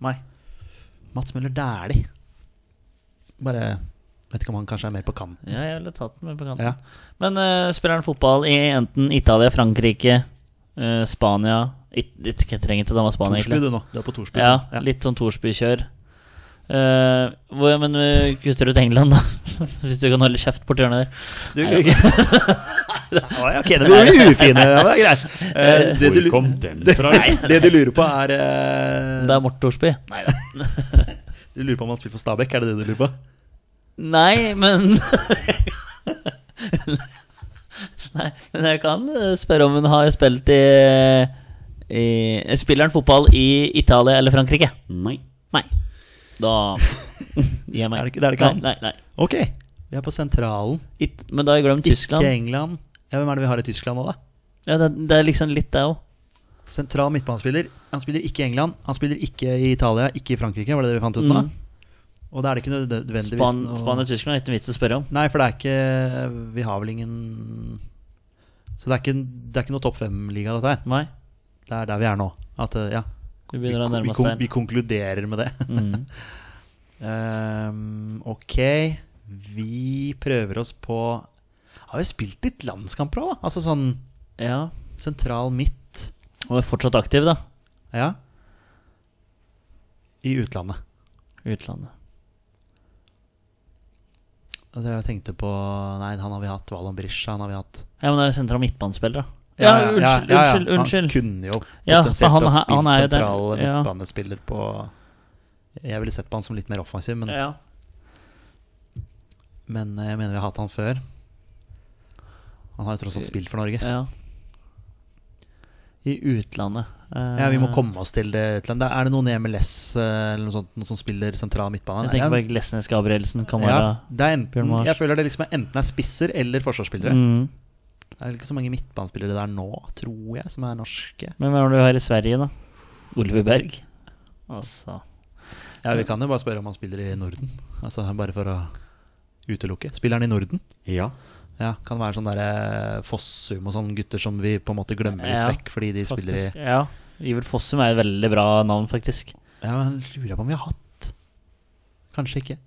[SPEAKER 2] Nei. Mats Møller Dæhlie. Bare Vet ikke om han kanskje er mer på kanten.
[SPEAKER 3] Ja, jeg ville tatt den med på kanten.
[SPEAKER 2] Ja.
[SPEAKER 3] Men eh, spiller han fotball i enten Italia, Frankrike, eh, Spania it, it, Jeg trenger ikke å ta med Spania,
[SPEAKER 2] Torsby,
[SPEAKER 3] egentlig.
[SPEAKER 2] du nå. Du er på Torsby.
[SPEAKER 3] Ja, litt sånn Thorsby-kjør. Eh, hvor, men eh, kutter ut England, da. Hvis du kan holde kjeft borti hjørnet der.
[SPEAKER 2] Du, Oi, ok, det var jo ufine. Ja, det er greit. Eh, det, du,
[SPEAKER 1] Hvor
[SPEAKER 2] lu-
[SPEAKER 1] kom den fra?
[SPEAKER 2] nei, det du lurer på, er eh,
[SPEAKER 3] Det er Morten Thorsby.
[SPEAKER 2] Du lurer på om han spiller for Stabæk? Er det det du lurer på?
[SPEAKER 3] Nei, men Nei, men jeg kan eh, spørre om hun har spilt i, i Spiller han fotball i Italia eller Frankrike?
[SPEAKER 1] Nei.
[SPEAKER 3] Nei. Da gir jeg meg.
[SPEAKER 2] Er det ikke- det er det ikke han?
[SPEAKER 3] Nei, nei, nei.
[SPEAKER 2] Ok, vi er på sentralen.
[SPEAKER 3] It, men da har jeg glemt Tyskland.
[SPEAKER 2] Ikke England. Ja, hvem er det vi har i Tyskland nå, da?
[SPEAKER 3] Ja, det, det er liksom litt det òg.
[SPEAKER 2] Sentral midtbanespiller. Han spiller ikke i England, han spiller ikke i Italia, ikke i Frankrike. Var det det vi fant ut nå?
[SPEAKER 3] Mm.
[SPEAKER 2] Og da er det ikke nødvendigvis
[SPEAKER 3] Span,
[SPEAKER 2] noe-
[SPEAKER 3] Spania og Tyskland er ikke noe vits å spørre om.
[SPEAKER 2] Nei, for det er ikke Vi har vel ingen Så det er ikke, det er ikke noe topp fem-liga, dette her.
[SPEAKER 3] Nei.
[SPEAKER 2] Det er der vi er nå. At, eh, ja,
[SPEAKER 3] Vi
[SPEAKER 2] vi,
[SPEAKER 3] begynner å
[SPEAKER 2] kon- vi,
[SPEAKER 3] nærme
[SPEAKER 2] kon-
[SPEAKER 3] oss
[SPEAKER 2] vi
[SPEAKER 3] der.
[SPEAKER 2] konkluderer med det.
[SPEAKER 3] Mm.
[SPEAKER 2] Ehm, ok, vi prøver oss på Har jo spilt litt landskamper òg, da. Altså sånn
[SPEAKER 3] Ja.
[SPEAKER 2] sentral midt.
[SPEAKER 3] Og er fortsatt aktiv, da.
[SPEAKER 2] Ja. I utlandet.
[SPEAKER 3] I utlandet.
[SPEAKER 2] Og Det jeg tenkte på Nei, han har vi hatt. Valon Brisja, han har vi hatt.
[SPEAKER 3] Ja, men det er sentral midtbanespiller, da. Ja, unnskyld,
[SPEAKER 2] ja, ja.
[SPEAKER 3] unnskyld, unnskyld.
[SPEAKER 2] Han kunne jo
[SPEAKER 3] Ja, for
[SPEAKER 2] potensielt
[SPEAKER 3] han-
[SPEAKER 2] ha
[SPEAKER 3] han-
[SPEAKER 2] spilt
[SPEAKER 3] han er jo der.
[SPEAKER 2] sentral
[SPEAKER 3] Ja.
[SPEAKER 2] midtbanespiller på Jeg ville sett på han som litt mer offensiv, men,
[SPEAKER 3] Ja.
[SPEAKER 2] men eh, jeg mener vi har hatt han før. Han har jo tross alt spilt for Norge.
[SPEAKER 3] Ja. I utlandet. Eh,
[SPEAKER 2] Ja, Vi må komme oss til det. et eller annet. Er det noen i MLS eh, eller noe sånt, noen som spiller sentral midtbane?
[SPEAKER 3] Jeg tenker
[SPEAKER 2] Nei,
[SPEAKER 3] på Glesnes Gabrielsen. Kan
[SPEAKER 2] ja,
[SPEAKER 3] være
[SPEAKER 2] det er
[SPEAKER 3] Bjørn
[SPEAKER 2] enten,
[SPEAKER 3] Mars.
[SPEAKER 2] jeg føler det liksom er enten er spisser eller forsvarsspillere.
[SPEAKER 3] mm.
[SPEAKER 2] Det er vel ikke så mange midtbanespillere der nå, tror jeg, som er norske.
[SPEAKER 3] Men hvem er det du har i Sverige, da? Oliver Berg. Altså
[SPEAKER 2] Ja, Vi kan jo bare spørre om han spiller i Norden. Altså Bare for å utelukke. Spiller han i Norden?
[SPEAKER 1] Ja.
[SPEAKER 2] Ja, Kan være sånn derre Fossum og sånne gutter som vi på en måte glemmer litt
[SPEAKER 3] Ja,
[SPEAKER 2] vekk fordi de spiller i
[SPEAKER 3] faktisk. Ja. Iver Fossum er et veldig bra navn, faktisk.
[SPEAKER 2] Ja, men Lurer jeg på om vi har hatt Kanskje ikke.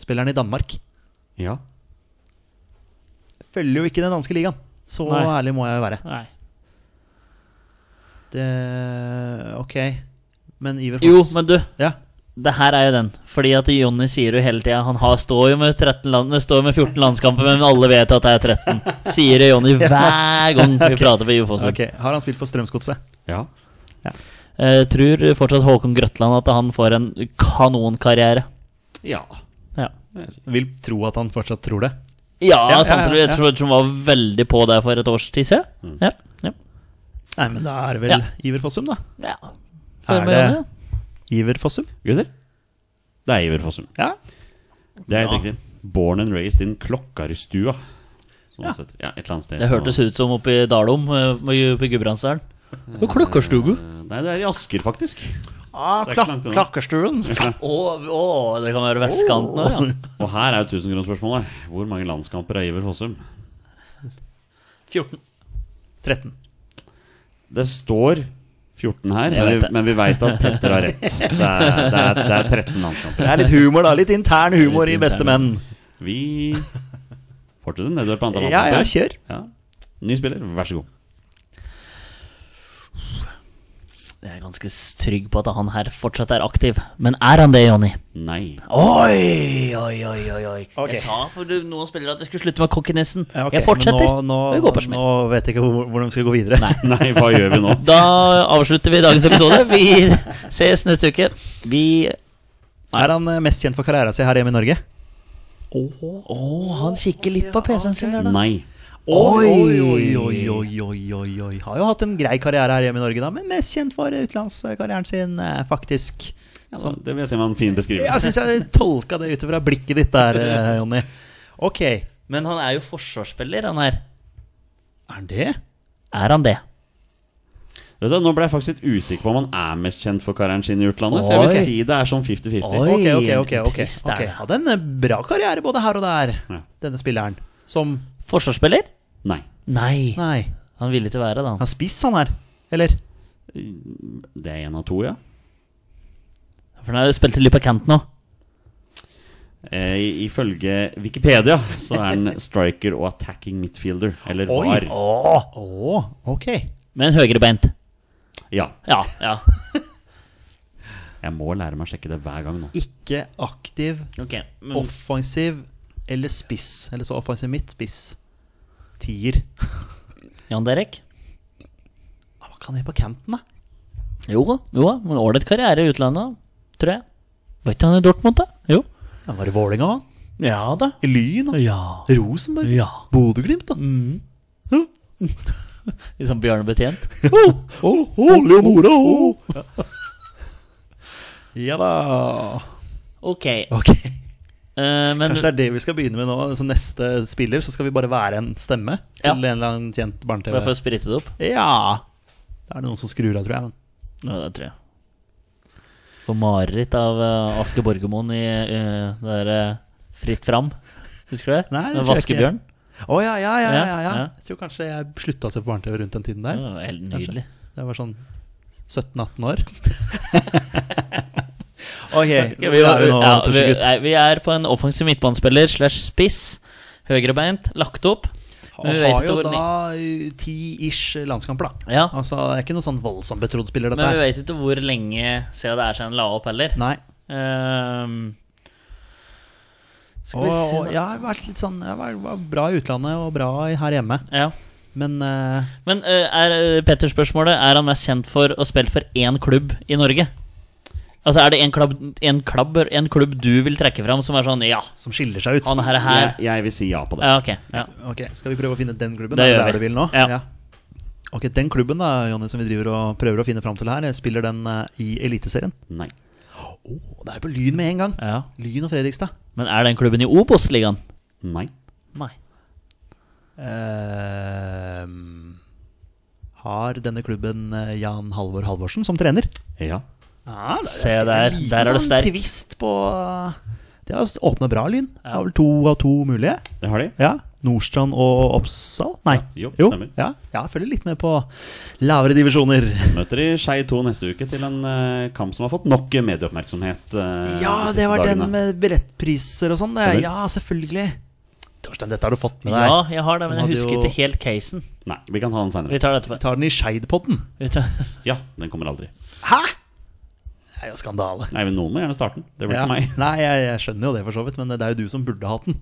[SPEAKER 2] Spiller han i Danmark?
[SPEAKER 1] Ja.
[SPEAKER 2] Følger jo ikke den danske ligaen. Så
[SPEAKER 3] Nei.
[SPEAKER 2] ærlig må jeg jo være.
[SPEAKER 3] Nei.
[SPEAKER 2] Det, ok. Men Iver
[SPEAKER 3] Jo,
[SPEAKER 2] Foss
[SPEAKER 3] men du,
[SPEAKER 2] Ja,
[SPEAKER 3] det her er jo den. Fordi at Jonny sier jo hele tida Han har, står jo med, 13 land, står jo med 14 landskamper, men alle vet at det er 13. Sier det Jonny hver gang vi prater med Iver Fossum.
[SPEAKER 2] ok. Har han spilt for Strømsgodset?
[SPEAKER 1] Ja.
[SPEAKER 3] Eh, tror fortsatt Håkon Grøtland at han får en kanonkarriere.
[SPEAKER 1] Ja.
[SPEAKER 3] Ja,
[SPEAKER 1] det vil jeg si.
[SPEAKER 2] Vil tro at han fortsatt tror det.
[SPEAKER 3] ja,
[SPEAKER 2] ja,
[SPEAKER 3] samtidig
[SPEAKER 2] ja. Mm.
[SPEAKER 3] ettersom ettersom han var veldig på der for et års tid siden. Ja. ja.
[SPEAKER 2] Nei, men da er det vel
[SPEAKER 3] Ja.
[SPEAKER 2] Iver Fossum, da.
[SPEAKER 3] ja.
[SPEAKER 2] Er
[SPEAKER 3] Følg med,
[SPEAKER 2] det-
[SPEAKER 3] Jonny, ja.
[SPEAKER 2] Iver Fossum?
[SPEAKER 1] Gutter, det er Iver Fossum.
[SPEAKER 2] Ja.
[SPEAKER 1] Det er helt
[SPEAKER 3] Ja.
[SPEAKER 1] riktig. Born and raised in Klokkarstua. Sånn
[SPEAKER 2] Ja.
[SPEAKER 1] sett. Ja, et eller annet sted.
[SPEAKER 3] Det hørtes ut som oppe i Dalom, eh, oppe i Gudbrandsdalen. Og klokkerstugu.
[SPEAKER 1] Eh, Nei, det er i Asker, faktisk.
[SPEAKER 3] Ah,
[SPEAKER 1] Det er ikke langt unna.
[SPEAKER 3] klakkerstuen. Å, å, det kan være vestkanten òg, ja.
[SPEAKER 1] Og her er jo tusenkronerspørsmålet. Hvor mange landskamper er Iver Fossum?
[SPEAKER 3] 14.
[SPEAKER 2] 13.
[SPEAKER 1] Det står 14 her,
[SPEAKER 3] Jeg
[SPEAKER 1] men
[SPEAKER 3] vet
[SPEAKER 1] vi,
[SPEAKER 3] det.
[SPEAKER 1] men vi veit at Petter har rett. Det er, det er, det er 13 landskamper.
[SPEAKER 2] Det er litt humor, da. Litt intern humor
[SPEAKER 1] Litt
[SPEAKER 2] i Beste
[SPEAKER 1] intern.
[SPEAKER 2] menn.
[SPEAKER 1] Vi fortsetter nedover på antall
[SPEAKER 2] Ja, ja,
[SPEAKER 1] landskamper.
[SPEAKER 2] kjør.
[SPEAKER 1] Ja. Ny spiller, vær så god.
[SPEAKER 3] Jeg er ganske trygg på at han her fortsatt er aktiv. Men er han det, Jonny?
[SPEAKER 1] Nei.
[SPEAKER 3] Oi, oi, oi, oi. oi
[SPEAKER 2] Ok.
[SPEAKER 3] Jeg sa for noen spillere at jeg skulle slutte med kokkenissen.
[SPEAKER 2] Ja, ok,
[SPEAKER 3] Jeg fortsetter.
[SPEAKER 2] men Nå,
[SPEAKER 3] Det
[SPEAKER 2] nå,
[SPEAKER 3] går på smell.
[SPEAKER 2] nå vet jeg ikke hvor- hvordan vi skal gå videre.
[SPEAKER 1] Nei, hva gjør vi nå?
[SPEAKER 3] Da avslutter vi dagens episode. Vi ses neste uke. Vi
[SPEAKER 2] Er han eh, mest kjent for karrieren sin her hjemme i Norge?
[SPEAKER 3] han kikker litt på PC-en sin der, da.
[SPEAKER 1] Nei.
[SPEAKER 2] Oi, oi, oi, oi, oi, oi, oi. Har jo hatt en grei karriere her hjemme i Norge, da, men mest kjent for utenlandskarrieren sin, eh, faktisk.
[SPEAKER 1] Altså, det vil jeg si var en fin
[SPEAKER 2] Jeg
[SPEAKER 1] beskrivelse.
[SPEAKER 2] syns jeg tolka det ut fra blikket ditt der, eh, Jonny. Ok, er
[SPEAKER 3] Men han er jo forsvarsspiller, han her.
[SPEAKER 2] han det?
[SPEAKER 3] Er han det?
[SPEAKER 1] Vet du, nå ble jeg faktisk litt usikker på om han er mest kjent for karrieren sin i utlandet, så jeg
[SPEAKER 3] Oi.
[SPEAKER 1] vil si det er sånn 50-50.
[SPEAKER 3] Oi.
[SPEAKER 2] Ok, ok, ok. ok,
[SPEAKER 3] Trist er
[SPEAKER 2] ok.
[SPEAKER 3] det.
[SPEAKER 2] Hadde en eh, bra karriere både her og der,
[SPEAKER 1] Ja.
[SPEAKER 2] denne spilleren. Som
[SPEAKER 3] Forsvarsspiller?
[SPEAKER 1] Nei.
[SPEAKER 3] Nei.
[SPEAKER 2] Nei,
[SPEAKER 3] Han ville ikke være det, han.
[SPEAKER 2] han spiss, han her. Eller?
[SPEAKER 1] Det er én av to, ja.
[SPEAKER 3] For han har jo spilt litt på kant nå.
[SPEAKER 1] Eh, i- ifølge Wikipedia så er han striker og attacking midfielder. Eller var.
[SPEAKER 2] Åh, åh, ok.
[SPEAKER 3] Men høyrebeint.
[SPEAKER 1] Ja.
[SPEAKER 3] Ja. ja.
[SPEAKER 1] Jeg må lære meg å sjekke det hver gang nå.
[SPEAKER 2] Ikke aktiv,
[SPEAKER 3] Ok. Men,
[SPEAKER 2] offensiv eller spiss. Eller så offensiv midt, spiss. Tier.
[SPEAKER 3] Jan Derek?
[SPEAKER 2] Ah, Hva kan jeg på kanten, da?
[SPEAKER 3] Jo da. Jo da. men Ålreit karriere i utlandet, tror jeg. Var ikke han i Dortmund, da? Jo.
[SPEAKER 2] Han var i Vålinga, han.
[SPEAKER 3] Ja da.
[SPEAKER 2] I Lyn, han.
[SPEAKER 3] Ja.
[SPEAKER 2] Rosenborg.
[SPEAKER 3] Ja.
[SPEAKER 2] Bodø-Glimt, da.
[SPEAKER 3] Litt sånn Bjørnebetjent.
[SPEAKER 2] Oh, oh, Leonora, oh. Ja da.
[SPEAKER 3] Ok.
[SPEAKER 2] Ok.
[SPEAKER 3] eh, men
[SPEAKER 2] Kanskje det er det vi skal begynne med nå. Så neste spiller så skal vi bare være en stemme til
[SPEAKER 3] Ja.
[SPEAKER 2] en eller annen kjent
[SPEAKER 3] Får jeg
[SPEAKER 2] barne-TV.
[SPEAKER 3] få spritet det opp?
[SPEAKER 2] Ja. Det er noen som skrur av, tror jeg. Men.
[SPEAKER 3] Ja, det tror jeg. Får mareritt av eh, Aske Borgermoen i eh, det derre Fritt fram. Husker du det?
[SPEAKER 2] Nei, det tror jeg
[SPEAKER 3] Med
[SPEAKER 2] ikke.
[SPEAKER 3] Vaskebjørn.
[SPEAKER 2] Å ja, ja, ja, ja,
[SPEAKER 3] Ja,
[SPEAKER 2] ja.
[SPEAKER 3] ja.
[SPEAKER 2] Jeg tror kanskje jeg slutta å se på barne-TV rundt den tiden
[SPEAKER 3] Det
[SPEAKER 2] der.
[SPEAKER 3] var helt nydelig.
[SPEAKER 2] Jeg var sånn 17-18 år. ok,
[SPEAKER 3] Ok,
[SPEAKER 2] hvor er vi nå,
[SPEAKER 3] ja, vi,
[SPEAKER 2] Torsegutt?
[SPEAKER 3] nei, vi er på en offensiv midtbanespiller slash spiss. Høyrebeint, lagt opp.
[SPEAKER 2] Han
[SPEAKER 3] men vi vet
[SPEAKER 2] har
[SPEAKER 3] ikke
[SPEAKER 2] jo
[SPEAKER 3] hvor
[SPEAKER 2] da ti-ish landskamper, da.
[SPEAKER 3] Ja,
[SPEAKER 2] Altså, det er ikke noen sånn voldsomt betrodd spiller, dette
[SPEAKER 3] Men vi
[SPEAKER 2] her.
[SPEAKER 3] vet ikke hvor lenge siden det er siden han la opp, heller.
[SPEAKER 2] Nei.
[SPEAKER 3] Ehm, skal
[SPEAKER 2] Og,
[SPEAKER 3] vi se
[SPEAKER 2] og jeg har vært litt sånn Jeg var, var bra i utlandet og bra i- her hjemme,
[SPEAKER 3] da. Ja.
[SPEAKER 2] men eh,
[SPEAKER 3] Men eh, er eh, Petters spørsmålet Er han mest kjent for å spille for én klubb i Norge? Altså Er det en klubb, en klubb, en klubb du vil trekke fram som er sånn Ja,
[SPEAKER 2] som skiller seg ut.
[SPEAKER 3] han her er her.
[SPEAKER 1] Jeg, jeg vil si ja på det.
[SPEAKER 3] Ja, ok. Ja.
[SPEAKER 2] Ok, Skal vi prøve å finne den klubben?
[SPEAKER 3] Det
[SPEAKER 2] Det
[SPEAKER 3] gjør
[SPEAKER 2] der
[SPEAKER 3] vi.
[SPEAKER 2] du vil nå?
[SPEAKER 3] Ja.
[SPEAKER 2] Ok, Den klubben da, Jonny, som vi driver og prøver å finne fram til her, spiller den eh, i Eliteserien?
[SPEAKER 1] Nei.
[SPEAKER 2] Å, det er på Lyn med en gang!
[SPEAKER 3] ja.
[SPEAKER 2] Lyn og Fredrikstad.
[SPEAKER 3] Men er den klubben i Obos-ligaen?
[SPEAKER 1] Nei.
[SPEAKER 3] Nei.
[SPEAKER 2] Ehm, har denne klubben eh, Jan Halvor Halvorsen som trener?
[SPEAKER 1] Ja.
[SPEAKER 2] Ja, der,
[SPEAKER 3] Se Ah, der. Der er du sterk.
[SPEAKER 2] Tvist på
[SPEAKER 3] eh,
[SPEAKER 2] Det har åpna bra, Lyn. Det er vel to av to mulige.
[SPEAKER 1] Det har de.
[SPEAKER 2] Ja, Nordstrand og Oppsal? Nei.
[SPEAKER 1] Ja, jo, stemmer.
[SPEAKER 2] Ja, ja, jeg følger litt med på lavere divisjoner.
[SPEAKER 1] Møter de Skei 2 neste uke til en eh, kamp som har fått nok medieoppmerksomhet. eh,
[SPEAKER 2] Ja,
[SPEAKER 1] de siste
[SPEAKER 2] det var den
[SPEAKER 1] dagene.
[SPEAKER 2] med billettpriser og sånn. det.
[SPEAKER 1] Stemmer.
[SPEAKER 2] Ja, selvfølgelig. Torstein, dette har du fått med deg.
[SPEAKER 3] Ja, jeg har det, men
[SPEAKER 2] Han
[SPEAKER 3] jeg
[SPEAKER 2] hadde
[SPEAKER 3] husker
[SPEAKER 2] jo-
[SPEAKER 3] ikke helt casen.
[SPEAKER 1] Nei, vi kan ta den
[SPEAKER 3] Vi
[SPEAKER 1] seinere.
[SPEAKER 3] tar det etterpå.
[SPEAKER 2] Vi tar den i Skeidpodden.
[SPEAKER 3] Vi tar...
[SPEAKER 1] Ja, den kommer aldri.
[SPEAKER 2] Hæ?! Det er jo skandale.
[SPEAKER 1] Nei, men Noen må gjerne starte den. Det blir
[SPEAKER 2] Ja.
[SPEAKER 1] ikke meg.
[SPEAKER 2] Nei, jeg, jeg skjønner jo det, for så vidt, men det er jo du som burde hatt den.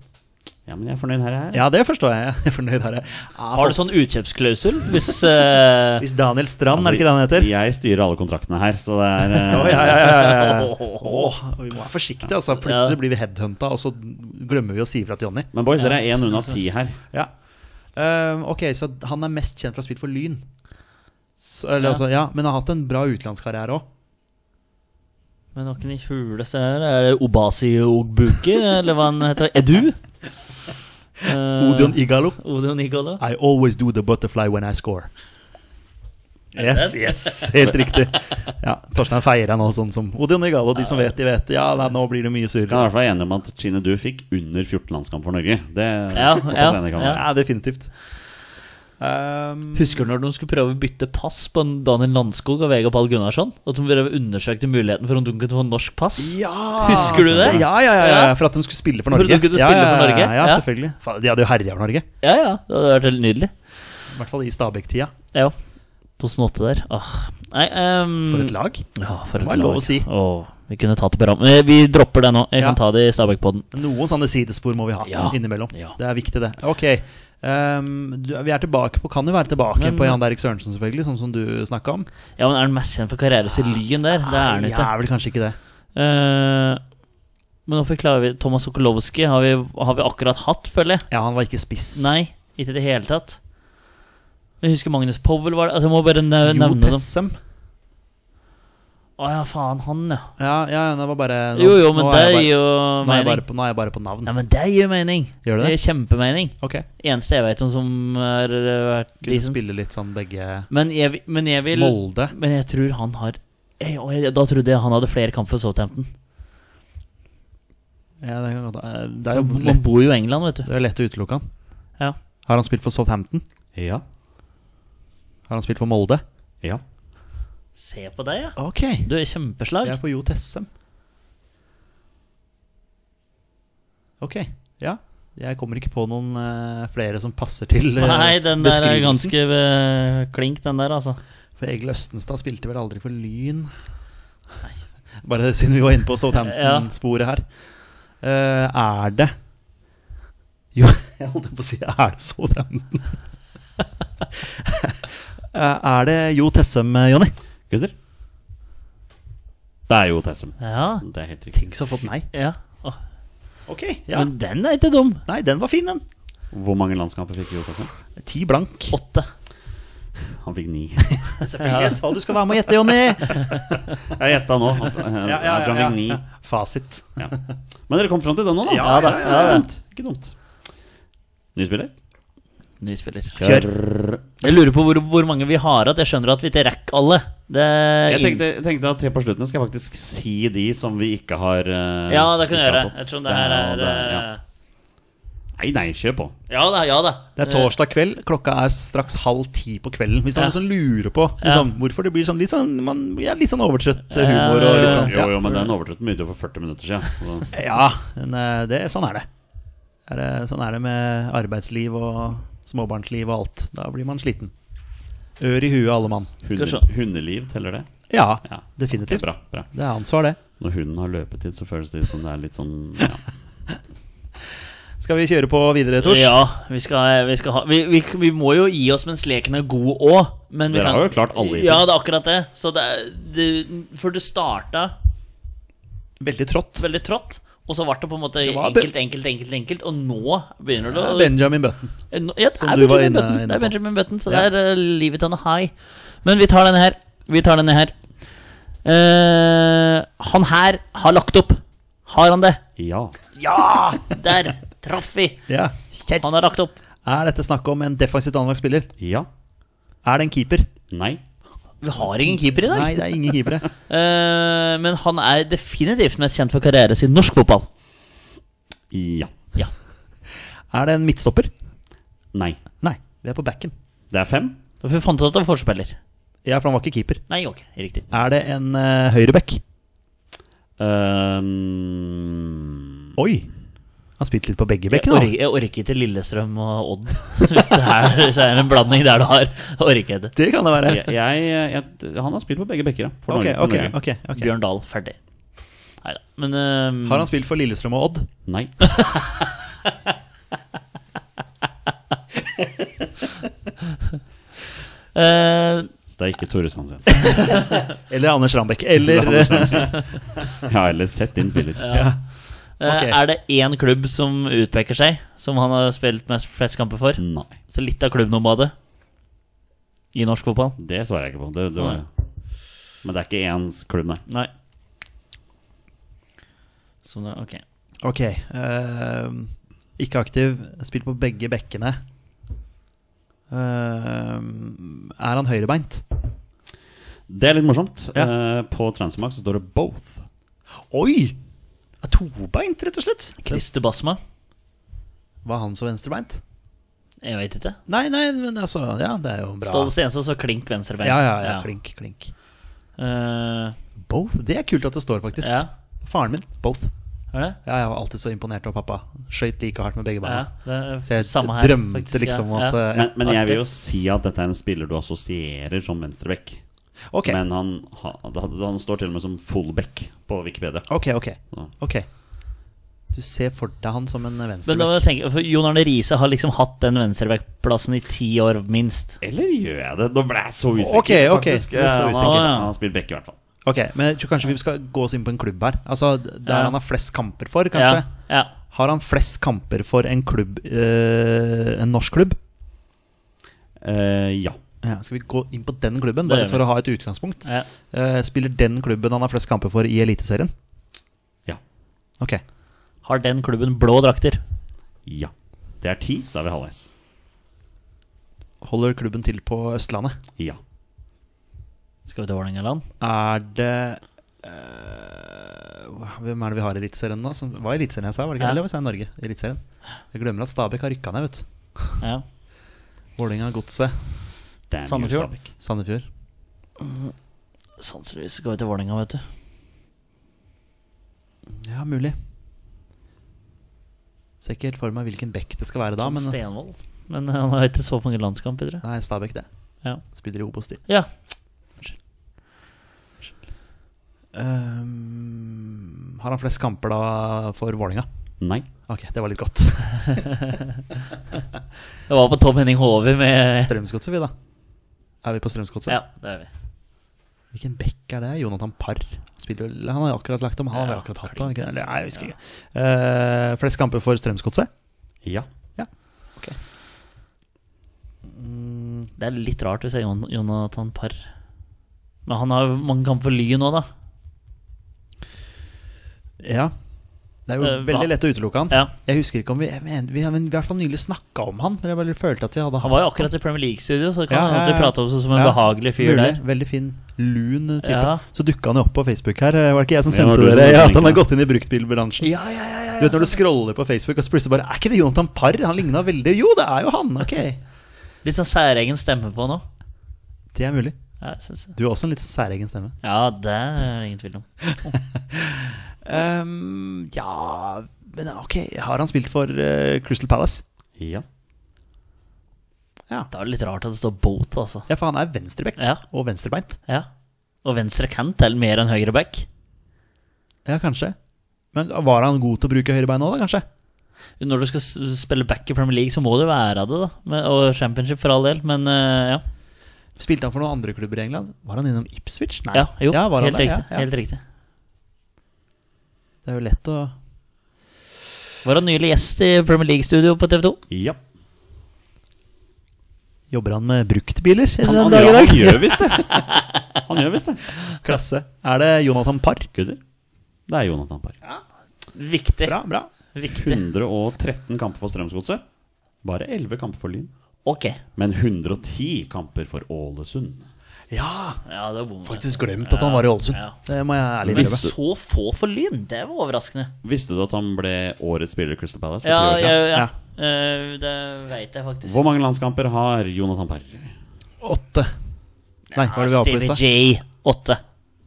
[SPEAKER 1] Ja, Men jeg er fornøyd her. jeg er.
[SPEAKER 2] Ja, det forstår jeg. Jeg er fornøyd her. jeg. Ja,
[SPEAKER 3] Har du sånn utkjøpsklausul hvis eh,
[SPEAKER 2] Hvis Daniel Strand, er det ikke det han heter?
[SPEAKER 1] Altså, Jeg styrer alle kontraktene her, så det er eh,
[SPEAKER 2] Å, ja, ja, ja, ja, ja.
[SPEAKER 3] Åh.
[SPEAKER 2] Åh, vi må være forsiktige, altså. Plutselig
[SPEAKER 3] Ja.
[SPEAKER 2] blir vi headhunta, og så glemmer vi å si ifra til Jonny.
[SPEAKER 1] Men boys, dere er én unna ti her.
[SPEAKER 2] Ja. Ehm, ok, så han er mest kjent for å ha spilt for Lyn. Så, eller,
[SPEAKER 3] Ja.
[SPEAKER 2] Altså, ja, men han har hatt en bra utenlandskarriere òg.
[SPEAKER 3] Men noen i huleste her Er det Obasi Ogbuki, eller hva han heter? Edu? Uh,
[SPEAKER 2] Odion Igalo.
[SPEAKER 3] Odion Igalo.
[SPEAKER 2] I always do the butterfly when I score. Yes, yes, helt riktig. Ja, Torstein feirer nå, sånn som Odion Igalo. De som vet, de vet. Ja, nei, nå blir det mye surr.
[SPEAKER 1] Kan i hvert fall være enige om at Chine Du fikk under 14 landskamp for Norge. Det
[SPEAKER 3] Ja,
[SPEAKER 1] såpass
[SPEAKER 3] ja,
[SPEAKER 1] enig kan vi være.
[SPEAKER 2] Ja, definitivt. Ehm,
[SPEAKER 3] Husker du når de skulle prøve å bytte pass på en Daniel Landskog og Vegard Pall Gunnarsson? At de prøvde å undersøke muligheten for om de kunne få norsk pass?
[SPEAKER 2] ja,
[SPEAKER 3] Husker du det?
[SPEAKER 2] Ja, ja, ja, ja,
[SPEAKER 3] Ja.
[SPEAKER 2] for at de skulle spille for
[SPEAKER 3] For at
[SPEAKER 2] Norge.
[SPEAKER 3] de kunne
[SPEAKER 2] ja,
[SPEAKER 3] spille
[SPEAKER 2] ja,
[SPEAKER 3] for Norge?
[SPEAKER 2] Ja, ja,
[SPEAKER 3] Ja.
[SPEAKER 2] selvfølgelig. Faen, De hadde jo herja over Norge.
[SPEAKER 3] Ja, ja, det hadde vært helt nydelig.
[SPEAKER 2] I hvert fall i Stabæk-tida.
[SPEAKER 3] Ja, 2008 der. Åh. Nei, ehm,
[SPEAKER 2] For et lag.
[SPEAKER 3] Ja, for et
[SPEAKER 2] Det var lov å
[SPEAKER 3] lag.
[SPEAKER 2] si.
[SPEAKER 3] Åh, vi kunne tatt det på rammen. Eh, Vi dropper det nå. Jeg
[SPEAKER 2] Ja.
[SPEAKER 3] kan ta det i Stabæk-podden.
[SPEAKER 2] Noen sånne sidespor må vi ha
[SPEAKER 3] Ja.
[SPEAKER 2] innimellom.
[SPEAKER 3] Ja.
[SPEAKER 2] Det er viktig, det. Ok. ehm, du, vi er tilbake på, kan jo være tilbake
[SPEAKER 3] Men-
[SPEAKER 2] på Jan Derek Sørensen, selvfølgelig, sånn som du snakka om.
[SPEAKER 3] Ja,
[SPEAKER 2] Ah,
[SPEAKER 3] men er han mest kjent for karriere sin Lyn der? Det er han
[SPEAKER 2] Nei, jeg
[SPEAKER 3] ikke.
[SPEAKER 2] er vel kanskje ikke det.
[SPEAKER 3] Eh, Men hvorfor klarer vi Thomas Sokolowski har vi, har vi akkurat hatt, føler jeg.
[SPEAKER 2] Ja, han var ikke spiss.
[SPEAKER 3] Nei, ikke i det hele tatt. Jeg husker Magnus Powell var det. Altså, jeg må bare nev-
[SPEAKER 2] jo,
[SPEAKER 3] nevne dem.
[SPEAKER 2] Tessem.
[SPEAKER 3] Å ja, faen, han, ja.
[SPEAKER 2] Ja, ja, det var bare nå-
[SPEAKER 3] Jo, jo, men
[SPEAKER 2] nå er
[SPEAKER 3] det
[SPEAKER 2] jeg
[SPEAKER 3] gir
[SPEAKER 2] bare, nå er
[SPEAKER 3] jo
[SPEAKER 2] jeg
[SPEAKER 3] mening.
[SPEAKER 2] bare på, Nå er jeg bare på navn.
[SPEAKER 3] Nei, men det gir mening.
[SPEAKER 2] Gjør det
[SPEAKER 3] Det gir kjempemening.
[SPEAKER 2] Ok.
[SPEAKER 3] Eneste jeg vet om som har vært
[SPEAKER 2] Kunne
[SPEAKER 3] decent.
[SPEAKER 2] spille litt sånn begge
[SPEAKER 3] Men jeg, vil- men jeg vil
[SPEAKER 2] Molde.
[SPEAKER 3] Men jeg tror han har jeg, og jeg, Da trodde jeg han hadde flere kamper for Southampton.
[SPEAKER 2] Ja, det, kan godt- eh, det er
[SPEAKER 3] Da-
[SPEAKER 2] jo
[SPEAKER 3] Man
[SPEAKER 2] lett,
[SPEAKER 3] bor jo i England, vet du.
[SPEAKER 2] det er lett å utelukke han.
[SPEAKER 3] Ja.
[SPEAKER 2] Har han spilt for Southampton?
[SPEAKER 1] Ja.
[SPEAKER 2] Har han spilt for Molde?
[SPEAKER 1] ja.
[SPEAKER 3] Se på deg, ja.
[SPEAKER 2] Ok.
[SPEAKER 3] Du er kjempeslag.
[SPEAKER 2] Jeg er på Jo Tessem. Ok, ja. Jeg kommer ikke på noen eh, flere som passer til eh,
[SPEAKER 3] Nei, den der er
[SPEAKER 2] beskrivelsen.
[SPEAKER 3] ganske eh, klink, den der, altså.
[SPEAKER 2] For Egil Østenstad spilte vel aldri for Lyn? Bare siden vi var inne på Southampton-sporet her. Eh, er det Jo, jeg holdt på å si Er det Southampton? Eh, er det Jo Tessem, eh, Jonny?
[SPEAKER 1] Gutter? Det er jo Tessem.
[SPEAKER 3] Ja.
[SPEAKER 1] Det er helt riktig.
[SPEAKER 2] Tenk så fått nei.
[SPEAKER 3] ja. Åh,
[SPEAKER 2] Ok, ja.
[SPEAKER 3] Men den er ikke dum.
[SPEAKER 2] Nei, den var fin, den.
[SPEAKER 1] Hvor mange landskamper fikk Jo Tessem?
[SPEAKER 2] Ti blank.
[SPEAKER 3] Åtte.
[SPEAKER 1] Han fikk ni.
[SPEAKER 2] Selvfølgelig. Jeg sa du skal være med og gjette, Jonny.
[SPEAKER 1] Jeg gjetta nå. Han, jeg tror han fikk ni.
[SPEAKER 2] Fasit.
[SPEAKER 1] Ja. Men dere kom fram til den nå, da?
[SPEAKER 2] Ja,
[SPEAKER 1] da.
[SPEAKER 2] ja,
[SPEAKER 1] Ikke dumt. Ikke dumt. Ny spiller?
[SPEAKER 3] Ny spiller.
[SPEAKER 2] Kjør.
[SPEAKER 3] Jeg lurer på hvor, hvor mange vi har igjen. Jeg skjønner at vi ikke rekker alle. Det er
[SPEAKER 1] Jeg
[SPEAKER 3] ingen-
[SPEAKER 1] tenkte, jeg tenkte at tre på slutten skal jeg faktisk si de som vi ikke har eh,
[SPEAKER 3] Ja, det
[SPEAKER 1] ikke
[SPEAKER 3] kan jeg
[SPEAKER 1] har
[SPEAKER 3] gjøre.
[SPEAKER 1] tatt.
[SPEAKER 3] Ettersom det her er
[SPEAKER 1] det- ja.
[SPEAKER 3] eh,
[SPEAKER 1] Nei, nei, kjør på.
[SPEAKER 3] Ja da, ja da.
[SPEAKER 2] Det er torsdag kveld, klokka er straks halv ti på kvelden. Hvis det er
[SPEAKER 3] Ja.
[SPEAKER 2] noen som lurer på liksom, hvorfor det blir sånn litt sånn man, ja, Litt sånn overtrøtt eh, humor og litt sånn.
[SPEAKER 1] Jo, jo, men den
[SPEAKER 3] Mm.
[SPEAKER 1] overtrøtten begynte jo for 40 minutter siden. Altså, Så.
[SPEAKER 2] Ja, men eh, det, sånn er det. Er det- Sånn er det med arbeidsliv og småbarnsliv og alt. Da blir man sliten. Ør i huet, alle mann.
[SPEAKER 3] vi se.
[SPEAKER 1] Hunde, hundeliv, teller det?
[SPEAKER 2] Ja,
[SPEAKER 1] Ja.
[SPEAKER 2] definitivt.
[SPEAKER 1] Bra, bra.
[SPEAKER 2] Det er ansvar, det.
[SPEAKER 1] Når hunden har løpetid, så føles det ut som det er litt sånn ja.
[SPEAKER 2] Skal vi kjøre på videre, Tors?
[SPEAKER 3] Ja, vi skal, vi skal ha vi, vi, vi må jo gi oss mens leken er god òg, men vi
[SPEAKER 1] Dere
[SPEAKER 3] kan
[SPEAKER 1] har jo klart alle hittil.
[SPEAKER 3] Ja, det er akkurat det. Så det, er- det For det starta
[SPEAKER 2] Veldig trått.
[SPEAKER 3] veldig trått, og så ble det på en måte
[SPEAKER 2] Det var-
[SPEAKER 3] enkelt, enkelt, enkelt, enkelt, og nå begynner det å
[SPEAKER 2] Benjamin Button.
[SPEAKER 3] Nå- Eh, Ja, det
[SPEAKER 2] Som
[SPEAKER 3] er
[SPEAKER 2] du var
[SPEAKER 3] Benjamin
[SPEAKER 2] inne-
[SPEAKER 3] Button.
[SPEAKER 2] inne
[SPEAKER 3] Det er
[SPEAKER 2] på.
[SPEAKER 3] Benjamin Button, så
[SPEAKER 2] Ja.
[SPEAKER 3] det er uh, livet on a high. Men vi tar denne her. Vi tar denne her. Eh, han her har lagt opp. Har han det?
[SPEAKER 1] ja.
[SPEAKER 3] Ja! Der traff vi.
[SPEAKER 2] Ja.
[SPEAKER 3] Han har lagt opp.
[SPEAKER 2] Er dette snakk om en defensivt anlagt spiller?
[SPEAKER 1] Ja.
[SPEAKER 2] Er det en keeper?
[SPEAKER 1] Nei.
[SPEAKER 3] Vi har ingen keeper i dag.
[SPEAKER 2] Nei, det er ingen keepere.
[SPEAKER 3] Eh, men han er definitivt mest kjent for karrieren sin i norsk fotball.
[SPEAKER 1] Ja.
[SPEAKER 3] Ja.
[SPEAKER 2] Er det en midtstopper?
[SPEAKER 1] Nei.
[SPEAKER 2] Nei, vi er på backen.
[SPEAKER 1] Det er fem.
[SPEAKER 3] Da får vi fant ut at han er forspiller.
[SPEAKER 2] Ja, for han var ikke keeper.
[SPEAKER 3] Nei, ok, riktig.
[SPEAKER 2] Er det en uh, høyreback?
[SPEAKER 1] Ehm,
[SPEAKER 2] Oi! Han spilte litt på begge
[SPEAKER 3] Jeg
[SPEAKER 2] bekkene.
[SPEAKER 3] orker, jeg orker ikke Lillestrøm og Odd. Hvis det er, hvis det er en blanding der du har. Jeg Orker jeg det.
[SPEAKER 2] Det kan det være.
[SPEAKER 1] jeg, jeg, jeg, han har spilt på begge bekker, ja. For
[SPEAKER 2] Ok,
[SPEAKER 1] Norge, for
[SPEAKER 2] ok,
[SPEAKER 1] Norge.
[SPEAKER 2] ok, ok.
[SPEAKER 3] Bjørn Dahl, ferdig. Nei da. Men eh,
[SPEAKER 2] Har han spilt for Lillestrøm og Odd?
[SPEAKER 1] Nei.
[SPEAKER 3] eh,
[SPEAKER 1] Så det er ikke Tore Sandsen.
[SPEAKER 2] Eller Anders Rambekk? Eller
[SPEAKER 1] Jeg har heller sett din spiller.
[SPEAKER 3] eh,
[SPEAKER 2] Ok.
[SPEAKER 3] Er det én klubb som utpeker seg, som han har spilt mest flest kamper for?
[SPEAKER 1] Nei.
[SPEAKER 3] Så litt av klubbnomadet i norsk fotball?
[SPEAKER 1] Det svarer jeg ikke på. Det, det var... Men det er ikke ens klubb, nei.
[SPEAKER 3] Nei. Som det, ok.
[SPEAKER 2] Ok. eh, ikke aktiv. Spilt på begge bekkene. Eh, er han høyrebeint?
[SPEAKER 1] Det er litt morsomt.
[SPEAKER 2] Ja.
[SPEAKER 1] Eh, på Transmark så står det 'both'.
[SPEAKER 2] Oi! Er tobeint, rett og slett?
[SPEAKER 3] Christer Basma?
[SPEAKER 2] Var han så venstrebeint?
[SPEAKER 3] Jeg veit ikke.
[SPEAKER 2] Nei, nei, men altså Ja, det er jo bra.
[SPEAKER 3] Ståle Stensås og klink venstrebeint.
[SPEAKER 2] Ja, ja, ja, klink, klink.
[SPEAKER 3] Eh,
[SPEAKER 2] Both? Det er kult at det står, faktisk.
[SPEAKER 3] ja,
[SPEAKER 2] Faren min, both.
[SPEAKER 3] er det?
[SPEAKER 2] Ja, jeg var alltid så imponert over pappa. Skøyt like hardt med begge
[SPEAKER 3] Ja,
[SPEAKER 2] beina.
[SPEAKER 3] det er
[SPEAKER 2] Så jeg
[SPEAKER 3] samme her,
[SPEAKER 2] drømte
[SPEAKER 3] faktisk,
[SPEAKER 2] liksom
[SPEAKER 3] ja,
[SPEAKER 2] at
[SPEAKER 3] ja.
[SPEAKER 2] eh,
[SPEAKER 1] Men, men jeg vil jo si at dette er en spiller du assosierer som venstreback.
[SPEAKER 2] Ok,
[SPEAKER 1] Men han, han, han står til og med som fullback på Wikipedia.
[SPEAKER 2] ok, ok.
[SPEAKER 1] Så.
[SPEAKER 2] ok Du ser for deg han som en
[SPEAKER 3] Men da må jeg
[SPEAKER 2] venstreback.
[SPEAKER 3] tenke, for Jon Arne Riise har liksom hatt den venstrebackplassen i ti år, minst.
[SPEAKER 1] Eller gjør jeg det? Nå ble jeg så usikker.
[SPEAKER 2] Ok, ok.
[SPEAKER 1] faktisk.
[SPEAKER 2] Du er så
[SPEAKER 1] Eh,
[SPEAKER 2] Ah,
[SPEAKER 1] han,
[SPEAKER 3] usikker.
[SPEAKER 1] har- han har spilt back, i hvert fall.
[SPEAKER 2] Ok, men jeg tror kanskje vi skal gå oss inn på en klubb her. Altså, d- Der
[SPEAKER 3] Ja.
[SPEAKER 2] han har flest kamper for, kanskje.
[SPEAKER 3] Ja, ja.
[SPEAKER 2] Har han flest kamper for en klubb eh, En norsk klubb?
[SPEAKER 1] Eh, ja.
[SPEAKER 2] Ja, skal vi gå inn på den klubben,
[SPEAKER 3] Det
[SPEAKER 2] bare
[SPEAKER 3] gjør vi.
[SPEAKER 2] for å ha et utgangspunkt?
[SPEAKER 3] ja.
[SPEAKER 2] Eh, spiller den klubben han har flest kamper for, i Eliteserien?
[SPEAKER 1] Ja.
[SPEAKER 2] Ok.
[SPEAKER 3] Har den klubben blå drakter?
[SPEAKER 1] Ja. Det er ti, så da er vi halvveis.
[SPEAKER 2] Holder klubben til på Østlandet?
[SPEAKER 1] Ja.
[SPEAKER 3] Skal vi til Vålerengaland?
[SPEAKER 2] Er det eh, Hvem er det vi har i Eliteserien nå? Som, var Eliteserien jeg sa, var det ikke?
[SPEAKER 3] Ja.
[SPEAKER 2] Eller sa jeg Norge? Eliteserien. Jeg glemmer at Stabæk har rykka ned, vet du.
[SPEAKER 3] Ja.
[SPEAKER 2] Vålerenga, Godset,
[SPEAKER 1] Det er mye
[SPEAKER 3] Sandefjord.
[SPEAKER 1] Stabæk.
[SPEAKER 2] Sandefjord.
[SPEAKER 3] Sannsynligvis skal vi til Vålerenga, vet du.
[SPEAKER 2] Ja, mulig. Ser ikke helt for meg hvilken bekk det skal være da, men
[SPEAKER 3] Stenvold. Men han har ikke så mange landskamper, tror jeg.
[SPEAKER 2] Nei, Stabæk, det.
[SPEAKER 3] Ja.
[SPEAKER 2] Spiller i Obos, de.
[SPEAKER 3] Ja.
[SPEAKER 2] Ehm, har han flest kamper da for Vålerenga?
[SPEAKER 1] Nei.
[SPEAKER 2] Ok, det var litt godt.
[SPEAKER 3] Det var på Tom Henning Håvi med
[SPEAKER 2] Strømsgodset, vi, da. Er vi på Strømsgodset?
[SPEAKER 3] Ja, det er vi.
[SPEAKER 2] Hvilken bekk er det? Jonathan Parr? Spiller, vel- han har jo akkurat lagt om. Han har
[SPEAKER 3] Ja,
[SPEAKER 2] jo akkurat hatt han, ikke det?
[SPEAKER 3] klink.
[SPEAKER 2] Nei, jeg husker ikke. Eh, flest kamper for Strømsgodset?
[SPEAKER 1] Ja.
[SPEAKER 3] Mm, Det er litt rart hvis det er Jon Jonathan Parr. Men han har jo mange kamper for Lyn nå, da.
[SPEAKER 2] Ja. Det er jo
[SPEAKER 3] Eh,
[SPEAKER 2] veldig
[SPEAKER 3] hva?
[SPEAKER 2] lett å utelukke han.
[SPEAKER 3] Ja.
[SPEAKER 2] Jeg husker ikke om Vi jeg mener, vi har men vi har i hvert fall nylig snakka om han. Men jeg bare følte at vi hadde
[SPEAKER 3] Han var jo akkurat i Premier League-studio, så det kan
[SPEAKER 2] Ja,
[SPEAKER 3] hende at
[SPEAKER 2] ja, ja.
[SPEAKER 3] du prater om seg som en
[SPEAKER 2] Ja,
[SPEAKER 3] behagelig fyr
[SPEAKER 2] mulig.
[SPEAKER 3] der.
[SPEAKER 2] Veldig fin, lun type.
[SPEAKER 3] Ja.
[SPEAKER 2] Så dukka han jo opp på Facebook her. Eh, Var det ikke jeg som
[SPEAKER 1] Det var
[SPEAKER 2] sendte
[SPEAKER 1] du som
[SPEAKER 2] dere ja,
[SPEAKER 1] sendte
[SPEAKER 2] at han har
[SPEAKER 1] linken.
[SPEAKER 2] gått inn i bruktbilbransjen?
[SPEAKER 3] Ja, ja, ja, ja.
[SPEAKER 2] Du vet når du scroller på Facebook, og så plutselig bare Er ikke det Jonathan Parr? Han ligna veldig Jo, det er jo han! Ok.
[SPEAKER 3] Litt sånn særegen stemme på nå.
[SPEAKER 2] Det er mulig.
[SPEAKER 3] Ja, jeg synes det.
[SPEAKER 2] Du har også en litt særegen stemme.
[SPEAKER 3] ja, det er ingen tvil om.
[SPEAKER 2] Ehm, ja Men ok, har han spilt for eh, Crystal Palace?
[SPEAKER 1] Ja.
[SPEAKER 2] Ja.
[SPEAKER 3] Det er jo litt rart at det står both, altså.
[SPEAKER 2] ja, for han er venstreback
[SPEAKER 3] Ja,
[SPEAKER 2] og venstrebeint.
[SPEAKER 3] ja. Og venstre kant er mer enn høyre back.
[SPEAKER 2] Ja, kanskje. Men var han god til å bruke høyrebein òg, da, kanskje?
[SPEAKER 3] Når du skal s- spille back i Premier League, så må du være det, da. Men- Og championship for all del, men eh, ja.
[SPEAKER 2] Spilte han for noen andre klubber i England? Var han innom Ipswich? Nei.
[SPEAKER 3] ja. Jo,
[SPEAKER 2] var han
[SPEAKER 3] helt,
[SPEAKER 2] det?
[SPEAKER 3] riktig,
[SPEAKER 2] Ja, ja.
[SPEAKER 3] helt riktig.
[SPEAKER 2] Det er jo lett å
[SPEAKER 3] Var han nylig gjest i Premier League-studio på TV 2?
[SPEAKER 1] ja.
[SPEAKER 2] Jobber han med bruktbiler?
[SPEAKER 1] Han,
[SPEAKER 2] den
[SPEAKER 1] han,
[SPEAKER 2] dag i
[SPEAKER 1] ja,
[SPEAKER 2] dag?
[SPEAKER 1] han gjør visst det. Han gjør visst det.
[SPEAKER 2] Klasse. Er det Jonathan Parr?
[SPEAKER 1] Gutter. Det er Jonathan Parr.
[SPEAKER 3] Viktig.
[SPEAKER 2] Bra, bra.
[SPEAKER 3] Viktig.
[SPEAKER 1] 113 kamper for Strømsgodset. Bare 11 kamper for Lyn.
[SPEAKER 3] Ok.
[SPEAKER 1] Men 110 kamper for Ålesund.
[SPEAKER 2] Ja!
[SPEAKER 3] Ja, det var bom.
[SPEAKER 2] Faktisk glemt at han var i Ålesund.
[SPEAKER 3] Ja.
[SPEAKER 2] Det må jeg ærlig
[SPEAKER 3] Men
[SPEAKER 2] innrømme.
[SPEAKER 3] så få for Lyn! Det var overraskende.
[SPEAKER 1] Visste du at han ble årets spiller i Crystal Palace? for
[SPEAKER 3] Ja,
[SPEAKER 1] ti år
[SPEAKER 3] ja,
[SPEAKER 1] siden?
[SPEAKER 3] ja.
[SPEAKER 2] Ja.
[SPEAKER 3] Eh, det veit jeg faktisk.
[SPEAKER 1] Hvor mange landskamper har Jonathan Parr?
[SPEAKER 2] Åtte. Nei, hva er det vi har på lista?
[SPEAKER 3] Stevie J. 8.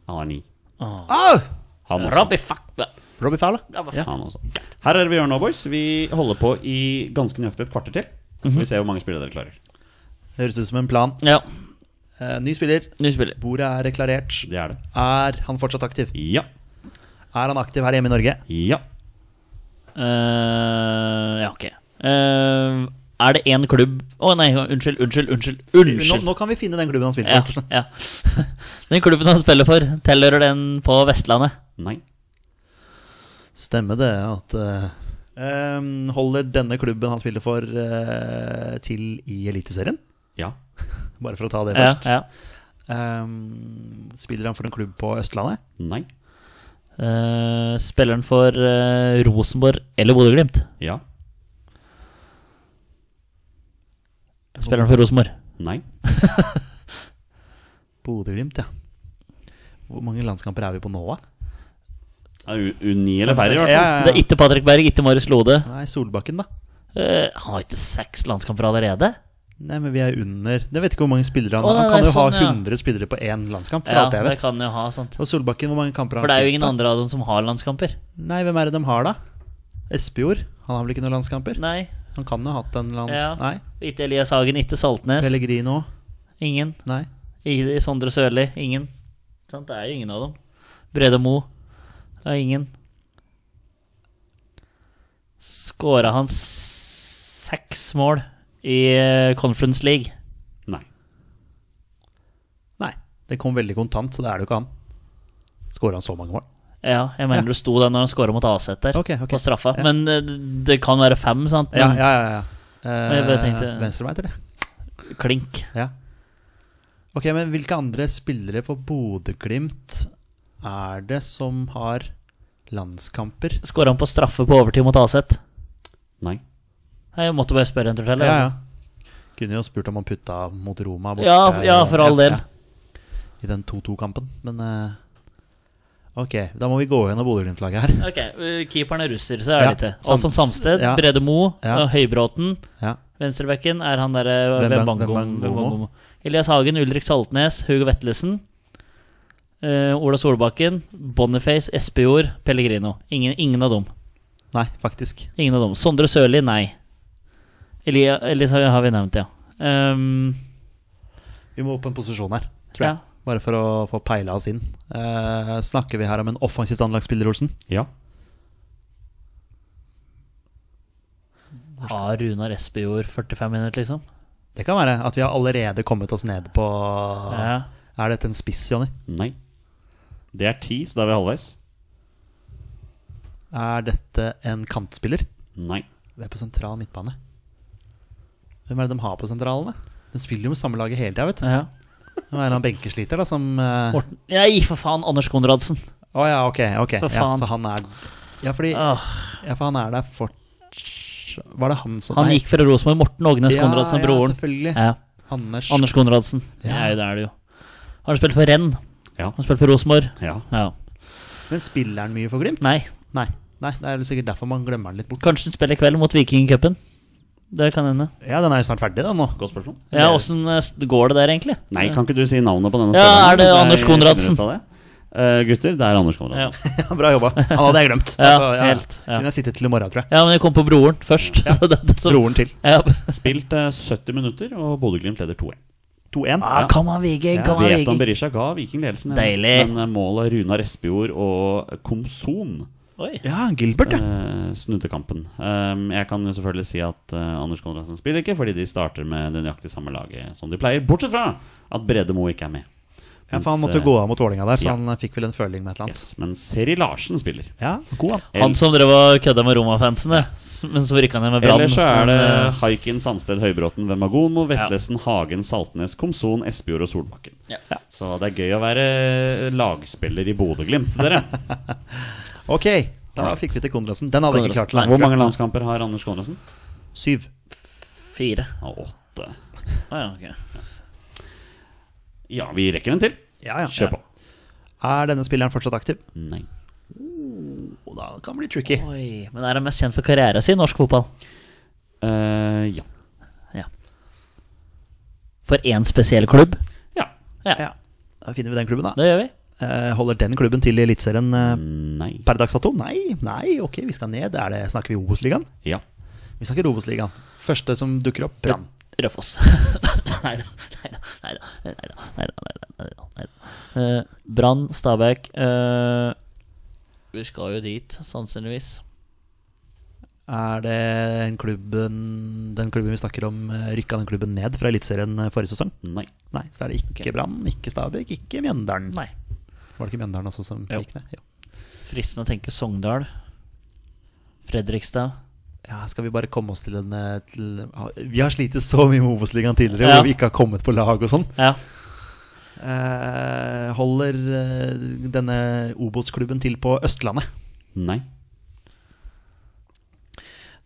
[SPEAKER 1] Han har ni.
[SPEAKER 2] Au!
[SPEAKER 1] Han også.
[SPEAKER 3] Robbie fuck da.
[SPEAKER 2] Robbie Fowler.
[SPEAKER 3] Robbie fuck.
[SPEAKER 1] Han også. Her er det vi gjør nå, boys. Vi holder på i ganske nøyaktig et kvarter til.
[SPEAKER 2] Mhm.
[SPEAKER 1] Vi ser hvor mange spillere dere klarer.
[SPEAKER 2] Høres ut som en plan.
[SPEAKER 3] Ja.
[SPEAKER 2] Eh, ny spiller.
[SPEAKER 3] Ny spiller.
[SPEAKER 2] Bordet er klarert.
[SPEAKER 1] Det er det.
[SPEAKER 2] Er han fortsatt aktiv?
[SPEAKER 1] Ja.
[SPEAKER 2] Er han aktiv her hjemme i Norge?
[SPEAKER 1] Ja.
[SPEAKER 3] Eh, ja, ok. Eh, er det én klubb Å nei, unnskyld, unnskyld, unnskyld. Unnskyld!
[SPEAKER 2] Nå, nå kan vi finne den klubben han spiller
[SPEAKER 3] Ja,
[SPEAKER 2] for.
[SPEAKER 3] ja. Den klubben han spiller for, tilhører den på Vestlandet?
[SPEAKER 1] Nei.
[SPEAKER 2] Stemmer det at eh, ehm, Holder denne klubben han spiller for, eh, til i Eliteserien?
[SPEAKER 1] Ja.
[SPEAKER 2] Bare for å ta det
[SPEAKER 3] Ja,
[SPEAKER 2] først.
[SPEAKER 3] ja.
[SPEAKER 2] Ehm, spiller han for en klubb på Østlandet?
[SPEAKER 1] Nei.
[SPEAKER 3] Eh, spilleren for eh, Rosenborg eller Bodø-Glimt?
[SPEAKER 1] Ja.
[SPEAKER 3] Spilleren for Rosenborg.
[SPEAKER 1] Nei.
[SPEAKER 2] Bodø-Glimt, ja. Hvor mange landskamper er vi på nå, da?
[SPEAKER 1] Ja, U uni eller færre, i hvert
[SPEAKER 2] Ja,
[SPEAKER 1] fall.
[SPEAKER 2] ja,
[SPEAKER 3] Det er ikke Patrick Berg, ikke Marius Lode.
[SPEAKER 2] Nei, Solbakken, da.
[SPEAKER 3] Eh, han har ikke seks landskamper allerede?
[SPEAKER 2] Nei, men vi er under Jeg vet ikke hvor mange spillere han
[SPEAKER 3] Å,
[SPEAKER 2] har. Han
[SPEAKER 3] nei,
[SPEAKER 2] kan
[SPEAKER 3] nei,
[SPEAKER 2] jo
[SPEAKER 3] sånn,
[SPEAKER 2] ha
[SPEAKER 3] ja.
[SPEAKER 2] 100 spillere på én landskamp, for
[SPEAKER 3] Ja,
[SPEAKER 2] alt jeg
[SPEAKER 3] det
[SPEAKER 2] vet.
[SPEAKER 3] kan jo ha sant.
[SPEAKER 2] Og Solbakken, hvor mange kamper har
[SPEAKER 3] For
[SPEAKER 2] han
[SPEAKER 3] det er jo ingen
[SPEAKER 2] da?
[SPEAKER 3] andre av dem som har landskamper.
[SPEAKER 2] Nei, hvem er det de har, da? Espejord? Han har vel ikke noen landskamper?
[SPEAKER 3] Nei.
[SPEAKER 2] Han kan jo ha hatt en land...
[SPEAKER 3] Ja.
[SPEAKER 2] Nei.
[SPEAKER 3] Ikke Elias Hagen, ikke Saltnes.
[SPEAKER 2] Pellegrino?
[SPEAKER 3] Ingen.
[SPEAKER 2] Nei.
[SPEAKER 3] I- Sondre Sørli. Ingen. Sant, det er jo ingen av dem. Brede Mo. Det er ingen. Skåra han s- seks mål i eh, Conference League?
[SPEAKER 1] Nei.
[SPEAKER 2] Nei. Det kom veldig kontant, så det er det jo ikke han. Skårer han så mange mål?
[SPEAKER 3] Ja, jeg mener det sto det når han skåra mot AZ der,
[SPEAKER 2] Ok, ok.
[SPEAKER 3] på straffa.
[SPEAKER 2] Ja.
[SPEAKER 3] Men eh, det kan være fem, sant?
[SPEAKER 2] Ja,
[SPEAKER 3] Men
[SPEAKER 2] ja, ja. Eh, ja.
[SPEAKER 3] jeg bare tenkte-
[SPEAKER 2] Venstrebeint, eller?
[SPEAKER 3] Klink.
[SPEAKER 2] Ja. Ok, men hvilke andre spillere for Bodø-Glimt er det som har landskamper?
[SPEAKER 3] Skåra han på straffe på overtid mot AZ?
[SPEAKER 1] Nei.
[SPEAKER 3] Nei, Jeg måtte bare spørre en tur til.
[SPEAKER 2] Ja,
[SPEAKER 3] altså.
[SPEAKER 2] ja. Kunne jo spurt om han putta mot Roma. borte.
[SPEAKER 3] Ja, f- ja, for all del.
[SPEAKER 2] I den 2-2-kampen, men eh, Ok, da må vi gå gjennom Bodø-Glimt-laget her.
[SPEAKER 3] Ok, eh, Keeperen er russer, så er
[SPEAKER 2] Ja,
[SPEAKER 3] det ikke.
[SPEAKER 2] Sam-
[SPEAKER 3] Alfons Samsted,
[SPEAKER 2] ja.
[SPEAKER 3] Brede Mo,
[SPEAKER 2] Ja.
[SPEAKER 3] og Høybråten.
[SPEAKER 2] Ja.
[SPEAKER 3] Venstrebekken er han eh, derre
[SPEAKER 2] Wembang- Wembangomo.
[SPEAKER 3] Wembangomo. Elias Hagen, Ulrik Saltnes, Hugo Vetlesen. eh, Ola Solbakken, Boniface, Espejord, Pellegrino. Ingen, ingen av dem.
[SPEAKER 2] Nei, faktisk.
[SPEAKER 3] Ingen av dem. Sondre Sørli, nei. Elia, Elis har har vi nevnt, ja. Ehm,
[SPEAKER 2] Vi må opp en posisjon her, tror jeg.
[SPEAKER 3] Ja.
[SPEAKER 2] Bare for å få peila oss inn. Eh, snakker vi her om en offensivt anlagt spiller, Olsen?
[SPEAKER 1] Ja.
[SPEAKER 3] har Runar Espejord 45 minutter, liksom?
[SPEAKER 2] Det kan være at vi har allerede kommet oss ned på
[SPEAKER 3] Ja.
[SPEAKER 2] Er dette en spiss, Jonny?
[SPEAKER 1] Nei. Det er ti, så da er vi halvveis.
[SPEAKER 2] Er dette en kantspiller?
[SPEAKER 1] Nei.
[SPEAKER 2] Vi er på sentral midtbane. Hvem er det de har på sentralene? De spiller jo med samme laget hele tida, vet du.
[SPEAKER 3] ja.
[SPEAKER 2] Nå er han benkesliter, da, som eh, Å
[SPEAKER 3] Morten Nei, for faen! Anders Konradsen.
[SPEAKER 2] ja, ok, ok. Ja,
[SPEAKER 3] For faen.
[SPEAKER 2] så han er Ja, fordi
[SPEAKER 3] Ah,
[SPEAKER 2] ja, for han er der fort... Var det han som
[SPEAKER 3] han
[SPEAKER 2] Nei.
[SPEAKER 3] gikk fra Rosenborg. Morten Ågnes Konradsen,
[SPEAKER 2] ja,
[SPEAKER 3] broren.
[SPEAKER 2] Ja, selvfølgelig.
[SPEAKER 3] Ja.
[SPEAKER 2] Anders.
[SPEAKER 3] Anders Konradsen.
[SPEAKER 2] Ja.
[SPEAKER 3] Ja. det er det jo. Har han spilt for Renn?
[SPEAKER 1] Ja.
[SPEAKER 3] Har han spilt for Rosenborg?
[SPEAKER 1] Ja.
[SPEAKER 3] Ja.
[SPEAKER 2] Men spiller han mye for Glimt?
[SPEAKER 3] Nei.
[SPEAKER 2] Nei. Nei, Det er vel sikkert derfor man glemmer han litt bort.
[SPEAKER 3] Kanskje han spiller i kveld mot Vikingcupen? Det kan hende.
[SPEAKER 2] Ja, den er jo snart ferdig, da, nå.
[SPEAKER 1] Godt spørsmål.
[SPEAKER 3] Ja, Åssen eh, går det der, egentlig?
[SPEAKER 1] Nei, kan ikke du si navnet på denne
[SPEAKER 3] Ja,
[SPEAKER 1] spilleren,
[SPEAKER 3] er det
[SPEAKER 1] mens jeg
[SPEAKER 3] Anders
[SPEAKER 1] finner
[SPEAKER 3] Konradsen?
[SPEAKER 1] ut av det? Eh, gutter, det er Anders Konradsen.
[SPEAKER 2] Bra jobba. Han hadde jeg glemt. Altså,
[SPEAKER 3] Ja, helt, ja.
[SPEAKER 2] Kunne jeg sittet til i morgen, tror jeg.
[SPEAKER 3] Ja, men jeg kom på broren først. Så det, det, så,
[SPEAKER 2] Broren til.
[SPEAKER 3] Ja.
[SPEAKER 1] Spilt eh, 70 minutter, og Bodø-Glimt leder 2-1.
[SPEAKER 2] 2-1.
[SPEAKER 3] Ah, Kom an, Viking! Kom an,
[SPEAKER 1] Veton
[SPEAKER 3] Viking!
[SPEAKER 1] Berisha ga Viking ledelsen. ja.
[SPEAKER 3] Deilig.
[SPEAKER 1] Men eh, målet Runar Espejord og Komson
[SPEAKER 3] Oi.
[SPEAKER 2] Ja, Gilbert, ja.
[SPEAKER 1] eh, snudde kampen. Ehm, jeg kan jo selvfølgelig si at eh, Anders Konradsen spiller ikke, fordi de starter med det nøyaktig samme laget som de pleier, bortsett fra at Brede Moe ikke er med.
[SPEAKER 2] ja. For han
[SPEAKER 1] Mens,
[SPEAKER 2] måtte
[SPEAKER 1] eh,
[SPEAKER 2] gå av mot Vålerenga der, så
[SPEAKER 1] ja.
[SPEAKER 2] han eh, fikk vel en føling med et eller annet.
[SPEAKER 1] Yes, men Seri Larsen spiller.
[SPEAKER 2] Ja, god, han.
[SPEAKER 3] Han som drev og kødda med Roma-fansen, det. S- men så rykka han ned med Brann.
[SPEAKER 1] Eller så er det
[SPEAKER 3] Men, eh,
[SPEAKER 1] Haikin, Samsted, Høybråten, Vemagomo, Vetlesen, Hagen, Saltnes, Komson, Espejord og Solbakken.
[SPEAKER 3] Ja.
[SPEAKER 1] Så det er gøy å være eh, lagspiller i Bodø-Glimt, dere.
[SPEAKER 2] Ok, da
[SPEAKER 1] Alright.
[SPEAKER 2] fikk vi til Konradsen. Den hadde jeg ikke
[SPEAKER 3] Konradsen.
[SPEAKER 2] klart. Lang.
[SPEAKER 1] Hvor mange landskamper har Anders Konradsen?
[SPEAKER 2] Syv.
[SPEAKER 3] Fire.
[SPEAKER 1] Ja, Åtte.
[SPEAKER 3] Ah, ja, ok.
[SPEAKER 1] Ja, vi rekker en til.
[SPEAKER 2] Ja, ja.
[SPEAKER 1] Kjør på.
[SPEAKER 2] Er denne spilleren fortsatt aktiv?
[SPEAKER 1] Nei.
[SPEAKER 2] Oh, da kan det bli tricky.
[SPEAKER 3] Oi, Men er han mest kjent for karrieren sin i norsk fotball?
[SPEAKER 1] Eh, ja.
[SPEAKER 3] For én spesiell klubb?
[SPEAKER 1] ja.
[SPEAKER 2] Ja. Da finner vi den klubben, da.
[SPEAKER 3] Det gjør vi.
[SPEAKER 2] Eh, Holder den klubben til i Eliteserien eh,
[SPEAKER 1] Nei.
[SPEAKER 2] per dags dato? Nei, nei, ok, vi skal ned. Er det, snakker vi Obos-ligaen?
[SPEAKER 1] Ja.
[SPEAKER 2] Vi snakker Obos-ligaen. Første som dukker opp, Brann.
[SPEAKER 3] Rødfoss. Nei da, nei da, nei da. Nei da, nei da, nei da, nei da. Eh, Brann, Stabæk eh, Vi skal jo dit, sannsynligvis.
[SPEAKER 2] Er det den klubben, den klubben vi snakker om, eh, rykka den klubben ned fra Eliteserien eh, forrige sesong?
[SPEAKER 1] Nei.
[SPEAKER 2] Nei, så er det ikke Brann, ikke Stabæk, ikke Mjøndalen.
[SPEAKER 3] Nei.
[SPEAKER 2] Var det ikke Mjøndalen også som
[SPEAKER 3] Jo.
[SPEAKER 2] gikk ned? Jo.
[SPEAKER 3] Fristende å tenke Sogndal. Fredrikstad.
[SPEAKER 2] Ja, skal vi bare komme oss til en eh, til, ha- Vi har slitt så mye med Obos-ligaen tidligere,
[SPEAKER 3] Ja.
[SPEAKER 2] hvor vi ikke har kommet på lag og sånn.
[SPEAKER 3] Ja.
[SPEAKER 2] Eh, holder eh, denne Obos-klubben til på Østlandet?
[SPEAKER 1] Nei.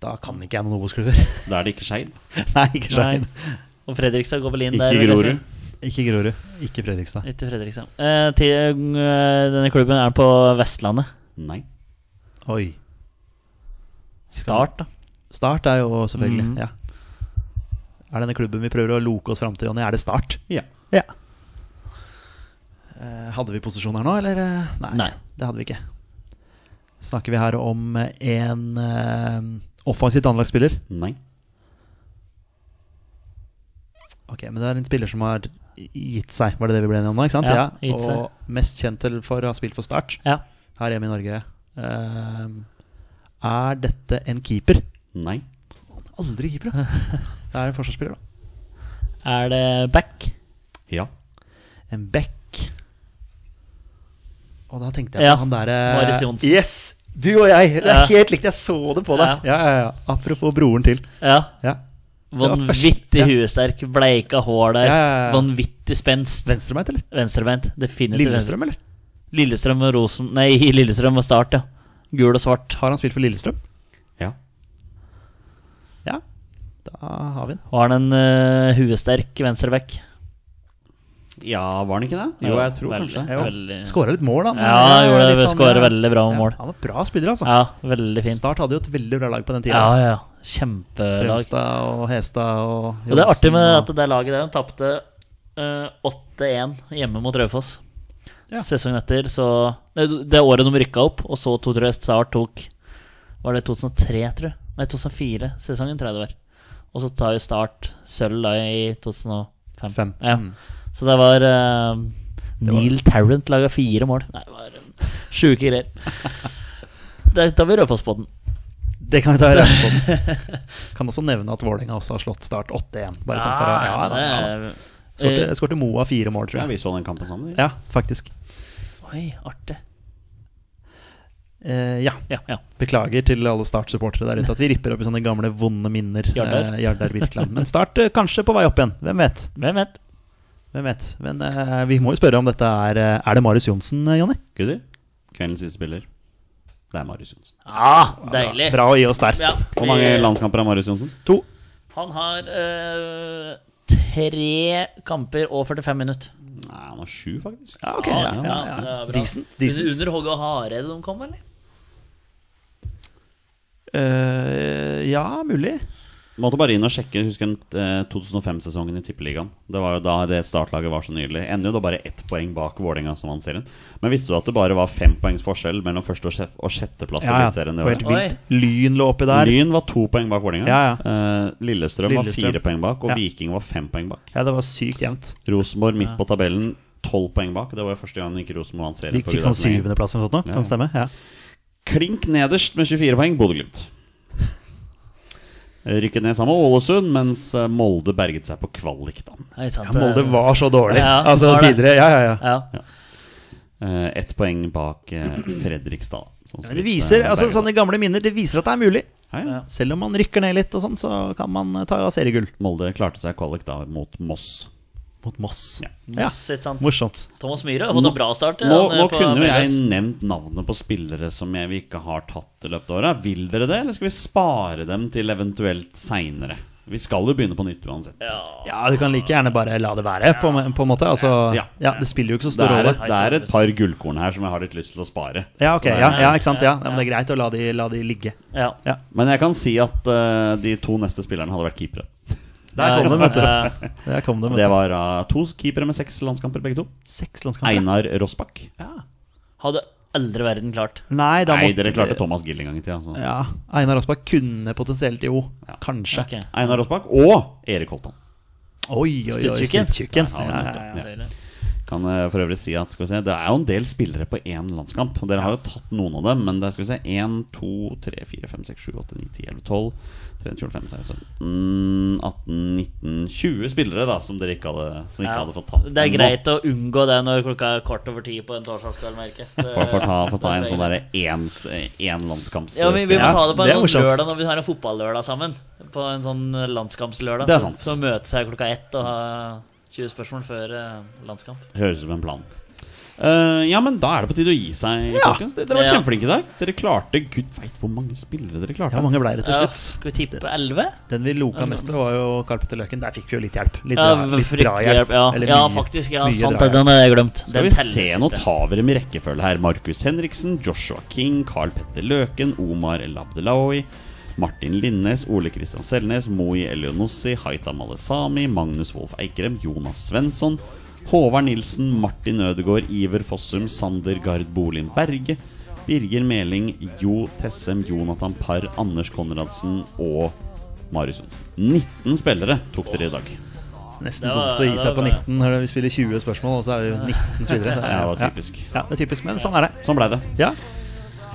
[SPEAKER 2] Da kan ikke jeg noen Obos-klubber.
[SPEAKER 1] Da er det ikke Skeid.
[SPEAKER 2] Nei, ikke Skeid.
[SPEAKER 3] Nei. Og Fredrikstad går vel inn der.
[SPEAKER 1] Ikke
[SPEAKER 3] vil jeg
[SPEAKER 1] Grorud.
[SPEAKER 3] si.
[SPEAKER 2] Ikke Grorud. Ikke Fredrikstad.
[SPEAKER 3] Ikke Fredrikstad. Eh, til, eh, denne klubben er på Vestlandet.
[SPEAKER 1] Nei.
[SPEAKER 2] Oi.
[SPEAKER 3] Start, da.
[SPEAKER 2] Start er jo selvfølgelig
[SPEAKER 3] Mhm.
[SPEAKER 2] ja. Er denne klubben vi prøver å loke oss fram til, Jonny? Er det Start?
[SPEAKER 1] Ja.
[SPEAKER 2] Ja. Eh, hadde vi posisjon her nå, eller? eh, Nei,
[SPEAKER 3] Nei.
[SPEAKER 2] det hadde vi ikke. Snakker vi her om eh, en eh, offensivt anlagt spiller?
[SPEAKER 1] Nei.
[SPEAKER 2] Ok, men det er en spiller som har gitt seg, var det det vi ble enige om nå? ikke sant?
[SPEAKER 3] Ja, gitt seg.
[SPEAKER 2] Og mest kjent til for å ha spilt for Start
[SPEAKER 3] Ja.
[SPEAKER 2] her hjemme i Norge. Eh, er dette en keeper?
[SPEAKER 1] Nei.
[SPEAKER 2] Aldri keeper, da. Det er en forsvarsspiller, da.
[SPEAKER 3] Er det back?
[SPEAKER 1] Ja.
[SPEAKER 2] En back. Og da tenkte jeg på
[SPEAKER 3] Ja,
[SPEAKER 2] han derre
[SPEAKER 3] Marius Johnsen.
[SPEAKER 2] Yes! Du og jeg! Det er
[SPEAKER 3] Ja.
[SPEAKER 2] helt likt, jeg så det på deg. Ja, ja, ja. Apropos broren til.
[SPEAKER 3] Ja.
[SPEAKER 2] Ja. var først-
[SPEAKER 3] Vanvittig
[SPEAKER 2] ja.
[SPEAKER 3] huesterk, bleika hår der.
[SPEAKER 2] Ja, ja, ja.
[SPEAKER 3] Vanvittig spenst.
[SPEAKER 2] Venstrebeint, eller?
[SPEAKER 3] Venstrebeint. Definitivt. venstre-
[SPEAKER 2] Lillestrøm, eller?
[SPEAKER 3] Lillestrøm og Rosen Nei, Lillestrøm og Start, ja. Gul og svart.
[SPEAKER 2] Har han spilt for Lillestrøm?
[SPEAKER 1] Ja.
[SPEAKER 2] Ja. Da har vi den.
[SPEAKER 3] Og har en eh, huesterk venstreback.
[SPEAKER 1] ja, var han ikke det? Jo, jeg tror
[SPEAKER 3] veldig,
[SPEAKER 1] kanskje det.
[SPEAKER 3] Ja. Veldig-
[SPEAKER 2] Skåra litt sånn, mål, da.
[SPEAKER 3] Ja, han gjorde det. Skåra veldig bra med mål.
[SPEAKER 2] Han var bra spiller, altså.
[SPEAKER 3] Ja, veldig fint.
[SPEAKER 2] Start hadde jo et veldig bra lag på den tida.
[SPEAKER 3] Ja, ja. ja. Kjempelag.
[SPEAKER 2] Strømstad og Hestad og
[SPEAKER 3] Og det er artig med
[SPEAKER 2] og-
[SPEAKER 3] at det laget der tapte eh, 8-1 hjemme mot Raufoss.
[SPEAKER 2] Ja.
[SPEAKER 3] Sesongen etter, så Nei, Det året de rykka opp, og så 2-3 Start tok Var det 2003, tror jeg? Nei, 2004-sesongen, tror jeg det var. Og så tar jo Start sølv da i 2005.
[SPEAKER 2] Fem.
[SPEAKER 3] Ja. Så det var eh, Neil Tarrant laga fire mål. Nei, det var eh, sjuke greier. Det- Da blir Raufoss på den.
[SPEAKER 2] Det kan vi ta rett på. Kan også nevne at Vålerenga også har slått Start 8-1. Bare sånn for å ja, da, ja.
[SPEAKER 3] Ah, det er-
[SPEAKER 2] Skårte- Skårte Moa fire mål,
[SPEAKER 1] Ja,
[SPEAKER 2] tror
[SPEAKER 1] vi
[SPEAKER 2] jeg.
[SPEAKER 1] så den kampen sammen.
[SPEAKER 2] Ja, faktisk.
[SPEAKER 3] Oi, artig.
[SPEAKER 2] Eh, ja.
[SPEAKER 3] Ja, ja.
[SPEAKER 2] Beklager til alle Start-supportere der ute at vi ripper opp i sånne gamle, vonde minner.
[SPEAKER 3] Jardar.
[SPEAKER 2] eh, Jardar Birkeland. Men Start eh, kanskje på vei opp igjen. Hvem vet?
[SPEAKER 3] Hvem vet?
[SPEAKER 2] Hvem vet? Men eh, vi må jo spørre om dette er eh, Er det Marius Johnsen, eh, Jonny?
[SPEAKER 1] Gutter, kveldens siste spiller, det er Marius Johnsen.
[SPEAKER 3] Ah, deilig.
[SPEAKER 2] Bra å gi oss der.
[SPEAKER 3] Ja,
[SPEAKER 1] Hvor mange
[SPEAKER 3] vi-
[SPEAKER 1] landskamper har Marius Johnsen?
[SPEAKER 2] To.
[SPEAKER 3] Han har eh, tre kamper og 45 minutter.
[SPEAKER 1] Nei, han har sju, faktisk.
[SPEAKER 2] Ja, ok.
[SPEAKER 3] Ja,
[SPEAKER 2] Ja,
[SPEAKER 3] ja,
[SPEAKER 2] ja, ja.
[SPEAKER 3] det er bra.
[SPEAKER 2] Decent. decent.
[SPEAKER 3] Under, under Håge og Hareide de kom, eller?
[SPEAKER 2] Eh, ja, mulig.
[SPEAKER 1] Måtte bare inn og sjekke husker en, eh, 2005-sesongen i Tippeligaen. Det var jo da det startlaget var så nydelig. Ender jo da bare ett poeng bak Vålerenga, som vant serien. Men visste du at det bare var fem poengs forskjell mellom første og, sjef- og sjetteplass i
[SPEAKER 2] Ja, ja.
[SPEAKER 1] Eliteserien?
[SPEAKER 2] Det
[SPEAKER 1] det
[SPEAKER 2] var
[SPEAKER 1] året?
[SPEAKER 2] helt vilt. Lyn lå oppi der.
[SPEAKER 1] Lyn var to poeng bak Vålerenga.
[SPEAKER 2] Ja,
[SPEAKER 1] Eh, Lillestrøm, var
[SPEAKER 2] Lillestrøm.
[SPEAKER 1] fire poeng bak, og
[SPEAKER 2] Ja.
[SPEAKER 1] Viking var fem poeng bak.
[SPEAKER 2] Ja, det var sykt jevnt.
[SPEAKER 1] Rosenborg midt på tabellen, tolv poeng bak. Det var jo første gang ikke Rosenborg vant serien.
[SPEAKER 2] De
[SPEAKER 1] på
[SPEAKER 2] fikk sånn
[SPEAKER 1] Gudbrandsdalen.
[SPEAKER 2] syvendeplass eller noe sånt nå, kan det stemme? Ja.
[SPEAKER 1] Klink nederst med 24 poeng, Bodø-Glimt. Rykket ned sammen med Ålesund, mens eh, Molde berget seg på kvalik. da
[SPEAKER 3] Nei, sant,
[SPEAKER 2] Ja, Molde
[SPEAKER 3] eh,
[SPEAKER 2] var så dårlig.
[SPEAKER 3] Ja,
[SPEAKER 2] altså
[SPEAKER 3] var det.
[SPEAKER 2] tidligere, ja, ja, ja.
[SPEAKER 3] ja.
[SPEAKER 1] Eh, Ett poeng bak eh, Fredrikstad. som
[SPEAKER 2] Men det
[SPEAKER 1] så vidt,
[SPEAKER 2] viser
[SPEAKER 1] eh,
[SPEAKER 2] altså sånn-
[SPEAKER 1] berget seg.
[SPEAKER 2] sånne gamle minner, det viser at det er mulig.
[SPEAKER 1] Hei,
[SPEAKER 3] Ja.
[SPEAKER 2] Selv om man rykker ned litt, og sånn, så kan man eh, ta seriegull
[SPEAKER 1] Molde klarte seg kvalik da mot Moss.
[SPEAKER 2] mot Moss. Ja,
[SPEAKER 3] Moss, ikke sant?
[SPEAKER 2] Morsomt.
[SPEAKER 3] Thomas Myhre har fått en bra start. ja,
[SPEAKER 1] Nå,
[SPEAKER 3] han er
[SPEAKER 1] nå
[SPEAKER 3] på
[SPEAKER 1] kunne jo jeg
[SPEAKER 3] Vegas.
[SPEAKER 1] nevnt navnet på spillere som jeg, vi ikke har tatt i løpet av året. Vil dere det, eller skal vi spare dem til eventuelt seinere? Vi skal jo begynne på nytt uansett.
[SPEAKER 2] Ja, du kan like gjerne bare la det være, på, en- på en måte. Altså,
[SPEAKER 1] Ja.
[SPEAKER 2] ja. det spiller jo ikke
[SPEAKER 1] Det
[SPEAKER 2] så stor
[SPEAKER 1] er,
[SPEAKER 2] rolle.
[SPEAKER 1] et, det er et par gullkorn her som jeg har litt lyst til å spare.
[SPEAKER 2] Ja, ok,
[SPEAKER 1] Så det er-
[SPEAKER 2] ja, ja, ikke sant. Ja. ja, men det er greit å la de, la de ligge.
[SPEAKER 3] Ja.
[SPEAKER 2] Ja.
[SPEAKER 1] Men jeg kan si at eh, de to neste spillerne hadde vært keepere.
[SPEAKER 2] Der kom
[SPEAKER 3] Ja,
[SPEAKER 2] de, vet du.
[SPEAKER 3] ja.
[SPEAKER 2] Der kom de,
[SPEAKER 1] Det
[SPEAKER 2] vet du.
[SPEAKER 1] var eh, to keepere med seks landskamper, begge to.
[SPEAKER 2] Seks landskamper.
[SPEAKER 1] Einar Rossbakk.
[SPEAKER 3] Hadde aldri verden klart.
[SPEAKER 2] Nei, da
[SPEAKER 1] Nei,
[SPEAKER 2] måtte
[SPEAKER 1] dere klarte Thomas Gill en gang i altså. tida. så-
[SPEAKER 2] Ja, Einar Aasbakk kunne potensielt jo. Kanskje.
[SPEAKER 3] Ok.
[SPEAKER 1] Einar Rossbakk og Erik Holtan.
[SPEAKER 2] Oi, oi, oi,
[SPEAKER 3] Stuttjukken.
[SPEAKER 2] Stuttjukken.
[SPEAKER 1] Ja,
[SPEAKER 2] Ja, ja,
[SPEAKER 1] nettopp, ja. Kan eh, for øvrig si at skal vi se, det er jo en del spillere på én landskamp. Og Dere har jo tatt noen av dem, men det er skal vi se 1, 2, 3, 4, 5, 6, 7, 8, 9, 10, 11, 12, 13, 14, 15, 16, 17, 18, 19, 20 spillere da som dere ikke hadde, som ikke
[SPEAKER 3] Ja.
[SPEAKER 1] hadde fått tatt.
[SPEAKER 3] Det er
[SPEAKER 1] ennå.
[SPEAKER 3] greit å unngå det når klokka er kvart over ti på en torsdagskveld, merker jeg. Det-
[SPEAKER 1] For, for, ta, for ta
[SPEAKER 3] det
[SPEAKER 1] en
[SPEAKER 3] trenger
[SPEAKER 1] sånn
[SPEAKER 3] jeg.
[SPEAKER 1] derre ens- eh, én landskampsspiller.
[SPEAKER 3] Ja, men vi må
[SPEAKER 2] Ja,
[SPEAKER 3] ta det på
[SPEAKER 2] det er
[SPEAKER 3] en sånn
[SPEAKER 2] morsomt.
[SPEAKER 3] lørdag når vi har en fotballørdag sammen. På en sånn landskampslørdag.
[SPEAKER 1] Det er sant.
[SPEAKER 3] Så, så møtes jeg klokka ett og har 20 spørsmål før eh, landskamp.
[SPEAKER 1] Høres ut som en plan. Eh, ja, men da er det på tide å gi seg,
[SPEAKER 2] Ja.
[SPEAKER 1] folkens. Dere var
[SPEAKER 3] Ja.
[SPEAKER 1] kjempeflinke i dag. Dere klarte Gud veit hvor mange spillere dere klarte.
[SPEAKER 2] Ja, Hvor mange ble det til
[SPEAKER 3] Ja,
[SPEAKER 2] slutt?
[SPEAKER 3] skal vi tippe 11?
[SPEAKER 2] Den vi loka mest ved, var jo Karl Petter Løken. Der fikk vi jo litt hjelp. Litt,
[SPEAKER 3] Ja,
[SPEAKER 2] dra, litt
[SPEAKER 3] fryktelig
[SPEAKER 2] drahjelp.
[SPEAKER 3] hjelp. Ja,
[SPEAKER 2] Eller
[SPEAKER 3] ja
[SPEAKER 2] mye-
[SPEAKER 3] faktisk. Ja,
[SPEAKER 2] mye
[SPEAKER 3] sant
[SPEAKER 2] drahjelp.
[SPEAKER 3] det. Den har jeg glemt.
[SPEAKER 1] Skal
[SPEAKER 3] Den
[SPEAKER 1] vi
[SPEAKER 3] telles
[SPEAKER 1] se, nå
[SPEAKER 3] ikke.
[SPEAKER 1] tar vi dem i rekkefølge her. Markus Henriksen, Joshua King, Carl Petter Løken, Omar El Abdelawi, Martin Linnes, Ole Kristian Selnes, Moi Elionossi, Haitam Alesami, Magnus Wolff Eikrem, Jonas Svensson, Håvard Nilsen, Martin Ødegaard, Iver Fossum, Sander Gard Bolin Berge, Birger Meling, Jo Tessem, Jonathan Parr, Anders Konradsen og Marius Johnsen. 19 spillere tok dere i dag.
[SPEAKER 2] Nesten
[SPEAKER 3] Det var-
[SPEAKER 2] dumt å gi
[SPEAKER 3] det
[SPEAKER 2] seg på
[SPEAKER 3] var-
[SPEAKER 2] 19 når vi spiller 20 spørsmål, og så er vi jo 19 spillere. Det er-
[SPEAKER 1] Ja, det var typisk.
[SPEAKER 2] Ja. ja, det er typisk, men sånn er det.
[SPEAKER 1] Sånn blei det.
[SPEAKER 2] Ja,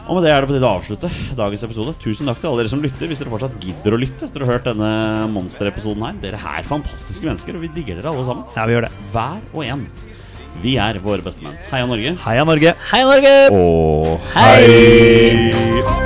[SPEAKER 1] Og med det er det på tide å avslutte dagens episode. Tusen takk til alle dere som lytter, hvis dere fortsatt gidder å lytte etter å ha hørt denne monsterepisoden her. Dere er fantastiske mennesker, og vi digger dere alle sammen.
[SPEAKER 2] ja vi gjør det.
[SPEAKER 1] Hver og en. Vi er våre bestemenn. Heia Norge.
[SPEAKER 2] Heia Norge!
[SPEAKER 3] Hei,
[SPEAKER 1] Og
[SPEAKER 3] Norge! Hei!
[SPEAKER 4] Kom